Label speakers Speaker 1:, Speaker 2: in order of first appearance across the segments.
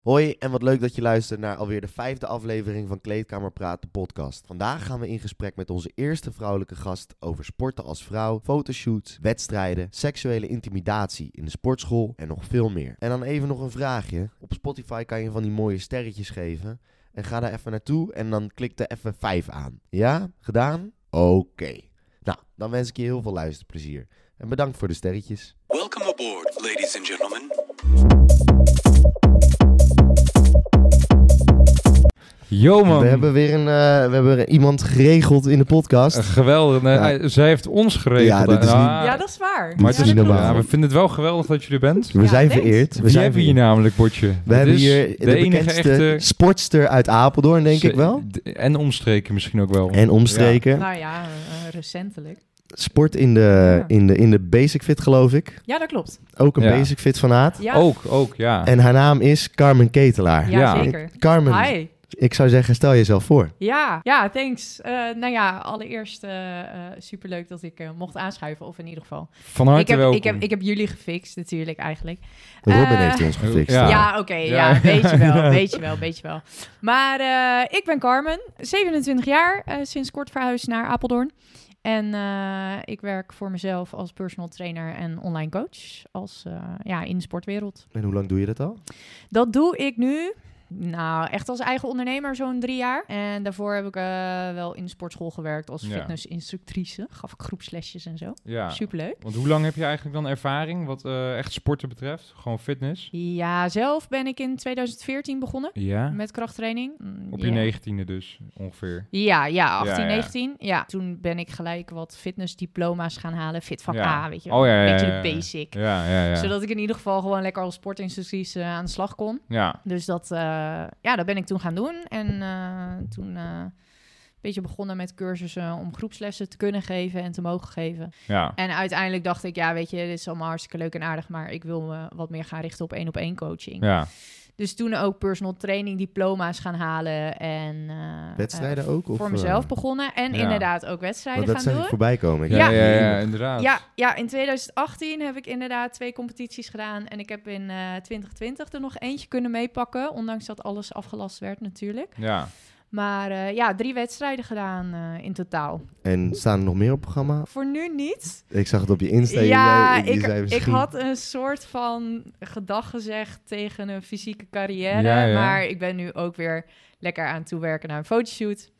Speaker 1: Hoi en wat leuk dat je luistert naar alweer de vijfde aflevering van Kleedkamer Praat, de podcast. Vandaag gaan we in gesprek met onze eerste vrouwelijke gast over sporten als vrouw, fotoshoots, wedstrijden, seksuele intimidatie in de sportschool en nog veel meer. En dan even nog een vraagje. Op Spotify kan je van die mooie sterretjes geven. En ga daar even naartoe en dan klik er even 5 aan. Ja? Gedaan? Oké. Nou, dan wens ik je heel veel luisterplezier. En bedankt voor de sterretjes.
Speaker 2: Welcome aboard, ladies and gentlemen.
Speaker 3: Yo Oh, man,
Speaker 1: We hebben weer een, eh, we hebben weer iemand geregeld in de podcast.
Speaker 3: Eh, geweldig. Nee,
Speaker 1: Ja.
Speaker 3: hij- Zij heeft ons
Speaker 1: Ja,
Speaker 3: geregeld.
Speaker 1: dit is niet-
Speaker 3: Ah,
Speaker 4: Ja, dat is waar.
Speaker 3: maar
Speaker 1: is
Speaker 4: ja,
Speaker 3: het is
Speaker 1: niet
Speaker 4: dat
Speaker 1: normaal.
Speaker 3: Ja,
Speaker 4: klopt.
Speaker 3: we vinden het wel geweldig dat jullie er bent.
Speaker 1: We
Speaker 4: Ja,
Speaker 1: zijn
Speaker 4: thanks.
Speaker 1: vereerd. We
Speaker 3: Wie
Speaker 1: zijn
Speaker 3: hebben
Speaker 1: vereerd.
Speaker 3: hier namelijk, Botje?
Speaker 1: We hebben hier de,
Speaker 3: de enige
Speaker 1: bekendste
Speaker 3: echte-
Speaker 1: sportster uit Apeldoorn, denk ik wel.
Speaker 3: En omstreken misschien ook wel.
Speaker 1: En omstreken.
Speaker 4: Nou ja, eh, recentelijk.
Speaker 1: Sport in de,
Speaker 4: Ja.
Speaker 1: in, de, in de basic fit, geloof ik.
Speaker 4: Ja, dat klopt.
Speaker 1: Ook een
Speaker 3: Ja.
Speaker 1: basic fit van Aad.
Speaker 4: Ja,
Speaker 3: Ook, ook, ja.
Speaker 1: En haar naam is Carmen Ketelaar.
Speaker 4: ja,
Speaker 3: Oh, ja.
Speaker 4: zeker.
Speaker 1: Carmen,
Speaker 4: Hi.
Speaker 1: ik zou zeggen, stel jezelf voor.
Speaker 4: Ja, ja, thanks. Eh, nou ja, allereerst eh, eh, superleuk dat ik eh, mocht aanschuiven. Of in ieder geval.
Speaker 3: Van harte
Speaker 4: ik, heb,
Speaker 3: welkom.
Speaker 4: ik, heb, ik heb jullie gefixt natuurlijk eigenlijk.
Speaker 1: Robin
Speaker 4: Eh,
Speaker 1: heeft ons gefixt.
Speaker 3: Ja.
Speaker 4: Ja,
Speaker 1: Ja.
Speaker 4: oké.
Speaker 3: Ja.
Speaker 4: ja. weet je wel, weet je wel, weet je wel. Maar eh, ik ben Carmen, 27 jaar, eh, sinds kort verhuisd naar Apeldoorn. En eh, ik werk voor mezelf als personal trainer en online coach als, eh, ja, in de sportwereld.
Speaker 1: En hoe lang doe je dat al?
Speaker 4: Dat doe ik nu, nou echt als eigen ondernemer zo'n drie jaar. En daarvoor heb ik eh, wel in de sportschool gewerkt als
Speaker 3: Ja.
Speaker 4: fitnessinstructrice. Gaf ik groepslesjes en zo.
Speaker 3: Ja.
Speaker 4: Superleuk.
Speaker 3: Want hoe lang heb je eigenlijk dan ervaring wat eh, echt sporten betreft? Gewoon fitness?
Speaker 4: Ja, zelf ben ik in 2014 begonnen
Speaker 3: Ja.
Speaker 4: met krachttraining. Mm,
Speaker 3: Op
Speaker 4: ja.
Speaker 3: je negentiende dus, ongeveer.
Speaker 4: Ja, ja, 18,
Speaker 3: Ja, ja.
Speaker 4: 19. Ja, toen ben ik gelijk wat fitnessdiploma's gaan halen. Fit van
Speaker 3: Ja.
Speaker 4: A, weet je
Speaker 3: Oh, ja, ja,
Speaker 4: Beetje
Speaker 3: ja, ja.
Speaker 4: de basic.
Speaker 3: Ja, ja, ja.
Speaker 4: Zodat ik in ieder geval gewoon lekker als sportinstructies eh, aan de slag kon.
Speaker 3: Ja.
Speaker 4: Dus dat, eh, ja, dat ben ik toen gaan doen. En eh, toen eh, een beetje begonnen met cursussen om groepslessen te kunnen geven en te mogen geven.
Speaker 3: Ja.
Speaker 4: En uiteindelijk dacht ik, ja, weet je, dit is allemaal hartstikke leuk en aardig, maar ik wil me wat meer gaan richten op één-op-één coaching.
Speaker 3: Ja.
Speaker 4: Dus toen ook personal training diploma's gaan halen en... eh,
Speaker 1: Wedstrijden ook? Of,
Speaker 4: voor
Speaker 1: eh,
Speaker 4: mezelf begonnen en
Speaker 3: Ja.
Speaker 4: inderdaad ook
Speaker 1: Want
Speaker 4: wedstrijden
Speaker 1: dat
Speaker 4: gaan
Speaker 1: zag ik
Speaker 4: doen.
Speaker 1: voorbij komen. Ik
Speaker 3: Ja, ja,
Speaker 1: dacht,
Speaker 3: ja,
Speaker 1: jemig.
Speaker 3: inderdaad.
Speaker 4: Ja, ja, in 2018 heb ik inderdaad twee competities gedaan en ik heb in eh, 2020 er nog eentje kunnen meepakken, ondanks dat alles afgelast werd natuurlijk.
Speaker 3: Ja.
Speaker 4: Maar eh, ja, drie wedstrijden gedaan eh, in totaal.
Speaker 1: En staan er nog meer op het programma?
Speaker 4: Voor nu niet.
Speaker 1: Ik zag het op je Insta. je
Speaker 4: ja,
Speaker 1: zei- je
Speaker 4: ik,
Speaker 1: zei
Speaker 4: ik
Speaker 1: misschien-
Speaker 4: had een soort van gedag gezegd tegen een fysieke carrière,
Speaker 3: Ja, ja.
Speaker 4: maar ik ben nu ook weer lekker aan het toewerken naar een fotoshoot.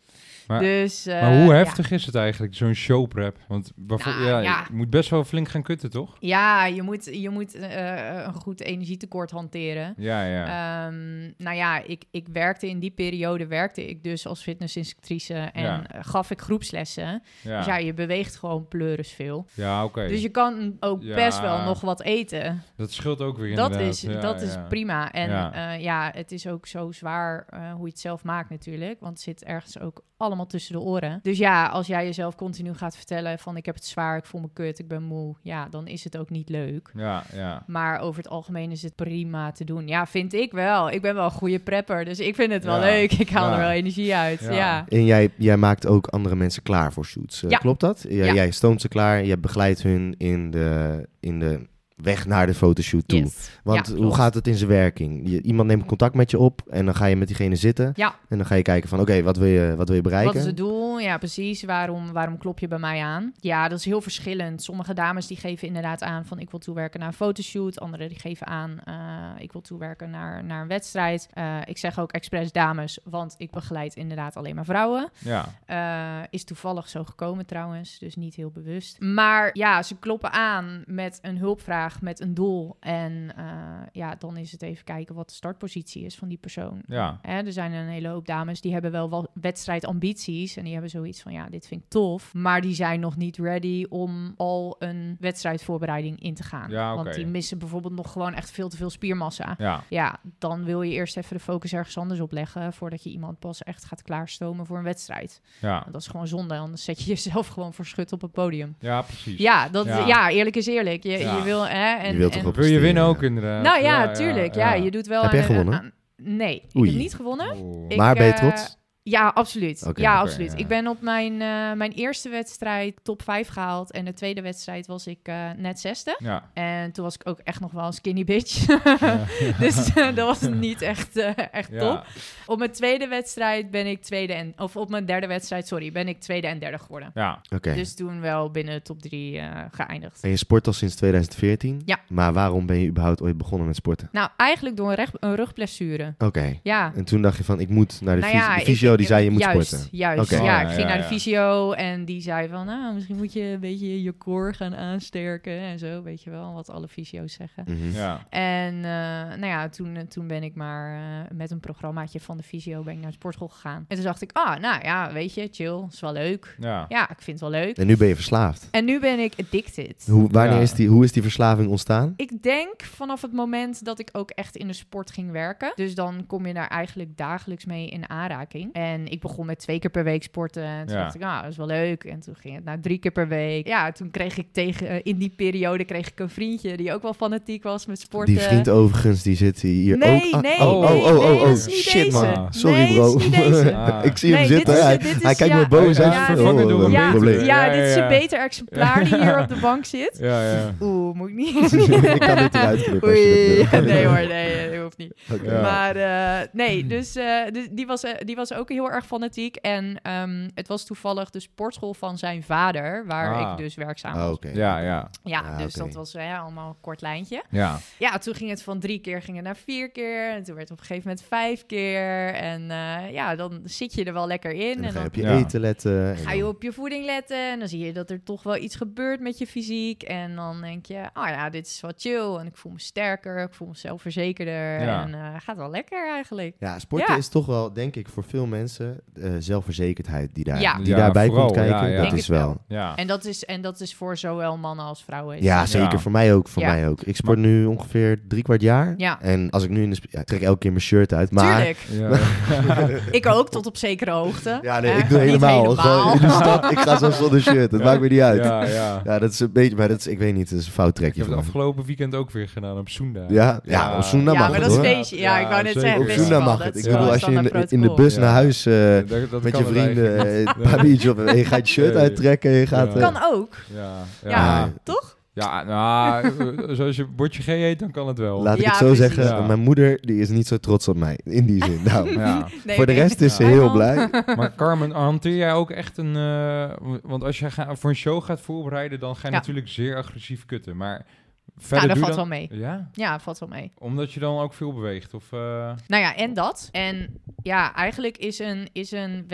Speaker 3: Maar-
Speaker 4: dus, eh,
Speaker 3: Maar hoe
Speaker 4: ja.
Speaker 3: heftig is het eigenlijk, zo'n showprep? Want bijvoor-
Speaker 4: Nou,
Speaker 3: ja,
Speaker 4: ja.
Speaker 3: je moet best wel flink gaan kutten, toch?
Speaker 4: Ja, je moet, je moet eh, een goed energietekort hanteren.
Speaker 3: Ja, ja.
Speaker 4: Ehm, nou ja, ik, ik werkte in die periode werkte ik dus als fitnessinstructrice en
Speaker 3: Ja.
Speaker 4: eh, gaf ik groepslessen. Dus
Speaker 3: ja.
Speaker 4: ja, je beweegt gewoon pleuris veel.
Speaker 3: Ja, oké.
Speaker 4: Dus je kan ook
Speaker 3: Ja.
Speaker 4: best wel nog wat eten.
Speaker 3: Dat scheelt ook weer
Speaker 4: Dat,
Speaker 3: inderdaad.
Speaker 4: is,
Speaker 3: Ja,
Speaker 4: dat is
Speaker 3: ja.
Speaker 4: prima. En
Speaker 3: Ja.
Speaker 4: ja. ja, het is ook zo zwaar eh, hoe je het zelf maakt natuurlijk. Want het zit ergens ook allemaal tussen de oren. Dus ja, als jij jezelf continu gaat vertellen van ik heb het zwaar, ik voel me kut, ik ben moe. Ja, dan is het ook niet leuk.
Speaker 3: Ja, ja.
Speaker 4: Maar over het algemeen is het prima te doen. Ja, vind ik wel. Ik ben wel een goede prepper, dus ik vind het wel
Speaker 3: Ja.
Speaker 4: leuk. Ik haal
Speaker 3: Ja.
Speaker 4: er wel energie uit.
Speaker 3: Ja.
Speaker 4: Ja.
Speaker 1: En jij, jij maakt ook andere mensen klaar voor shoots. eh,
Speaker 4: Ja.
Speaker 1: Klopt dat? Jij,
Speaker 4: Ja.
Speaker 1: jij stoomt ze klaar, jij begeleidt hun in de, in de weg naar de fotoshoot toe.
Speaker 4: Yes.
Speaker 1: Want
Speaker 4: Ja,
Speaker 1: hoe
Speaker 4: klopt.
Speaker 1: gaat het in zijn werking? Je- iemand neemt contact met je op en dan ga je met diegene zitten.
Speaker 4: Ja.
Speaker 1: En dan ga je kijken van oké, wat, wil je- wat wil je bereiken?
Speaker 4: Wat is het doel? Ja, precies. Waarom, waarom klop je bij mij aan? Ja, dat is heel verschillend. Sommige dames die geven inderdaad aan van ik wil toewerken naar een fotoshoot. Anderen die geven aan eh, ik wil toewerken naar, naar een wedstrijd. Eh, ik zeg ook expres dames, want ik begeleid inderdaad alleen maar vrouwen.
Speaker 3: Ja,
Speaker 4: Eh, is toevallig zo gekomen trouwens, dus niet heel bewust. Maar ja, ze kloppen aan met een hulpvraag, met een doel. En eh, ja, dan is het even kijken wat de startpositie is van die persoon.
Speaker 3: ja.
Speaker 4: Hè, er zijn een hele hoop dames die hebben wel wat wedstrijdambities. En die hebben zoiets van, ja, dit vind ik tof. Maar die zijn nog niet ready om al een wedstrijdvoorbereiding in te gaan.
Speaker 3: Ja, oké.
Speaker 4: Want die missen bijvoorbeeld nog gewoon echt veel te veel spiermassa.
Speaker 3: Ja,
Speaker 4: Ja, dan wil je eerst even de focus ergens anders op leggen... voordat je iemand pas echt gaat klaarstomen voor een wedstrijd.
Speaker 3: ja.
Speaker 4: Want Nou, Dat is gewoon zonde, anders zet je jezelf gewoon voor schut op het podium.
Speaker 3: Ja, precies.
Speaker 4: Ja, dat,
Speaker 3: Ja.
Speaker 4: ja. eerlijk is eerlijk. Je,
Speaker 3: Ja.
Speaker 4: je wil, hè, en,
Speaker 1: Je wilt
Speaker 4: en-
Speaker 1: toch ook
Speaker 3: Wil je winnen
Speaker 1: presteren,
Speaker 3: ook
Speaker 1: ja.
Speaker 3: inderdaad?
Speaker 4: Nou ja, tuurlijk. Ja,
Speaker 3: ja.
Speaker 4: je doet wel
Speaker 1: Heb jij
Speaker 4: aan-
Speaker 1: gewonnen?
Speaker 4: aan- nee,
Speaker 1: Oei.
Speaker 4: ik heb niet gewonnen.
Speaker 3: Oeh.
Speaker 4: Ik,
Speaker 1: maar ben je
Speaker 4: eh,
Speaker 1: trots?
Speaker 4: Ja, absoluut.
Speaker 1: Oké,
Speaker 4: ja,
Speaker 3: oké,
Speaker 4: absoluut.
Speaker 3: ja.
Speaker 4: Ik ben op mijn, eh, mijn eerste wedstrijd top 5 gehaald. En de tweede wedstrijd was ik eh, net zesde.
Speaker 3: Ja.
Speaker 4: En toen was ik ook echt nog wel een skinny bitch. dus eh, dat was niet echt, eh, echt top.
Speaker 3: Ja.
Speaker 4: Op mijn tweede wedstrijd ben ik tweede en... Of op mijn derde wedstrijd, sorry, ben ik tweede en derde geworden.
Speaker 3: ja.
Speaker 1: Oké.
Speaker 4: Dus toen wel binnen de top drie eh, geëindigd.
Speaker 1: En je sport al sinds 2014?
Speaker 4: Ja.
Speaker 1: Maar waarom ben je überhaupt ooit begonnen met sporten?
Speaker 4: Nou, eigenlijk door een, recht, een rugblessure.
Speaker 1: Oké.
Speaker 4: Ja.
Speaker 1: En toen dacht je van, ik moet naar de,
Speaker 4: Nou
Speaker 1: fys-
Speaker 4: ja,
Speaker 1: de
Speaker 4: ik-
Speaker 1: fysio,
Speaker 4: ik-
Speaker 1: die zei je moet
Speaker 4: juist,
Speaker 1: sporten.
Speaker 4: Juist,
Speaker 1: Oké.
Speaker 4: ja.
Speaker 3: Oh,
Speaker 4: Ik
Speaker 3: ja,
Speaker 4: ging naar de
Speaker 3: ja.
Speaker 4: fysio en die zei van... Nou, misschien moet je een beetje je core gaan aansterken en zo. Weet je wel, wat alle fysio's zeggen.
Speaker 1: Mhm.
Speaker 3: ja.
Speaker 4: En eh, nou ja, toen, toen ben ik maar eh, met een programmaatje van de fysio ben ik naar de sportschool gegaan. En toen dacht ik, ah, nou ja, weet je, chill, is wel leuk.
Speaker 3: Ja.
Speaker 4: Ja, ik vind het wel leuk.
Speaker 1: En nu ben je verslaafd.
Speaker 4: En nu ben ik addicted.
Speaker 1: Hoe, wanneer
Speaker 3: Ja.
Speaker 1: is die, hoe is die verslaving ontstaan?
Speaker 4: Ik denk vanaf het moment dat ik ook echt in de sport ging werken. Dus dan kom je daar eigenlijk dagelijks mee in aanraking. En ik begon met twee keer per week sporten. En toen
Speaker 3: Ja.
Speaker 4: dacht ik, nou, dat is wel leuk. En toen ging het naar drie keer per week. Ja, toen kreeg ik tegen, eh, in die periode kreeg ik een vriendje die ook wel fanatiek was met sporten.
Speaker 1: Die vriend overigens, die zit hier
Speaker 4: Nee,
Speaker 1: ook. Ah, oh,
Speaker 4: nee,
Speaker 3: nee,
Speaker 1: oh, oh,
Speaker 4: nee,
Speaker 1: oh,
Speaker 4: dat
Speaker 1: oh.
Speaker 4: is niet
Speaker 1: shit
Speaker 4: deze.
Speaker 1: man. Sorry
Speaker 4: Nee,
Speaker 1: bro.
Speaker 4: is niet deze.
Speaker 3: Ah.
Speaker 1: ik zie hem
Speaker 4: Nee, dit
Speaker 1: zitten.
Speaker 4: is-
Speaker 1: hij
Speaker 4: dit is-
Speaker 1: hij kijkt
Speaker 4: ja.
Speaker 1: me boos
Speaker 4: Ja,
Speaker 1: aan.
Speaker 4: ja,
Speaker 1: Oh,
Speaker 3: fucking doen.
Speaker 1: een
Speaker 4: ja,
Speaker 1: probleem.
Speaker 4: ja,
Speaker 3: Ja,
Speaker 4: dit is
Speaker 3: ja,
Speaker 4: een
Speaker 3: ja.
Speaker 4: beter exemplaar die hier op de bank zit.
Speaker 3: Ja, ja.
Speaker 4: Oeh, moet ik niet.
Speaker 1: ik kan dit eruit knippen als je
Speaker 4: Oei,
Speaker 1: dat wil.
Speaker 4: nee hoor, nee, dat hoeft niet.
Speaker 1: Oké.
Speaker 3: Ja.
Speaker 4: Maar eh,
Speaker 1: Hmm.
Speaker 4: nee, dus, eh, dus die, was, eh, die was ook heel erg fanatiek. En ehm, het was toevallig de sportschool van zijn vader, waar
Speaker 3: Ah.
Speaker 4: ik dus werkzaam was.
Speaker 1: Ah, Oké.
Speaker 3: Ja, ja.
Speaker 4: Ja,
Speaker 1: Ah,
Speaker 4: dus
Speaker 1: oké.
Speaker 4: dat was eh, allemaal een kort lijntje.
Speaker 3: Ja.
Speaker 4: Ja, toen ging het van drie keer ging het naar vier keer. En toen werd het op een gegeven moment vijf keer. En eh, ja, dan zit je er wel lekker in.
Speaker 1: En dan ga je op je
Speaker 3: Ja.
Speaker 1: eten letten. en
Speaker 4: Ga je
Speaker 1: dan-
Speaker 4: op je voeding letten en dan zie je dat er toch wel iets gebeurt met je fysiek. En dan denk je, oh ja, dit is wel chill. En ik voel me sterker, ik voel me zelfverzekerder.
Speaker 3: Ja.
Speaker 4: En eh, gaat wel lekker eigenlijk.
Speaker 1: Ja, sporten
Speaker 4: Ja.
Speaker 1: is toch wel, denk ik, voor veel mensen eh, zelfverzekerdheid die, daar,
Speaker 4: Ja.
Speaker 1: die
Speaker 3: Ja,
Speaker 1: daarbij komt
Speaker 3: vooral, ja,
Speaker 1: kijken.
Speaker 3: ja.
Speaker 1: Dat
Speaker 4: Denk
Speaker 1: is
Speaker 4: het wel.
Speaker 1: wel.
Speaker 3: Ja.
Speaker 4: En dat is, en dat is voor zowel mannen als vrouwen. is
Speaker 1: Ja,
Speaker 4: dat-
Speaker 1: zeker.
Speaker 3: Ja.
Speaker 1: Voor mij ook. Voor
Speaker 4: Ja.
Speaker 1: mij ook. Ik sport nu ongeveer drie kwart jaar.
Speaker 4: Ja.
Speaker 1: En als ik nu in de... sp- Ja, ik trek elke keer mijn shirt uit. Maar
Speaker 4: Tuurlijk.
Speaker 3: Ja.
Speaker 4: Ik ook, tot op zekere hoogte.
Speaker 1: Ja, nee,
Speaker 4: Eh,
Speaker 1: ik doe
Speaker 4: niet
Speaker 1: helemaal. Gewoon in de
Speaker 4: helemaal.
Speaker 1: stad, ik ga zo zonder shirt. Dat
Speaker 3: Ja.
Speaker 1: maakt me niet uit. Ja.
Speaker 3: Ja, ja.
Speaker 1: dat is een beetje... Maar dat is, ik weet niet, dat is een fout
Speaker 3: Ik
Speaker 1: trekje
Speaker 3: heb
Speaker 1: van
Speaker 3: het
Speaker 1: me.
Speaker 3: afgelopen weekend ook weer gedaan op Soenda.
Speaker 1: Ja, ja, op Soenda
Speaker 4: Ja,
Speaker 1: mag
Speaker 4: maar
Speaker 1: het,
Speaker 4: dat is
Speaker 1: hoor.
Speaker 4: feestje. Ja, ik wou net
Speaker 3: zeker.
Speaker 4: zeggen,
Speaker 1: Op
Speaker 4: Ja.
Speaker 1: Soenda
Speaker 4: festival,
Speaker 1: mag
Speaker 4: dat
Speaker 1: het. Ik
Speaker 4: is
Speaker 1: bedoel,
Speaker 4: wel
Speaker 1: als je in, de-
Speaker 4: standaard
Speaker 1: in de bus
Speaker 4: protocol.
Speaker 1: naar huis eh,
Speaker 3: Ja, dat- dat
Speaker 1: met
Speaker 3: kan
Speaker 1: je
Speaker 3: wel
Speaker 1: vrienden
Speaker 3: eigenlijk.
Speaker 1: eh, een paar biertjes op en je gaat je shirt
Speaker 3: Nee.
Speaker 1: uittrekken. Je gaat,
Speaker 3: Ja.
Speaker 1: eh,
Speaker 4: Kan ook.
Speaker 3: Ja,
Speaker 4: Ja,
Speaker 3: ja.
Speaker 1: Ja.
Speaker 4: toch?
Speaker 3: Ja, nou, zoals je bordje G eet, dan kan het wel.
Speaker 1: Laat ik
Speaker 4: Ja,
Speaker 1: het zo
Speaker 4: precies.
Speaker 1: zeggen,
Speaker 3: Ja.
Speaker 1: mijn moeder die is niet zo trots op mij. In die zin. Nou,
Speaker 3: Ja.
Speaker 4: Nee,
Speaker 1: voor de
Speaker 4: nee.
Speaker 1: rest is ze
Speaker 4: Ja.
Speaker 1: heel
Speaker 4: Hij
Speaker 1: blij.
Speaker 3: Maar Carmen, hanteer jij ook echt een... eh, want als je ga- voor een show gaat voorbereiden, dan ga je
Speaker 4: Ja.
Speaker 3: natuurlijk zeer agressief kutten. Maar
Speaker 4: Nou,
Speaker 3: verder
Speaker 4: dat
Speaker 3: doe
Speaker 4: valt wel
Speaker 3: dan...
Speaker 4: mee.
Speaker 3: Ja?
Speaker 4: Ja, valt wel mee.
Speaker 3: Omdat je dan ook veel beweegt? Of, eh,
Speaker 4: Nou ja, en dat. En ja, eigenlijk is een, is een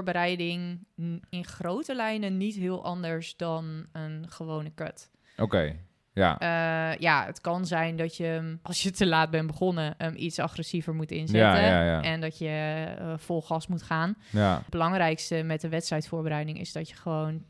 Speaker 4: wedstrijdvoorbereiding n- in grote lijnen niet heel anders dan een gewone cut.
Speaker 3: Oké, ja.
Speaker 4: Eh, ja, het kan zijn dat je, hem, als je te laat bent begonnen, hem iets agressiever moet
Speaker 3: Ja,
Speaker 4: inzetten.
Speaker 3: ja, ja.
Speaker 4: En dat je eh, vol gas moet gaan.
Speaker 3: Ja,
Speaker 4: Het belangrijkste met de wedstrijdvoorbereiding is dat je gewoon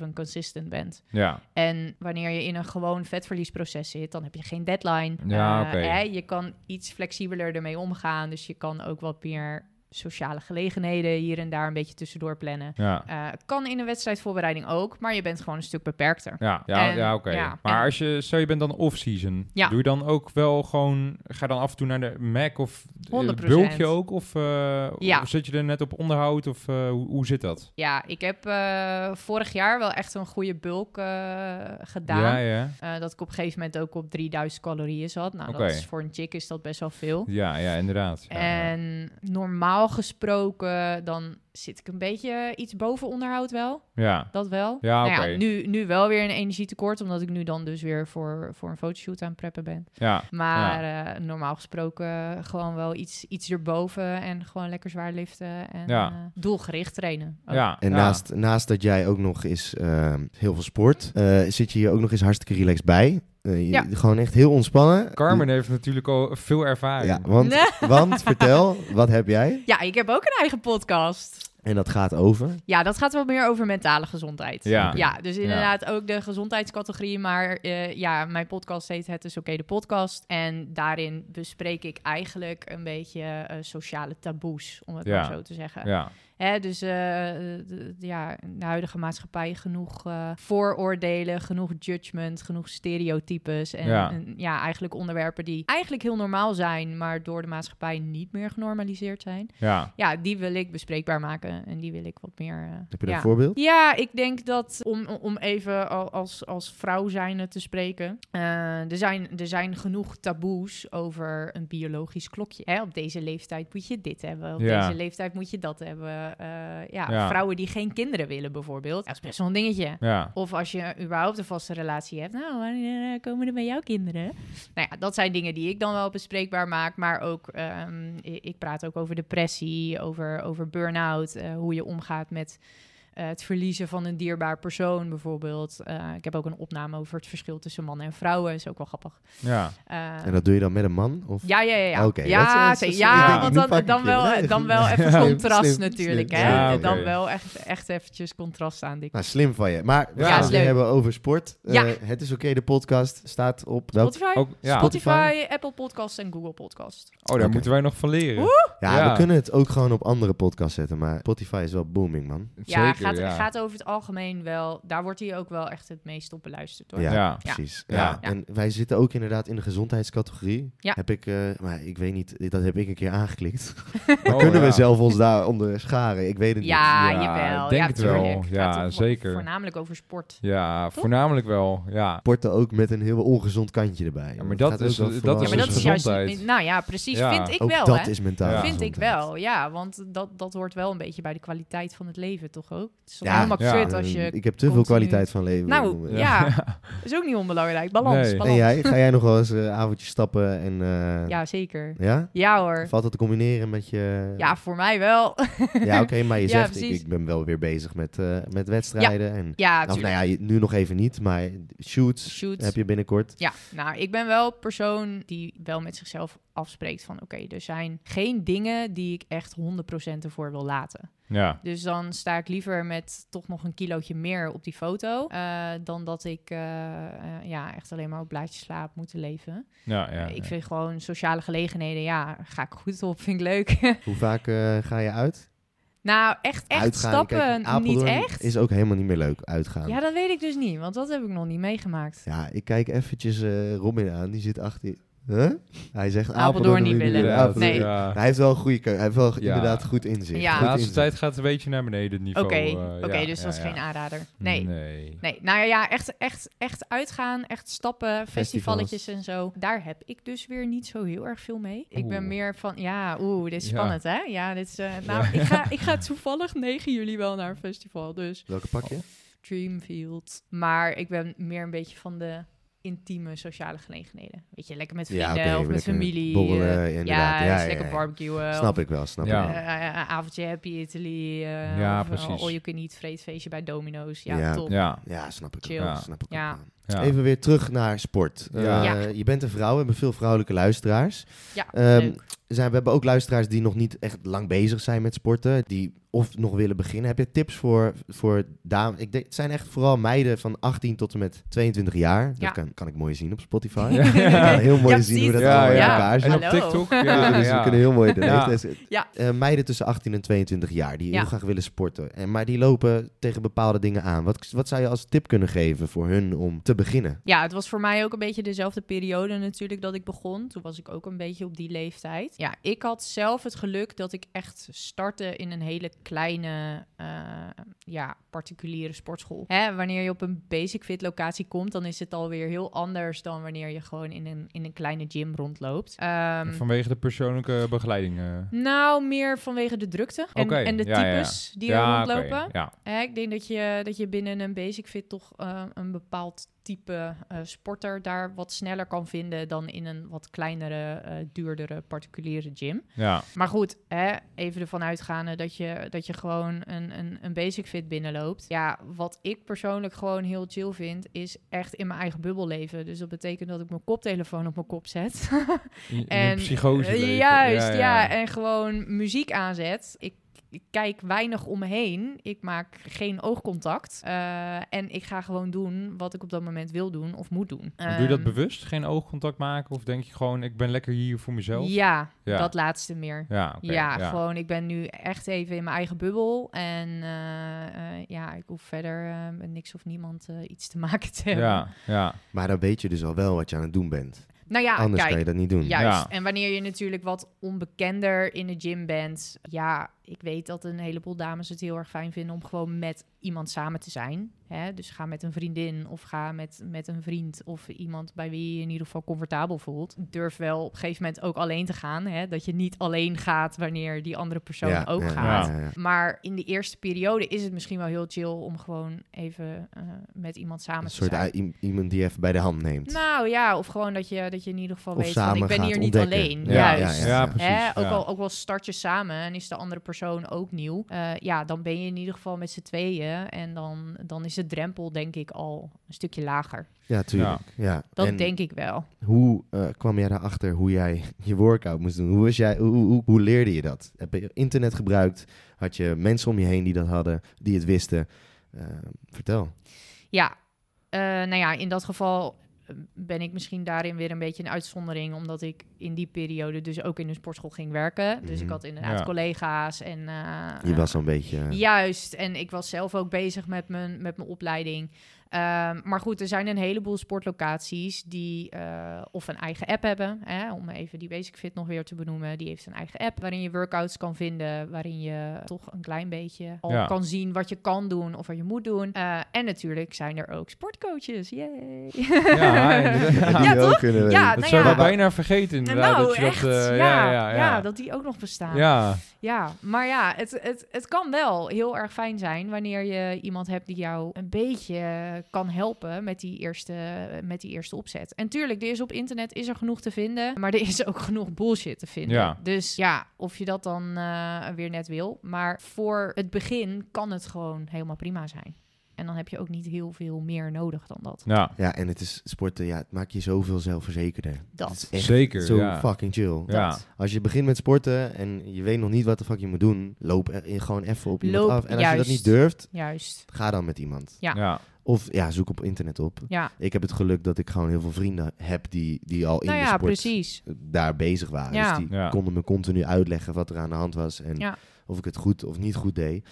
Speaker 4: 24-7 consistent bent.
Speaker 3: ja.
Speaker 4: En wanneer je in een gewoon vetverliesproces zit, dan heb je geen deadline.
Speaker 3: Ja,
Speaker 4: Eh,
Speaker 3: oké.
Speaker 4: hè, je kan iets flexibeler ermee omgaan. Dus je kan ook wat meer sociale gelegenheden hier en daar een beetje tussendoor plannen.
Speaker 3: Ja,
Speaker 4: Eh, kan in een wedstrijdvoorbereiding ook, maar je bent gewoon een stuk beperkter.
Speaker 3: ja, ja,
Speaker 4: En-
Speaker 3: ja oké.
Speaker 4: ja,
Speaker 3: Maar
Speaker 4: en-
Speaker 3: als je, stel je bent dan off-season,
Speaker 4: Ja.
Speaker 3: doe je dan ook wel gewoon, ga je dan af en toe naar de Mac of eh,
Speaker 4: 100%.
Speaker 3: bulk je ook? Of eh,
Speaker 4: Ja.
Speaker 3: of zit je er net op onderhoud of eh, hoe, hoe zit dat?
Speaker 4: Ja, ik heb eh, vorig jaar wel echt een goede bulk eh, gedaan.
Speaker 3: Ja, ja,
Speaker 4: Eh, dat ik op een gegeven moment ook op 3000 calorieën zat. Nou,
Speaker 3: Oké.
Speaker 4: dat is voor een chick is dat best wel veel.
Speaker 3: ja, ja, inderdaad. Ja, ja.
Speaker 4: En normaal gesproken, dan zit ik een beetje iets boven onderhoud wel.
Speaker 3: ja.
Speaker 4: Dat wel.
Speaker 3: Ja,
Speaker 4: Nou
Speaker 3: oké.
Speaker 4: nu, nu wel weer een energietekort, omdat ik nu dan dus weer voor, voor een fotoshoot aan het preppen ben.
Speaker 3: ja.
Speaker 4: Maar eh, normaal gesproken eh, gewoon wel iets, iets erboven en gewoon lekker zwaar liften en
Speaker 3: Ja.
Speaker 4: eh, doelgericht trainen. Ook.
Speaker 3: Ja,
Speaker 1: En
Speaker 3: ja.
Speaker 1: naast, naast dat jij ook nog eens ehm, heel veel sport, eh, zit je hier ook nog eens hartstikke relaxed bij. Eh, je-
Speaker 4: Ja.
Speaker 1: Gewoon echt heel ontspannen.
Speaker 3: Carmen heeft natuurlijk al veel ervaring.
Speaker 1: Ja, want, want vertel, wat heb jij?
Speaker 4: Ja, ik heb ook een eigen podcast.
Speaker 1: En dat gaat over.
Speaker 4: Ja, dat gaat wel meer over mentale gezondheid.
Speaker 3: Ja.
Speaker 4: dus inderdaad ook de gezondheidscategorie. Maar eh, ja, mijn podcast heet Het is oké, de podcast. En daarin bespreek ik eigenlijk een beetje eh, sociale taboes, om het
Speaker 3: Ja.
Speaker 4: maar zo te zeggen.
Speaker 3: Ja.
Speaker 4: Hè, dus eh, d- d- ja, in de huidige maatschappij genoeg eh, vooroordelen, genoeg judgment, genoeg stereotypes. En
Speaker 3: Ja.
Speaker 4: en ja, eigenlijk onderwerpen die eigenlijk heel normaal zijn, maar door de maatschappij niet meer genormaliseerd zijn
Speaker 3: Ja.
Speaker 4: ja, die wil ik bespreekbaar maken en die wil ik wat meer. eh,
Speaker 1: Heb je daar
Speaker 4: ja.
Speaker 1: een voorbeeld?
Speaker 4: Ja, ik denk dat om, om even al- als, als vrouw zijnde te spreken. eh, er, zijn, er zijn genoeg taboes over een biologisch klokje. Hè, op deze leeftijd moet je dit hebben. Op
Speaker 3: Ja.
Speaker 4: deze leeftijd moet je dat hebben. Eh, ja,
Speaker 3: Ja.
Speaker 4: Vrouwen die geen kinderen willen bijvoorbeeld. Dat is best wel een dingetje.
Speaker 3: Ja.
Speaker 4: Of als je überhaupt een vaste relatie hebt. Nou, wanneer eh, komen er bij jou kinderen? Nou ja, dat zijn dingen die ik dan wel bespreekbaar maak. Maar ook, ehm, i- ik praat ook over depressie, over, over burn-out. eh, hoe je omgaat met eh, het verliezen van een dierbaar persoon bijvoorbeeld. Eh, ik heb ook een opname over het verschil tussen mannen en vrouwen. Is ook wel grappig.
Speaker 3: Ja.
Speaker 4: Eh,
Speaker 1: En dat doe je dan met een man? Of?
Speaker 4: ja, ja, ja. ja.
Speaker 1: Oké, dat is-
Speaker 4: ja,
Speaker 1: dat is-
Speaker 4: zeker.
Speaker 1: ik
Speaker 4: ja,
Speaker 1: denk,
Speaker 4: want
Speaker 1: nu
Speaker 4: dan,
Speaker 1: pak ik
Speaker 4: dan,
Speaker 1: je,
Speaker 4: wel,
Speaker 1: hè?
Speaker 4: dan wel even
Speaker 1: Slim,
Speaker 4: contrast
Speaker 1: slim,
Speaker 4: natuurlijk.
Speaker 1: slim,
Speaker 4: Hè?
Speaker 3: slim. Ja, oké.
Speaker 4: Dan wel echt, echt eventjes contrast aan. Dik.
Speaker 1: Nou, slim van je. Maar we
Speaker 3: Ja,
Speaker 1: gaan
Speaker 3: is
Speaker 1: het weer
Speaker 4: leuk.
Speaker 1: hebben over sport. Eh,
Speaker 4: Ja.
Speaker 1: het is oké, de podcast staat op... welk-
Speaker 4: Spotify?
Speaker 3: Ook, ja.
Speaker 1: Spot-
Speaker 4: Spotify, Apple Podcasts en Google Podcasts.
Speaker 3: Oh, daar
Speaker 1: Oké.
Speaker 3: moeten wij nog van leren.
Speaker 1: Ja,
Speaker 3: Ja.
Speaker 1: we kunnen het ook gewoon op andere podcasts zetten, maar Spotify is wel booming, man.
Speaker 4: Ja,
Speaker 3: Zeker,
Speaker 4: gaat,
Speaker 3: ja.
Speaker 4: gaat over het algemeen wel. Daar wordt hij ook wel echt het meest op beluisterd hoor.
Speaker 1: Ja,
Speaker 3: Ja.
Speaker 1: precies. Ja.
Speaker 3: Ja.
Speaker 4: Ja.
Speaker 1: En wij zitten ook inderdaad in de gezondheidscategorie.
Speaker 4: Ja.
Speaker 1: Heb ik, eh, maar ik weet niet, dat heb ik een keer aangeklikt.
Speaker 3: Oh,
Speaker 1: kunnen we
Speaker 3: ja.
Speaker 1: zelf ons daar onder scharen? Ik weet het niet.
Speaker 4: Ja,
Speaker 3: Ja,
Speaker 4: jawel.
Speaker 3: ik denk
Speaker 4: ja,
Speaker 3: het wel.
Speaker 4: tuurlijk.
Speaker 3: Ja,
Speaker 4: Gaat toch
Speaker 3: zeker.
Speaker 4: Voornamelijk over sport.
Speaker 3: Ja,
Speaker 4: Toch?
Speaker 3: voornamelijk wel. Ja.
Speaker 1: Sporten ook met een heel ongezond kantje erbij.
Speaker 3: maar
Speaker 1: Want
Speaker 3: dat
Speaker 1: het gaat
Speaker 3: is-
Speaker 1: ook wel
Speaker 3: dat
Speaker 1: vooral-
Speaker 4: Ja, maar dat is juist.
Speaker 3: gezondheid.
Speaker 4: Nou ja, precies.
Speaker 3: Ja.
Speaker 4: Vind ik
Speaker 1: ook
Speaker 4: wel.
Speaker 1: dat
Speaker 4: hè?
Speaker 1: is mentaal
Speaker 3: Ja.
Speaker 4: Vind ik
Speaker 1: gezondheid.
Speaker 4: wel, ja. Want dat, dat hoort wel een beetje bij de kwaliteit van het leven, toch ook? Het is toch
Speaker 1: Ja.
Speaker 4: helemaal
Speaker 3: Ja.
Speaker 4: kut als je...
Speaker 1: Eh, ik heb te veel
Speaker 4: continu-
Speaker 1: kwaliteit van leven.
Speaker 4: Nou, ja. is ook niet onbelangrijk. Balans,
Speaker 3: Nee.
Speaker 1: En
Speaker 4: balans.
Speaker 1: jij, ga jij nog wel eens eh, avondjes stappen en... eh,
Speaker 4: Ja, zeker.
Speaker 1: ja?
Speaker 4: Ja hoor.
Speaker 1: Valt dat te combineren met je...
Speaker 4: Ja, voor mij wel.
Speaker 1: Ja, oké, maar je
Speaker 4: Ja,
Speaker 1: zegt, ik,
Speaker 4: precies.
Speaker 1: ik ben wel weer bezig met, eh, met wedstrijden. En,
Speaker 4: Ja,
Speaker 1: of nou
Speaker 4: tuurlijk.
Speaker 1: ja, je- nu nog even niet, maar shoots,
Speaker 4: Shoots.
Speaker 1: heb je binnenkort.
Speaker 4: Ja, nou, ik ben wel een persoon die wel met zichzelf afspreekt van... oké, er zijn geen dingen die ik echt 100% ervoor wil laten.
Speaker 3: Ja.
Speaker 4: Dus dan sta ik liever met toch nog een kilootje meer op die foto... eh, dan dat ik eh, eh, ja, echt alleen maar op blaadjes slaap moet leven.
Speaker 3: Ja, ja,
Speaker 4: ik
Speaker 3: ja.
Speaker 4: vind gewoon sociale gelegenheden, ja, ga ik goed op, vind ik leuk.
Speaker 1: Hoe vaak eh, ga je uit?
Speaker 4: nou, echt, echt
Speaker 1: Uitgaan,
Speaker 4: stappen,
Speaker 1: kijk, in
Speaker 4: niet
Speaker 1: Apeldoorn
Speaker 4: echt.
Speaker 1: is ook helemaal niet meer leuk, uitgaan.
Speaker 4: Ja,
Speaker 1: Ja,
Speaker 4: dat weet ik dus niet, want dat heb ik nog niet meegemaakt.
Speaker 1: ik kijk eventjes eh, Robin aan, die zit achter je. Huh? Hij zegt Apeldoorn,
Speaker 4: Apeldoorn niet
Speaker 1: wil je
Speaker 4: willen.
Speaker 1: willen.
Speaker 3: Ja, dat-
Speaker 1: Apeldoorn-
Speaker 4: Nee.
Speaker 3: ja.
Speaker 1: Hij heeft wel een goede keuze. Hij heeft wel
Speaker 3: Ah. Ja.
Speaker 1: inderdaad goed inzicht.
Speaker 4: Ja.
Speaker 3: De
Speaker 1: Goed
Speaker 3: laatste
Speaker 1: inzicht.
Speaker 3: tijd gaat het een beetje naar beneden het
Speaker 4: Oké,
Speaker 3: niveau.
Speaker 4: oké,
Speaker 3: eh, ja,
Speaker 4: dus
Speaker 3: ja,
Speaker 4: dat is
Speaker 3: ja. Mm,
Speaker 4: geen aanrader. Nee.
Speaker 3: Nee.
Speaker 4: Nee, nou ja, echt, echt, echt uitgaan, echt stappen, festivaletjes en zo. Daar heb ik dus weer niet zo heel erg veel mee. Ik ben
Speaker 3: Oeh.
Speaker 4: meer van, ja, oeh, dit is
Speaker 3: Ja.
Speaker 4: spannend, hè? Ja, dit is... eh, nou, Ik, ga, ik ga toevallig 9 juli wel naar een festival, dus
Speaker 1: Welke pak je?
Speaker 4: Dreamfield. Maar ik ben meer een beetje van de intieme sociale gelegenheden. Weet je, lekker met
Speaker 1: Ja,
Speaker 4: vrienden
Speaker 1: oké,
Speaker 4: of met
Speaker 1: lekker
Speaker 4: familie.
Speaker 1: borrelen,
Speaker 4: eh,
Speaker 1: inderdaad.
Speaker 4: Ja,
Speaker 1: Ja,
Speaker 4: dus
Speaker 1: ja,
Speaker 4: lekker
Speaker 1: ja.
Speaker 4: barbecuen. of
Speaker 1: Snap ik wel, snap
Speaker 3: Ja.
Speaker 1: ik wel.
Speaker 4: eh, eh, eh, avondje Happy Italy. eh
Speaker 3: Ja,
Speaker 4: of, eh,
Speaker 3: precies.
Speaker 4: All you can eat vreedfeestje bij Domino's. Ja,
Speaker 1: Ja.
Speaker 4: top.
Speaker 3: Ja.
Speaker 1: Ja, snap ik
Speaker 4: Chill.
Speaker 1: ook.
Speaker 3: Ja.
Speaker 1: Snap ik
Speaker 4: Ja.
Speaker 1: ook wel.
Speaker 3: ja.
Speaker 1: Even weer terug naar sport.
Speaker 3: Ja.
Speaker 1: Eh,
Speaker 4: Ja.
Speaker 1: Je bent een vrouw, we hebben veel vrouwelijke luisteraars.
Speaker 4: Ja,
Speaker 1: Ehm,
Speaker 4: leuk.
Speaker 1: Zijn, we hebben ook luisteraars die nog niet echt lang bezig zijn met sporten. Die of nog willen beginnen. Heb je tips voor, voor dames? Ik denk, het zijn echt vooral meiden van 18 tot en met 22 jaar.
Speaker 4: Ja.
Speaker 1: Dat kan, kan ik mooi zien op Spotify.
Speaker 3: Ja.
Speaker 1: Ik kan heel mooi
Speaker 4: Ja,
Speaker 1: zien hoe
Speaker 4: precies.
Speaker 1: dat
Speaker 3: Ja,
Speaker 1: allemaal in
Speaker 3: ja.
Speaker 1: elkaar zit.
Speaker 3: En op
Speaker 4: Hallo.
Speaker 3: TikTok. Ja,
Speaker 1: dus we
Speaker 3: ja.
Speaker 1: kunnen heel mooi de
Speaker 3: Ja.
Speaker 1: leeftijd-
Speaker 4: Ja.
Speaker 1: Eh, meiden tussen 18 en 22 jaar die
Speaker 4: Ja.
Speaker 1: heel graag willen sporten. En, maar die lopen tegen bepaalde dingen aan. Wat, wat zou je als tip kunnen geven voor hun om te beginnen?
Speaker 4: Ja, het was voor mij ook een beetje dezelfde periode natuurlijk dat ik begon. Toen was ik ook een beetje op die leeftijd. Ja, ik had zelf het geluk dat ik echt startte in een hele kleine, eh, ja, particuliere sportschool. Hè, wanneer je op een basic fit locatie komt, dan is het alweer heel anders dan wanneer je gewoon in een, in een kleine gym rondloopt. Ehm,
Speaker 3: Vanwege de persoonlijke begeleiding. eh.
Speaker 4: nou, meer vanwege de drukte en,
Speaker 3: Oké,
Speaker 4: en de
Speaker 3: ja, ja,
Speaker 4: types die er
Speaker 3: ja, oké,
Speaker 4: rondlopen.
Speaker 3: ja.
Speaker 4: Hè, ik denk dat je, dat je binnen een basic fit toch eh, een bepaald type eh, sporter daar wat sneller kan vinden dan in een wat kleinere, eh, duurdere, particuliere gym.
Speaker 3: Ja.
Speaker 4: Maar goed, hè, even ervan uitgaande dat je, dat je gewoon een, een, een basic fit binnenloopt. Ja, wat ik persoonlijk gewoon heel chill vind, is echt in mijn eigen bubbel leven. Dus dat betekent dat ik mijn koptelefoon op mijn kop zet.
Speaker 3: In, in
Speaker 4: En,
Speaker 3: psychose.
Speaker 4: Eh,
Speaker 3: leven.
Speaker 4: Juist, ja, En gewoon muziek aanzet. Ik ik kijk weinig om me heen. Ik maak geen oogcontact. Eh, en ik ga gewoon doen wat ik op dat moment wil doen of moet doen.
Speaker 3: Doe je dat
Speaker 4: Ehm,
Speaker 3: bewust? Geen oogcontact maken? Of denk je gewoon, ik ben lekker hier voor mezelf?
Speaker 4: Ja,
Speaker 3: Ja.
Speaker 4: dat laatste meer.
Speaker 3: Ja, oké,
Speaker 4: ja, gewoon ik ben nu echt even in mijn eigen bubbel. En eh, eh, ja, ik hoef verder eh, met niks of niemand eh, iets te maken te hebben.
Speaker 3: Ja, ja.
Speaker 1: Maar dan weet je dus al wel wat je aan het doen bent.
Speaker 4: Nou ja,
Speaker 1: Anders
Speaker 4: kijk,
Speaker 1: kan je dat niet doen.
Speaker 4: Juist.
Speaker 3: Ja.
Speaker 4: En wanneer je natuurlijk wat onbekender in de gym bent. Ja, ik weet dat een heleboel dames het heel erg fijn vinden om gewoon met iemand samen te zijn. Hè? Dus ga met een vriendin of ga met, met een vriend of iemand bij wie je je in ieder geval comfortabel voelt. Durf wel op een gegeven moment ook alleen te gaan. Hè? Dat je niet alleen gaat wanneer die andere persoon
Speaker 1: Ja,
Speaker 4: ook
Speaker 1: ja,
Speaker 4: gaat.
Speaker 1: ja, ja.
Speaker 4: Maar in de eerste periode is het misschien wel heel chill om gewoon even eh, met iemand samen
Speaker 1: Een
Speaker 4: te zijn.
Speaker 1: soort i- i- iemand die even bij de hand neemt.
Speaker 4: Nou ja, of gewoon dat je, dat je in ieder geval
Speaker 1: Of
Speaker 4: weet van ik
Speaker 1: samen
Speaker 4: ben
Speaker 1: gaat
Speaker 4: hier
Speaker 1: ontdekken.
Speaker 4: niet alleen.
Speaker 1: Ja,
Speaker 4: Juist.
Speaker 1: ja,
Speaker 3: Ja,
Speaker 1: ja.
Speaker 3: precies.
Speaker 4: Hè, ook,
Speaker 3: ja.
Speaker 4: al, ook wel start je samen en is de andere persoon ook nieuw. Eh, ja, dan ben je in ieder geval met z'n tweeën. En dan, dan is de drempel denk ik al een stukje lager.
Speaker 1: ja, tuurlijk. Ja.
Speaker 4: Dat
Speaker 1: en
Speaker 4: denk ik wel.
Speaker 1: hoe eh, kwam jij daarachter hoe jij je workout moest doen? Hoe, was jij, hoe, hoe, hoe leerde je dat? Heb je internet gebruikt? Had je mensen om je heen die dat hadden, die het wisten? Eh, vertel.
Speaker 4: Ja, eh, nou ja, in dat geval eh, ben ik misschien daarin weer een beetje een uitzondering, omdat ik in die periode dus ook in een sportschool ging werken. Dus ik
Speaker 1: Mhm.
Speaker 4: had inderdaad
Speaker 3: Ja.
Speaker 4: collega's en... eh,
Speaker 1: Je was al een beetje... eh,
Speaker 4: Juist, en ik was zelf ook bezig met mijn, met mijn opleiding. Ehm, maar goed, er zijn een heleboel sportlocaties die eh, of een eigen app hebben. Hè, om even die Basic Fit nog weer te benoemen. Die heeft een eigen app waarin je workouts kan vinden. Waarin je toch een klein beetje al
Speaker 3: Ja.
Speaker 4: kan zien wat je kan doen of wat je moet doen. Eh, en natuurlijk zijn er ook sportcoaches. Yay!
Speaker 3: Ja, inderdaad.
Speaker 1: die
Speaker 4: Ja,
Speaker 1: we ook
Speaker 4: toch?
Speaker 1: kunnen weten.
Speaker 4: Ja,
Speaker 3: Dat
Speaker 4: nou
Speaker 3: zou
Speaker 4: ja.
Speaker 3: je bijna vergeten inderdaad.
Speaker 4: nou,
Speaker 3: dat je dat,
Speaker 4: echt.
Speaker 3: eh, ja,
Speaker 4: ja,
Speaker 3: ja, ja.
Speaker 4: dat die ook nog bestaan.
Speaker 3: Ja.
Speaker 4: Ja, maar ja, het, het, het kan wel heel erg fijn zijn wanneer je iemand hebt die jou een beetje kan helpen met die eerste, met die eerste opzet. En tuurlijk, er is op internet is er genoeg te vinden, maar er is ook genoeg bullshit te vinden.
Speaker 3: Ja.
Speaker 4: Dus ja, of je dat dan eh, weer net wil. Maar voor het begin kan het gewoon helemaal prima zijn. En dan heb je ook niet heel veel meer nodig dan dat.
Speaker 3: Ja,
Speaker 1: Ja, en het is sporten, ja, het maakt je zoveel zelfverzekerder.
Speaker 4: Dat.
Speaker 1: Het is echt
Speaker 3: zeker.
Speaker 1: zo
Speaker 3: ja.
Speaker 1: fucking chill.
Speaker 3: Ja.
Speaker 4: Dat.
Speaker 1: Als je begint met sporten en je weet nog niet wat de fuck je moet doen, loop er in gewoon even op iemand
Speaker 4: Loop,
Speaker 1: af. En als je dat
Speaker 4: juist.
Speaker 1: niet durft,
Speaker 4: Juist.
Speaker 1: ga dan met iemand.
Speaker 4: Ja.
Speaker 3: Ja.
Speaker 1: Of ja, zoek op internet op.
Speaker 4: Ja.
Speaker 1: Ik heb het geluk dat ik gewoon heel veel vrienden heb die, die al in
Speaker 4: nou
Speaker 1: de
Speaker 4: ja,
Speaker 1: sport
Speaker 4: precies.
Speaker 1: daar bezig waren.
Speaker 4: Ja.
Speaker 1: Dus die
Speaker 3: Ja.
Speaker 1: konden me continu uitleggen wat er aan de hand was en
Speaker 4: Ja.
Speaker 1: of ik het goed of niet goed deed.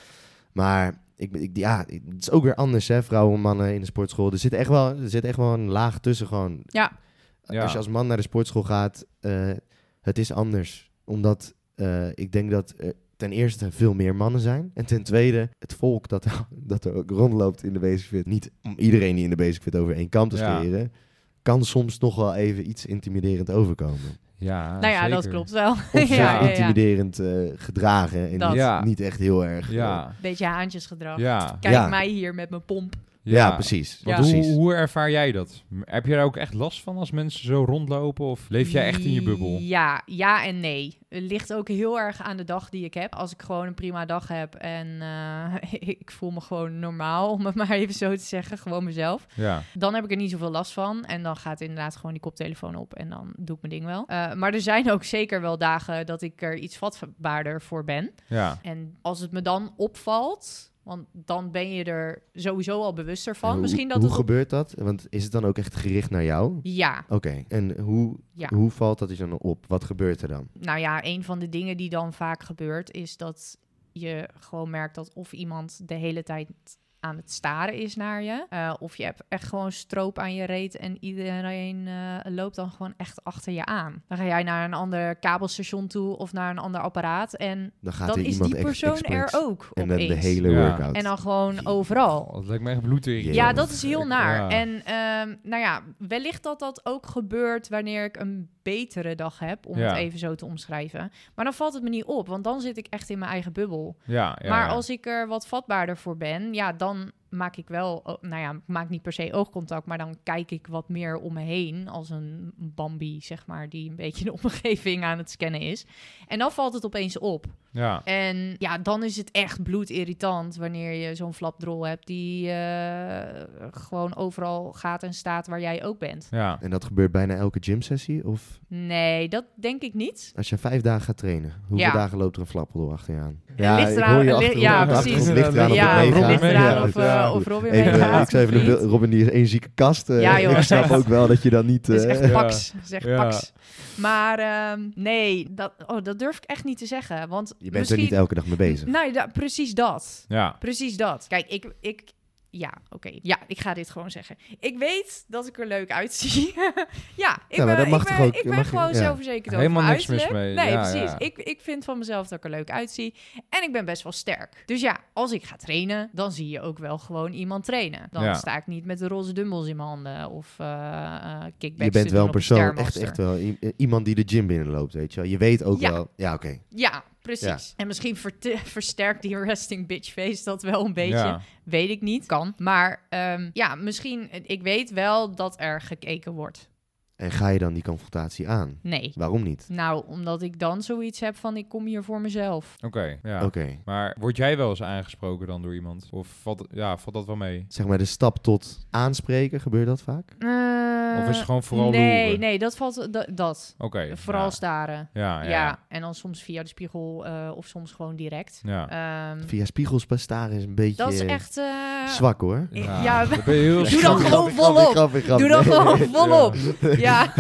Speaker 1: Maar ik, ben- ik, ja, ik- het is ook weer anders, hè, vrouwen en mannen in de sportschool. Er zit echt wel, er zit echt wel een laag tussen gewoon.
Speaker 4: Ja.
Speaker 3: Ja.
Speaker 1: Als je als man naar de sportschool gaat, eh, het is anders. Omdat eh, ik denk dat er ten eerste veel meer mannen zijn. En ten tweede, het volk dat, dat er ook rondloopt in de basic fit. Niet om iedereen die in de basic fit over één kam te
Speaker 3: Ja.
Speaker 1: scheren. Kan soms nog wel even iets intimiderend overkomen.
Speaker 3: Ja,
Speaker 4: nou ja, dat
Speaker 3: zeker.
Speaker 4: klopt wel.
Speaker 1: Of zich
Speaker 4: ja, ja, ja.
Speaker 1: intimiderend eh, gedragen en
Speaker 4: Dat.
Speaker 1: niet,
Speaker 3: Ja.
Speaker 1: niet echt heel erg. eh,
Speaker 3: Ja.
Speaker 4: Beetje haantjesgedrag.
Speaker 3: Ja.
Speaker 4: Kijk
Speaker 1: Ja.
Speaker 4: mij hier met mijn pomp.
Speaker 1: ja, precies.
Speaker 4: Ja.
Speaker 3: Want
Speaker 1: precies.
Speaker 3: Hoe, hoe ervaar jij dat? M- Heb je daar ook echt last van als mensen zo rondlopen? Of leef jij echt in je bubbel?
Speaker 4: Ja, ja en nee. Het ligt ook heel erg aan de dag die ik heb. Als ik gewoon een prima dag heb en eh, ik voel me gewoon normaal, om het maar even zo te zeggen, gewoon mezelf,
Speaker 3: Ja.
Speaker 4: dan heb ik er niet zoveel last van. En dan gaat inderdaad gewoon die koptelefoon op en dan doe ik mijn ding wel. Eh, maar er zijn ook zeker wel dagen dat ik er iets vatbaarder voor ben.
Speaker 3: Ja.
Speaker 4: En als het me dan opvalt, want dan ben je er sowieso al bewuster
Speaker 1: En
Speaker 4: van.
Speaker 1: hoe-
Speaker 4: Misschien dat
Speaker 1: hoe
Speaker 4: het op-
Speaker 1: gebeurt dat? Want is het dan ook echt gericht naar jou? Oké,
Speaker 4: Ja,
Speaker 1: en hoe,
Speaker 4: Ja.
Speaker 1: hoe valt dat je dan op? Wat gebeurt er dan?
Speaker 4: nou ja, een van de dingen die dan vaak gebeurt, is dat je gewoon merkt dat of iemand de hele tijd aan het staren is naar je, eh, of je hebt echt gewoon stroop aan je reet en iedereen eh, loopt dan gewoon echt achter je aan. Dan ga jij naar een ander kabelstation toe of naar een ander apparaat en
Speaker 1: Dan gaat
Speaker 4: dan
Speaker 1: er
Speaker 4: is
Speaker 1: iemand
Speaker 4: die
Speaker 1: ex-
Speaker 4: persoon er
Speaker 1: expres
Speaker 4: ook
Speaker 1: En dan
Speaker 4: opeens.
Speaker 1: de hele
Speaker 3: Ja.
Speaker 1: workout.
Speaker 4: en dan gewoon overal.
Speaker 3: Dat lijkt me echt bloedering.
Speaker 1: Ja,
Speaker 4: Oh. Ja, dat is heel naar.
Speaker 3: Ja.
Speaker 4: En ehm, nou ja, wellicht dat dat ook gebeurt wanneer ik een betere dag heb, om
Speaker 3: Ja.
Speaker 4: het even zo te omschrijven. Maar dan valt het me niet op, want dan zit ik echt in mijn eigen bubbel.
Speaker 3: Ja, ja,
Speaker 4: maar
Speaker 3: ja.
Speaker 4: als ik er wat vatbaarder voor ben, ja, dan maak ik wel, o- nou ja, ik maak niet per se oogcontact, maar dan kijk ik wat meer om me heen als een Bambi, zeg maar, die een beetje de omgeving aan het scannen is. En dan valt het opeens op.
Speaker 3: Ja.
Speaker 4: En ja, dan is het echt bloedirritant wanneer je zo'n flapdrol hebt die eh, gewoon overal gaat en staat waar jij ook bent.
Speaker 3: Ja.
Speaker 1: En dat gebeurt bijna elke gymsessie? Of
Speaker 4: Nee, dat denk ik niet.
Speaker 1: als je vijf dagen gaat trainen, hoeveel
Speaker 4: Ja.
Speaker 1: dagen loopt er een flapdrol achter je aan?
Speaker 4: ligt eraan- li-
Speaker 1: achtergrond-
Speaker 4: ja,
Speaker 1: op de
Speaker 4: precies.
Speaker 1: achtergrond Ligt eraan of
Speaker 4: ja,
Speaker 1: het
Speaker 3: Robin
Speaker 1: meegaat.
Speaker 4: ligt eraan
Speaker 3: meegaat.
Speaker 4: of, eh,
Speaker 3: Ja,
Speaker 4: of Robin
Speaker 1: Even, eh,
Speaker 4: meegaat.
Speaker 1: ik zou even een
Speaker 4: of
Speaker 1: beeld-
Speaker 4: niet.
Speaker 1: Robin, die is één zieke kast. eh,
Speaker 4: Ja, joh.
Speaker 1: ik snap ook wel dat je dan niet...
Speaker 4: Het is
Speaker 1: eh,
Speaker 4: echt
Speaker 3: Ja.
Speaker 4: paks, zeg
Speaker 3: Ja.
Speaker 4: paks. Maar ehm, nee, dat, oh, dat durf ik echt niet te zeggen. Want
Speaker 1: je bent
Speaker 4: misschien,
Speaker 1: er niet elke dag mee bezig.
Speaker 4: Nou, ja, precies dat.
Speaker 3: Ja.
Speaker 4: Precies dat. Kijk, ik. ik ja, oké. Ja, ik ga dit gewoon zeggen. Ik weet dat ik er leuk uitzie. ja, ik
Speaker 1: Ja, maar
Speaker 4: ben,
Speaker 1: dat mag
Speaker 4: ik ben,
Speaker 1: toch ook?
Speaker 4: ik
Speaker 1: Dat
Speaker 4: ben
Speaker 1: mag je-
Speaker 4: gewoon
Speaker 1: ja.
Speaker 4: zelfverzekerd over
Speaker 3: Helemaal
Speaker 4: mijn
Speaker 3: niks mis
Speaker 4: uiterlijk.
Speaker 3: mee.
Speaker 4: Nee,
Speaker 3: Ja,
Speaker 4: precies.
Speaker 3: ja.
Speaker 4: Ik, ik vind van mezelf dat ik er leuk uitzie. En ik ben best wel sterk. Dus ja, als ik ga trainen, dan zie je ook wel gewoon iemand trainen. Dan
Speaker 3: Ja.
Speaker 4: sta ik niet met de roze dumbbells in mijn handen of eh eh, kickbacks
Speaker 1: Je
Speaker 4: te
Speaker 1: bent
Speaker 4: doen
Speaker 1: wel een
Speaker 4: op de
Speaker 1: persoon, echt,
Speaker 4: Stairmaster.
Speaker 1: echt wel i- eh, iemand die de gym binnenloopt, weet je wel. Je weet ook
Speaker 4: Ja.
Speaker 1: wel... Ja, oké.
Speaker 4: Ja, precies.
Speaker 1: Ja.
Speaker 4: En misschien verte- versterkt die resting bitch face dat wel een beetje.
Speaker 3: Ja.
Speaker 4: Weet ik niet. Kan. Maar ehm, ja, misschien. Ik weet wel dat er gekeken wordt.
Speaker 1: En ga je dan die confrontatie aan?
Speaker 4: Nee.
Speaker 1: Waarom niet?
Speaker 4: Nou, omdat ik dan zoiets heb van ik kom hier voor mezelf.
Speaker 3: Oké. ja.
Speaker 1: Oké.
Speaker 3: Maar word jij wel eens aangesproken dan door iemand? Of valt, ja, valt dat wel mee?
Speaker 1: Zeg maar de stap tot aanspreken, gebeurt dat vaak?
Speaker 4: Eh,
Speaker 3: Of is het gewoon vooral
Speaker 4: Nee,
Speaker 3: loeren?
Speaker 4: nee, dat valt. da- dat.
Speaker 3: Oké.
Speaker 4: Vooral
Speaker 3: ja.
Speaker 4: staren.
Speaker 3: Ja,
Speaker 4: Ja,
Speaker 3: ja, ja.
Speaker 4: en dan soms via de spiegel eh, of soms gewoon direct.
Speaker 3: Ja.
Speaker 4: Ehm,
Speaker 1: Via spiegels pas staren is een beetje
Speaker 4: dat is echt. eh,
Speaker 1: zwak hoor.
Speaker 4: Ja,
Speaker 3: dan ben je heel
Speaker 4: Doe
Speaker 3: snel-
Speaker 4: dan gewoon volop. Doe dat gewoon volop. Ja.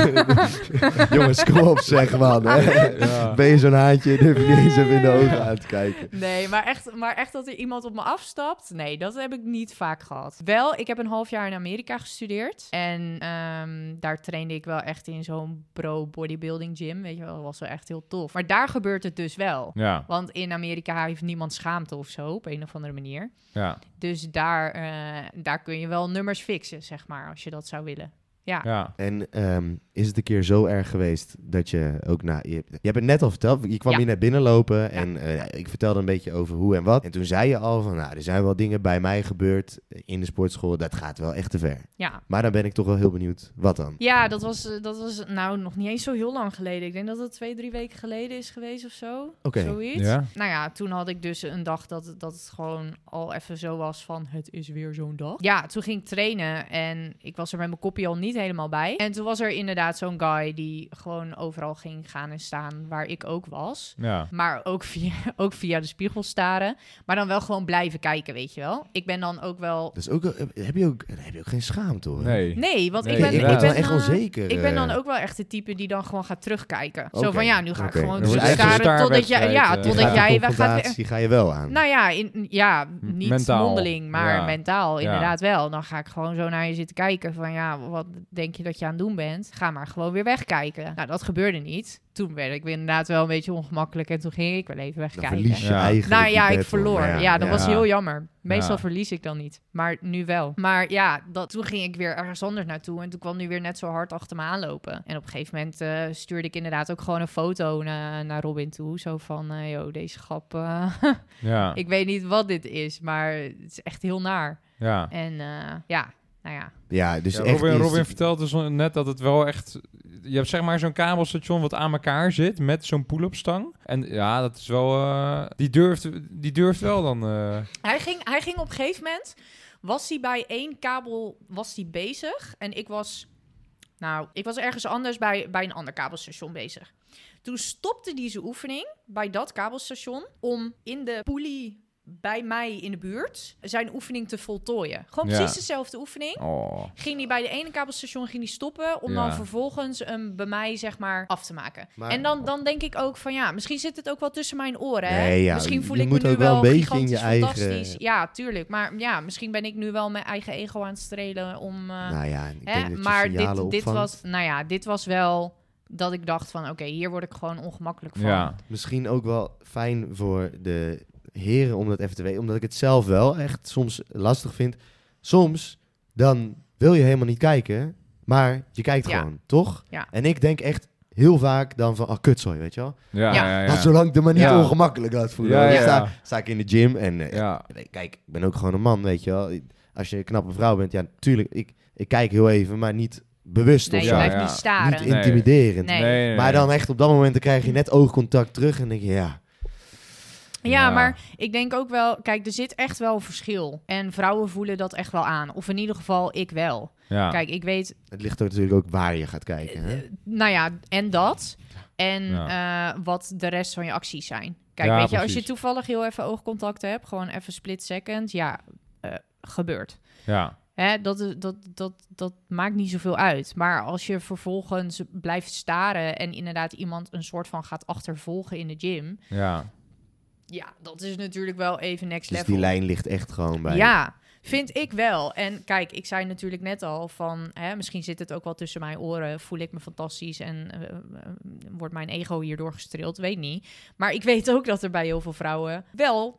Speaker 1: Jongens, kom op zeg man. Hè.
Speaker 3: Ja.
Speaker 1: Ben je zo'n haantje, durf je niet eens even in de ogen aan te kijken.
Speaker 4: Nee, maar echt, maar echt dat er iemand op me afstapt, nee, dat heb ik niet vaak gehad. Wel, ik heb een half jaar in Amerika gestudeerd. En ehm, daar trainde ik wel echt in zo'n pro-bodybuilding gym. Weet je wel, dat was wel echt heel tof. Maar daar gebeurt het dus wel.
Speaker 3: Ja,
Speaker 4: Want in Amerika heeft niemand schaamte of zo, op een of andere manier.
Speaker 3: ja,
Speaker 4: Dus daar, eh, daar kun je wel nummers fixen, zeg maar, als je dat zou willen.
Speaker 3: ja.
Speaker 1: En ehm, is het een keer zo erg geweest dat je ook na... Je, je hebt het net al verteld, je kwam
Speaker 4: Ja.
Speaker 1: hier net binnenlopen en eh, ik vertelde een beetje over hoe en wat. En toen zei je al van, nou, er zijn wel dingen bij mij gebeurd eh, in de sportschool, dat gaat wel echt te ver.
Speaker 4: Ja,
Speaker 1: Maar dan ben ik toch wel heel benieuwd, wat dan?
Speaker 4: Ja, dat was, eh, dat was nou nog niet eens zo heel lang geleden. Ik denk dat het twee, drie weken geleden is geweest of zo.
Speaker 1: Oké.
Speaker 4: Zoiets.
Speaker 3: Ja.
Speaker 4: Nou ja, toen had ik dus een dag dat, dat het gewoon al even zo was van het is weer zo'n dag. Ja, toen ging ik trainen en ik was er met mijn kopje al niet helemaal bij. En toen was er inderdaad zo'n guy die gewoon overal ging gaan en staan waar ik ook was.
Speaker 3: Ja,
Speaker 4: Maar ook via, ook via de spiegel staren. Maar dan wel gewoon blijven kijken, weet je wel. Ik ben dan ook wel...
Speaker 1: Dat is Dus ook, eh, heb, je ook, heb je ook geen schaamte hoor.
Speaker 3: nee.
Speaker 4: Nee, want
Speaker 3: Nee,
Speaker 4: ik ben...
Speaker 1: ik
Speaker 4: ik
Speaker 1: word
Speaker 4: ben
Speaker 1: wel echt
Speaker 4: eh,
Speaker 1: onzeker.
Speaker 4: ik ben dan
Speaker 1: eh.
Speaker 4: ook wel echt de type die dan gewoon gaat terugkijken. Zo
Speaker 1: Oké,
Speaker 4: van ja, nu ga
Speaker 1: oké.
Speaker 4: ik gewoon
Speaker 1: Dus
Speaker 4: dus
Speaker 1: eigenlijk
Speaker 3: een
Speaker 4: staren totdat jij,
Speaker 3: staarwedstrijd,
Speaker 4: ja,
Speaker 3: eh.
Speaker 1: Je
Speaker 4: totdat
Speaker 1: gaat de
Speaker 4: jij, we gaan,
Speaker 1: confrontatie ga je wel aan.
Speaker 4: nou ja, in, ja, niet
Speaker 3: Mentaal,
Speaker 4: mondeling, maar
Speaker 3: ja.
Speaker 4: mentaal
Speaker 3: Ja.
Speaker 4: inderdaad wel. Dan ga ik gewoon zo naar je zitten kijken van ja, wat denk je dat je aan het doen bent? Ga maar gewoon weer wegkijken. Nou, dat gebeurde niet. Toen werd ik weer inderdaad wel een beetje ongemakkelijk en toen ging ik wel even
Speaker 1: dan
Speaker 4: wegkijken.
Speaker 1: verlies je
Speaker 3: Ja.
Speaker 1: eigen.
Speaker 4: Nou ja, ik verloor. Ja, dat was heel jammer. Meestal
Speaker 3: Ja.
Speaker 4: verlies ik dan niet, maar nu wel. Maar ja, dat, toen ging ik weer ergens anders naartoe en toen kwam nu weer net zo hard achter me aanlopen. En op een gegeven moment eh, stuurde ik inderdaad ook gewoon een foto na- naar Robin toe. Zo van, eh yo, deze grap, eh,
Speaker 3: Ja,
Speaker 4: ik weet niet wat dit is, maar het is echt heel naar.
Speaker 3: ja.
Speaker 4: En eh, ja, nou ja.
Speaker 1: Ja, dus
Speaker 3: Ja,
Speaker 1: echt
Speaker 3: Robin,
Speaker 1: eerst-
Speaker 3: Robin vertelt dus net dat het wel echt... Je hebt zeg maar zo'n kabelstation wat aan elkaar zit met zo'n pull-up stang. En ja, dat is wel... eh, die, durft, die durft wel dan... eh,
Speaker 4: Hij ging, hij ging op een gegeven moment, was hij bij één kabel was hij bezig. En ik was, nou, ik was ergens anders bij, bij een ander kabelstation bezig. Toen stopte hij zijn oefening bij dat kabelstation om in de poelie bij mij in de buurt zijn oefening te voltooien. Gewoon
Speaker 3: Ja.
Speaker 4: precies dezelfde oefening.
Speaker 3: oh,
Speaker 4: Ging hij bij de ene kabelstation ging hij stoppen om
Speaker 3: Ja.
Speaker 4: dan vervolgens hem bij mij zeg maar af te maken.
Speaker 1: Maar-
Speaker 4: en dan, dan denk ik ook van ja, misschien zit het ook wel tussen mijn oren. Hè?
Speaker 1: Nee, ja,
Speaker 4: misschien voel
Speaker 1: je
Speaker 4: ik
Speaker 1: moet
Speaker 4: me nu
Speaker 1: ook wel
Speaker 4: wel
Speaker 1: een beetje in
Speaker 4: gigantisch
Speaker 1: je eigen-
Speaker 4: fantastisch. Ja, tuurlijk. Maar ja, misschien ben ik nu wel mijn eigen ego aan het strelen om. eh,
Speaker 1: Nou ja, ik
Speaker 4: hè?
Speaker 1: denk dat je
Speaker 4: Maar
Speaker 1: signalen
Speaker 4: dit, dit
Speaker 1: opvangt.
Speaker 4: was, nou ja, dit was wel dat ik dacht van oké, hier word ik gewoon ongemakkelijk van.
Speaker 3: ja.
Speaker 1: Misschien ook wel fijn voor de heren om dat even te weten. Omdat ik het zelf wel echt soms lastig vind. Soms, dan wil je helemaal niet kijken. Maar je kijkt
Speaker 4: Ja.
Speaker 1: gewoon, toch?
Speaker 4: Ja.
Speaker 1: En ik denk echt heel vaak dan van, oh kutzooi, weet je wel.
Speaker 3: Ja,
Speaker 4: Ja.
Speaker 3: ja, ja.
Speaker 1: Laat zolang ik de manier
Speaker 3: Ja.
Speaker 1: ongemakkelijk laat voelen.
Speaker 3: Ja,
Speaker 1: Dan
Speaker 3: ja,
Speaker 1: sta,
Speaker 3: ja.
Speaker 1: sta ik in de gym en eh,
Speaker 3: Ja,
Speaker 1: Nee, Kijk, ik ben ook gewoon een man, weet je wel. Als je een knappe vrouw bent, ja, natuurlijk, ik, ik kijk heel even, maar niet bewust
Speaker 4: Nee,
Speaker 1: of
Speaker 4: je
Speaker 1: zo.
Speaker 3: Ja,
Speaker 4: blijft
Speaker 3: ja.
Speaker 4: niet staren.
Speaker 1: Niet intimiderend.
Speaker 4: Nee.
Speaker 1: Maar dan echt op dat moment dan krijg je net oogcontact terug en denk je, ja,
Speaker 4: Ja,
Speaker 3: Ja.
Speaker 4: maar ik denk ook wel, kijk, er zit echt wel een verschil. En vrouwen voelen dat echt wel aan. Of in ieder geval ik wel.
Speaker 3: Ja.
Speaker 4: Kijk, ik weet,
Speaker 1: het ligt ook natuurlijk ook waar je gaat kijken. Hè? Dus
Speaker 4: nou ja, en dat. En eh, wat de rest van je acties zijn. Kijk,
Speaker 3: Ja,
Speaker 4: weet je, als je
Speaker 3: precies.
Speaker 4: toevallig heel even oogcontact hebt, gewoon even split second, ja, eh, gebeurt.
Speaker 3: ja.
Speaker 4: Hè, dat, is- dat, dat, dat maakt niet zoveel uit. Maar als je vervolgens blijft staren en inderdaad iemand een soort van gaat achtervolgen in de gym,
Speaker 3: Ja.
Speaker 4: ja, dat is natuurlijk wel even next
Speaker 1: Dus
Speaker 4: level.
Speaker 1: die lijn ligt echt gewoon bij.
Speaker 4: Ja, vind ik wel. En kijk, ik zei natuurlijk net al van... Hè, misschien zit het ook wel tussen mijn oren. Voel ik me fantastisch en eh, eh, wordt mijn ego hierdoor gestreeld? Weet niet. Maar ik weet ook dat er bij heel veel vrouwen wel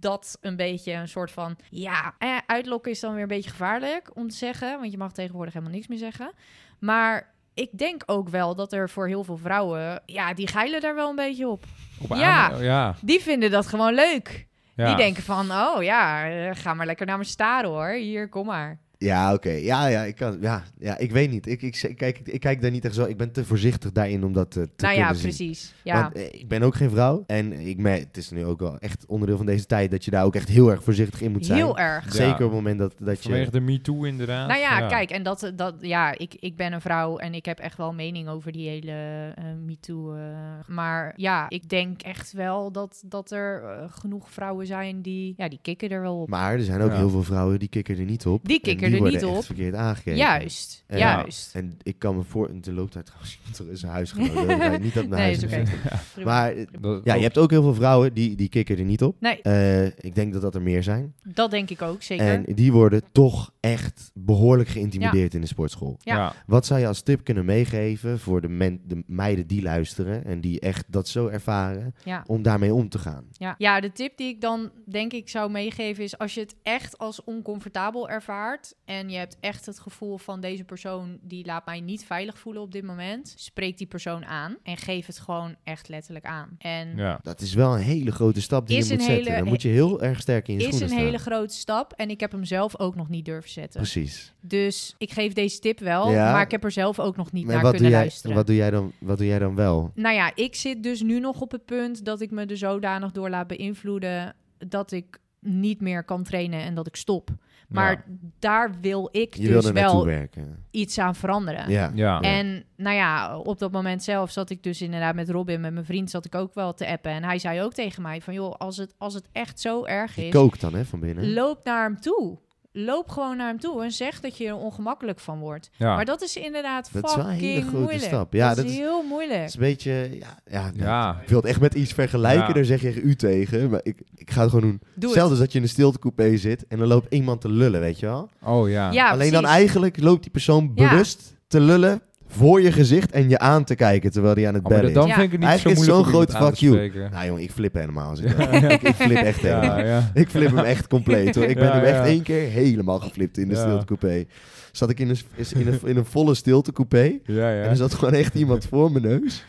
Speaker 4: dat een beetje een soort van... Ja, eh, uitlokken is dan weer een beetje gevaarlijk om te zeggen. Want je mag tegenwoordig helemaal niks meer zeggen. Maar... Ik denk ook wel dat er voor heel veel vrouwen... Ja, die geilen daar wel een beetje op.
Speaker 3: Op aan-
Speaker 4: Ja.
Speaker 3: ja.
Speaker 4: Die vinden dat gewoon leuk.
Speaker 3: ja.
Speaker 4: Die denken van, oh ja, eh, ga maar lekker naar mijn staren hoor. Hier, kom maar.
Speaker 1: Ja, oké. Ja, ja, ik kan, ja, ja, ik weet niet. Ik, ik, ik kijk, ik, ik kijk daar niet echt zo. Ik ben te voorzichtig daarin om dat eh, te
Speaker 4: nou ja,
Speaker 1: kunnen zien.
Speaker 4: precies. Ja.
Speaker 1: Want, eh, ik ben ook geen vrouw. En ik me, het is nu ook wel echt onderdeel van deze tijd dat je daar ook echt heel erg voorzichtig in moet zijn.
Speaker 4: Heel erg.
Speaker 3: Ja.
Speaker 1: Zeker op het moment dat, dat
Speaker 3: Vanwege
Speaker 1: je.
Speaker 3: de MeToo inderdaad.
Speaker 4: Nou ja, kijk, en dat, dat ja, ik, ik ben een vrouw en ik heb echt wel mening over die hele eh, MeToo. eh, maar ja, ik denk echt wel dat, dat er eh, genoeg vrouwen zijn die, ja, die kikken er wel op.
Speaker 1: Maar er zijn ook
Speaker 3: Ja.
Speaker 1: heel veel vrouwen die kikken er niet op.
Speaker 4: Die
Speaker 1: En
Speaker 4: kikken er
Speaker 1: worden
Speaker 4: niet
Speaker 1: echt
Speaker 4: op.
Speaker 1: verkeerd aangekeken.
Speaker 4: Juist,
Speaker 1: Ja.
Speaker 4: juist.
Speaker 1: En ik kan me voor. En er loopt daar trouwens iemand er is een huisgenoot. Dat wij niet dat naar
Speaker 4: Nee,
Speaker 1: huis
Speaker 4: is oké.
Speaker 1: moeten.
Speaker 4: Prima.
Speaker 1: Maar eh,
Speaker 3: Dat-
Speaker 1: ja, je hebt ook heel veel vrouwen die, die kikken er niet op.
Speaker 4: Nee,
Speaker 1: Eh, ik denk dat dat er meer zijn.
Speaker 4: dat denk ik ook, zeker.
Speaker 1: En die worden toch echt behoorlijk geïntimideerd in de sportschool.
Speaker 4: ja.
Speaker 3: ja.
Speaker 1: Wat zou je als tip kunnen meegeven voor de, men- de meiden die luisteren en die echt dat zo ervaren,
Speaker 4: Ja.
Speaker 1: om daarmee om te gaan?
Speaker 4: Ja. ja, de tip die ik dan denk ik zou meegeven is... als je het echt als oncomfortabel ervaart... en je hebt echt het gevoel van deze persoon... die laat mij niet veilig voelen op dit moment... spreek die persoon aan en geef het gewoon echt letterlijk aan. En
Speaker 3: Ja.
Speaker 1: Dat is wel een hele grote stap die
Speaker 4: Is
Speaker 1: je moet
Speaker 4: een
Speaker 1: zetten.
Speaker 4: hele-
Speaker 1: Dan moet je heel erg sterk in je
Speaker 4: is
Speaker 1: schoenen
Speaker 4: een
Speaker 1: staan.
Speaker 4: hele grote stap en ik heb hem zelf ook nog niet durven zetten.
Speaker 1: Precies.
Speaker 4: Dus ik geef deze tip wel,
Speaker 1: Ja.
Speaker 4: maar ik heb er zelf ook nog niet
Speaker 1: Maar
Speaker 4: naar
Speaker 1: wat
Speaker 4: kunnen
Speaker 1: doe, jij,
Speaker 4: luisteren.
Speaker 1: wat, doe jij dan, wat doe jij dan wel?
Speaker 4: Nou ja, ik zit dus nu nog op het punt dat ik me er zodanig door laat beïnvloeden dat ik niet meer kan trainen en dat ik stop. Maar daar wil ik
Speaker 1: Je wil
Speaker 4: dus
Speaker 1: er naartoe
Speaker 4: wel
Speaker 1: werken.
Speaker 4: iets aan veranderen.
Speaker 1: Ja.
Speaker 3: Ja.
Speaker 4: En nou ja, op dat moment zelf zat ik dus inderdaad met Robin, met mijn vriend, zat ik ook wel te appen. En hij zei ook tegen mij van, joh, als het, als het echt zo erg
Speaker 1: Je
Speaker 4: is,
Speaker 1: kookt dan hè, van binnen.
Speaker 4: loop naar hem toe. Loop gewoon naar hem toe en zeg dat je er ongemakkelijk van wordt.
Speaker 3: Ja.
Speaker 4: Maar dat is inderdaad
Speaker 1: Dat is wel een
Speaker 4: fucking
Speaker 1: hele grote
Speaker 4: moeilijk.
Speaker 1: stap. Ja,
Speaker 4: dat
Speaker 1: dat
Speaker 4: is
Speaker 1: is-
Speaker 4: heel moeilijk.
Speaker 1: Het is een beetje... Ja, ja, nou,
Speaker 3: Ja.
Speaker 1: Ik wil het echt met iets vergelijken,
Speaker 3: Ja.
Speaker 1: daar zeg je u tegen. Maar ik, ik ga het gewoon doen.
Speaker 4: Doe
Speaker 1: Stel
Speaker 4: het.
Speaker 1: dus dat je in een stiltecoupé zit en dan loopt iemand te lullen, weet je wel?
Speaker 3: Oh ja.
Speaker 4: Ja,
Speaker 1: Alleen dan
Speaker 4: precies.
Speaker 1: eigenlijk loopt die persoon
Speaker 4: Ja.
Speaker 1: bewust te lullen voor je gezicht en je aan te kijken terwijl hij aan het
Speaker 3: Oh, maar
Speaker 1: bellen
Speaker 3: dat-
Speaker 1: is.
Speaker 3: dan
Speaker 4: Ja.
Speaker 3: vind ik het niet zo
Speaker 1: Eigenlijk is
Speaker 3: moeilijk
Speaker 1: het
Speaker 3: om
Speaker 1: zo'n
Speaker 3: iemand
Speaker 1: groot
Speaker 3: aan te
Speaker 1: fuck you.
Speaker 3: spreken.
Speaker 1: Nou jongen, ik flip helemaal. Als ik, ik, ik flip echt helemaal.
Speaker 3: Ja, ja.
Speaker 1: Ik flip hem echt compleet hoor. Ik ben
Speaker 3: Ja,
Speaker 1: hem echt
Speaker 3: ja.
Speaker 1: één keer helemaal geflipt in de
Speaker 3: Ja.
Speaker 1: stiltecoupé. Zat ik in een, is- in een, in een volle stiltecoupé
Speaker 3: Ja, ja.
Speaker 1: en er zat gewoon echt iemand voor mijn neus.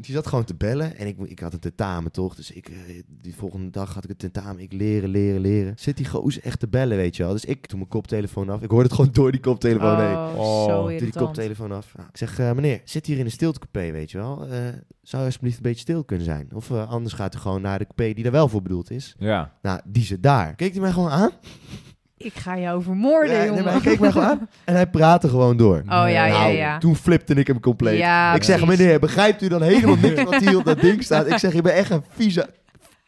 Speaker 1: Die zat gewoon te bellen en ik, mo- ik had een tentamen toch. Dus ik, eh, die volgende dag had ik een tentamen. Ik leren, leren, leren. Zit die gozer echt te bellen, weet je wel. Dus ik doe mijn koptelefoon af. Ik hoorde het gewoon door die koptelefoon heen.
Speaker 4: Oh,
Speaker 3: Oh.
Speaker 4: zo
Speaker 3: Doe
Speaker 1: Doe die
Speaker 4: irritant.
Speaker 1: koptelefoon af. Ja. Ik zeg, eh, meneer, zit hier in een stiltecoupé, weet je wel. Eh, zou je alsjeblieft een beetje stil kunnen zijn? Of eh, anders gaat u gewoon naar de coupé die daar wel voor bedoeld is.
Speaker 3: Ja.
Speaker 1: Nou, die zit daar. Keek hij mij gewoon aan?
Speaker 4: Ik ga jou vermoorden,
Speaker 1: Ja, nee,
Speaker 4: jongen.
Speaker 1: maar hij keek mij gewoon aan en hij praatte gewoon door.
Speaker 4: Oh ja, ja,
Speaker 1: Nou,
Speaker 4: ja.
Speaker 1: toen flipte ik hem compleet.
Speaker 4: Ja,
Speaker 1: ik zeg,
Speaker 4: precies.
Speaker 1: meneer, begrijpt u dan helemaal niks wat hier op dat ding staat? Ik zeg, je bent echt een vieze...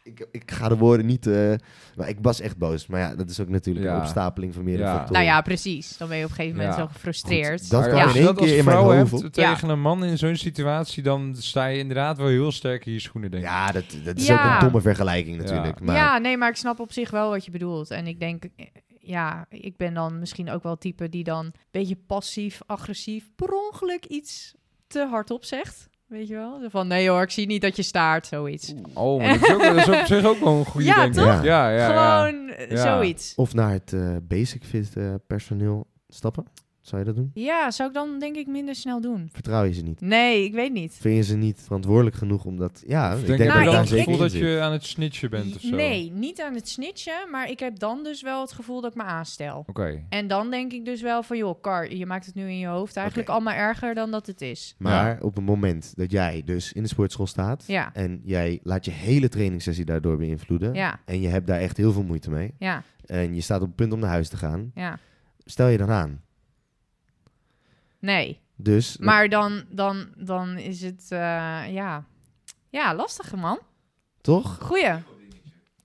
Speaker 1: Ik, ik ga de woorden niet... eh, maar ik was echt boos. Maar ja, dat is ook natuurlijk
Speaker 3: Ja.
Speaker 1: een opstapeling van meerdere
Speaker 3: Ja.
Speaker 1: factoren.
Speaker 4: Nou ja, precies. Dan ben je op een gegeven moment
Speaker 3: Ja.
Speaker 4: zo gefrustreerd.
Speaker 1: Goed, dat
Speaker 3: Maar
Speaker 1: kwam
Speaker 3: ja,
Speaker 1: in
Speaker 3: als je
Speaker 1: één
Speaker 3: dat als
Speaker 1: keer in mijn
Speaker 3: vrouw
Speaker 1: hoofd
Speaker 3: hebt
Speaker 1: op.
Speaker 4: Ja.
Speaker 3: tegen een man in zo'n situatie, dan sta je inderdaad wel heel sterk in je schoenen, denk ik.
Speaker 1: Ja, dat, dat is
Speaker 4: Ja.
Speaker 1: ook een domme vergelijking natuurlijk. Maar
Speaker 4: Ja, nee, maar ik snap op zich wel wat je bedoelt. En ik denk, eh, ja, ik ben dan misschien ook wel het type die dan een beetje passief, agressief, per ongeluk iets te hardop zegt. Weet je wel? Zo Van nee hoor, ik zie niet dat je staart, zoiets.
Speaker 3: Oh, maar dat is, ook, dat is op zich ook wel een goede,
Speaker 4: Ja,
Speaker 3: denk ik.
Speaker 1: toch?
Speaker 3: Ja, ja, ja.
Speaker 4: Gewoon eh,
Speaker 3: Ja.
Speaker 4: zoiets.
Speaker 1: Of naar het eh, basic fit eh, personeel stappen. Zou je dat doen?
Speaker 4: Ja, zou ik dan denk ik minder snel doen.
Speaker 1: Vertrouw je ze niet?
Speaker 4: Nee, ik weet niet.
Speaker 1: Vind je ze niet verantwoordelijk genoeg om dat... Ja, ik
Speaker 3: Denk,
Speaker 1: denk
Speaker 3: heb
Speaker 4: Nou,
Speaker 1: dat
Speaker 3: je dan
Speaker 1: daar
Speaker 3: het
Speaker 1: zeker
Speaker 3: gevoel
Speaker 1: in
Speaker 3: dat
Speaker 1: zit.
Speaker 3: je aan het snitchen bent of zo?
Speaker 4: Nee, niet aan het snitchen, maar ik heb dan dus wel het gevoel dat ik me aanstel.
Speaker 3: Oké.
Speaker 4: En dan denk ik dus wel van, joh, Kar, je maakt het nu in je hoofd eigenlijk
Speaker 1: Oké.
Speaker 4: allemaal erger dan dat het is.
Speaker 1: Maar op het moment dat jij dus in de sportschool staat...
Speaker 4: Ja,
Speaker 1: en jij laat je hele trainingssessie daardoor beïnvloeden...
Speaker 4: ja,
Speaker 1: en je hebt daar echt heel veel moeite mee...
Speaker 4: ja,
Speaker 1: en je staat op het punt om naar huis te gaan...
Speaker 4: ja.
Speaker 1: stel je dan aan.
Speaker 4: Nee,
Speaker 1: Dus...
Speaker 4: maar dan, dan, dan is het, eh, ja... Ja, lastig man.
Speaker 1: Toch?
Speaker 4: Goeie.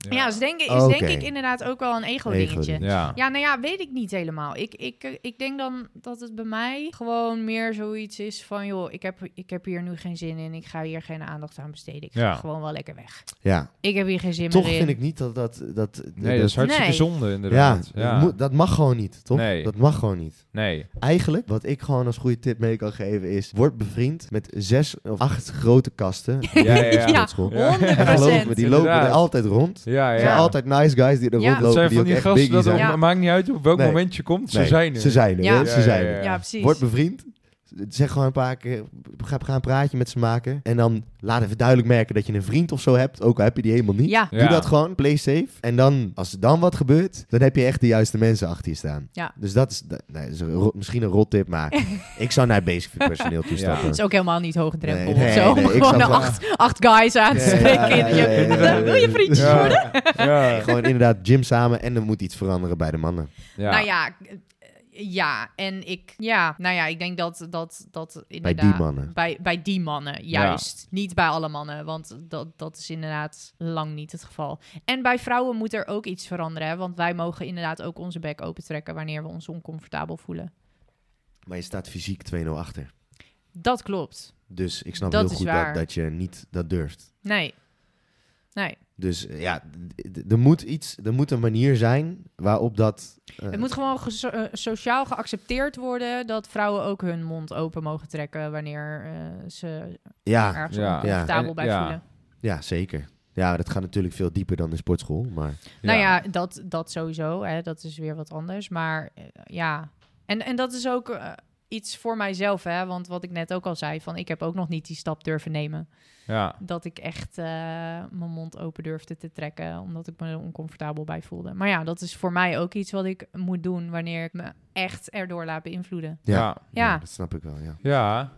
Speaker 4: Ja, is, denk, ik- is
Speaker 1: Oké.
Speaker 4: denk ik inderdaad ook wel een ego-dingetje.
Speaker 1: Ego-ding.
Speaker 3: Ja.
Speaker 4: Ja, nou ja, weet ik niet helemaal. Ik, ik, eh, ik denk dan dat het bij mij gewoon meer zoiets is van... joh, ik heb, ik heb hier nu geen zin in. Ik ga hier geen aandacht aan besteden. Ik ga
Speaker 3: Ja.
Speaker 4: gewoon wel lekker weg.
Speaker 1: Ja.
Speaker 4: Ik heb hier geen zin
Speaker 1: Toch
Speaker 4: meer in.
Speaker 1: vind ik niet dat... dat, dat
Speaker 3: Nee, dat is hartstikke
Speaker 4: Nee.
Speaker 3: zonde
Speaker 1: Ja,
Speaker 3: inderdaad. Ja.
Speaker 1: Dat, moet- dat mag gewoon niet, toch?
Speaker 3: Nee.
Speaker 1: Dat mag gewoon niet.
Speaker 3: Nee.
Speaker 1: Eigenlijk, wat ik gewoon als goede tip mee kan geven is... word bevriend met zes of acht grote kasten.
Speaker 3: Ja, ja, ja.
Speaker 4: Ja,
Speaker 1: Sportschool.
Speaker 3: Ja.
Speaker 1: En geloof me,
Speaker 4: 100%.
Speaker 1: die lopen er
Speaker 3: Inderdaad.
Speaker 1: altijd rond.
Speaker 3: Ja,
Speaker 1: Er
Speaker 3: ja.
Speaker 1: zijn altijd nice guys die er
Speaker 4: Ja.
Speaker 3: Dat
Speaker 1: rondlopen.
Speaker 3: zijn
Speaker 1: die
Speaker 3: van
Speaker 1: ook
Speaker 3: die
Speaker 1: echt
Speaker 3: gasten,
Speaker 1: biggie
Speaker 3: dat
Speaker 1: zijn.
Speaker 4: Ja.
Speaker 3: het maakt niet uit op welk
Speaker 1: Nee.
Speaker 3: moment je komt, ze
Speaker 1: Nee,
Speaker 3: zijn er.
Speaker 1: Ze zijn er,
Speaker 4: Ja.
Speaker 1: hè?
Speaker 4: Ja,
Speaker 1: ze zijn er.
Speaker 4: Ja, precies.
Speaker 1: Word bevriend. Zeg gewoon een paar keer, ga, ga een praatje met ze maken. En dan laat even duidelijk merken dat je een vriend of zo hebt. Ook al heb je die helemaal niet.
Speaker 4: Ja,
Speaker 3: Ja.
Speaker 1: Doe dat gewoon, play safe. En dan, als er dan wat gebeurt, dan heb je echt de juiste mensen achter je staan.
Speaker 4: Ja.
Speaker 1: Dus dat is, dat- nee, dat is een rot- misschien een rot tip, maar ik zou naar basic fit personeel toe
Speaker 3: Ja.
Speaker 1: stappen.
Speaker 3: Het
Speaker 4: is ook helemaal niet hoogdrempel
Speaker 1: Nee,
Speaker 4: of
Speaker 1: nee,
Speaker 4: zo.
Speaker 1: nee,
Speaker 4: om
Speaker 1: ik
Speaker 4: gewoon
Speaker 1: snap wel.
Speaker 4: acht, acht guys aan te
Speaker 1: Ja,
Speaker 4: spreken.
Speaker 1: ja,
Speaker 4: in je-
Speaker 1: ja, ja,
Speaker 4: Eh, Wil je vriendjes
Speaker 3: Ja.
Speaker 4: worden?
Speaker 3: Ja.
Speaker 4: Nou
Speaker 1: Gewoon inderdaad gym samen en er moet iets veranderen bij de mannen.
Speaker 3: Ja.
Speaker 4: Nou ja, ik- eh, ja. En ik, ja, nou ja, ik denk dat dat, dat inderdaad...
Speaker 1: die mannen.
Speaker 4: Bij, bij die mannen, juist. Niet bij alle mannen, want dat, dat is inderdaad lang niet het geval. En bij vrouwen moet er ook iets veranderen, hè, want wij mogen inderdaad ook onze bek opentrekken wanneer we ons oncomfortabel voelen.
Speaker 1: Maar je staat fysiek 2-0 achter.
Speaker 4: Dat klopt.
Speaker 1: Dus ik snap
Speaker 4: Dat
Speaker 1: heel
Speaker 4: is
Speaker 1: goed dat,
Speaker 4: waar.
Speaker 1: dat je niet dat durft.
Speaker 4: Nee. Nee.
Speaker 1: Dus eh, ja, d- d- er moet iets, er moet een manier zijn waarop dat. eh,
Speaker 4: Het moet gewoon ge- so- eh, sociaal geaccepteerd worden dat vrouwen ook hun mond open mogen trekken wanneer eh, ze
Speaker 1: ja,
Speaker 4: ergens
Speaker 3: Ja.
Speaker 4: oncomfortabel
Speaker 3: Ja.
Speaker 4: bij
Speaker 3: Ja.
Speaker 4: voelen.
Speaker 1: ja, zeker. Ja, dat gaat natuurlijk veel dieper dan de sportschool. Maar
Speaker 4: Nou ja, dat, dat sowieso. Hè, dat is weer wat anders. Maar eh, ja, en, en dat is ook eh, iets voor mijzelf. Hè, want wat ik net ook al zei, van ik heb ook nog niet die stap durven nemen.
Speaker 3: Ja.
Speaker 4: Dat ik echt eh, mijn mond open durfde te trekken, omdat ik me er oncomfortabel bij voelde. Maar ja, dat is voor mij ook iets wat ik moet doen wanneer ik me echt erdoor laat beïnvloeden.
Speaker 1: Ja.
Speaker 3: Ja.
Speaker 4: Ja.
Speaker 1: dat snap ik wel. Ja.
Speaker 3: Ja.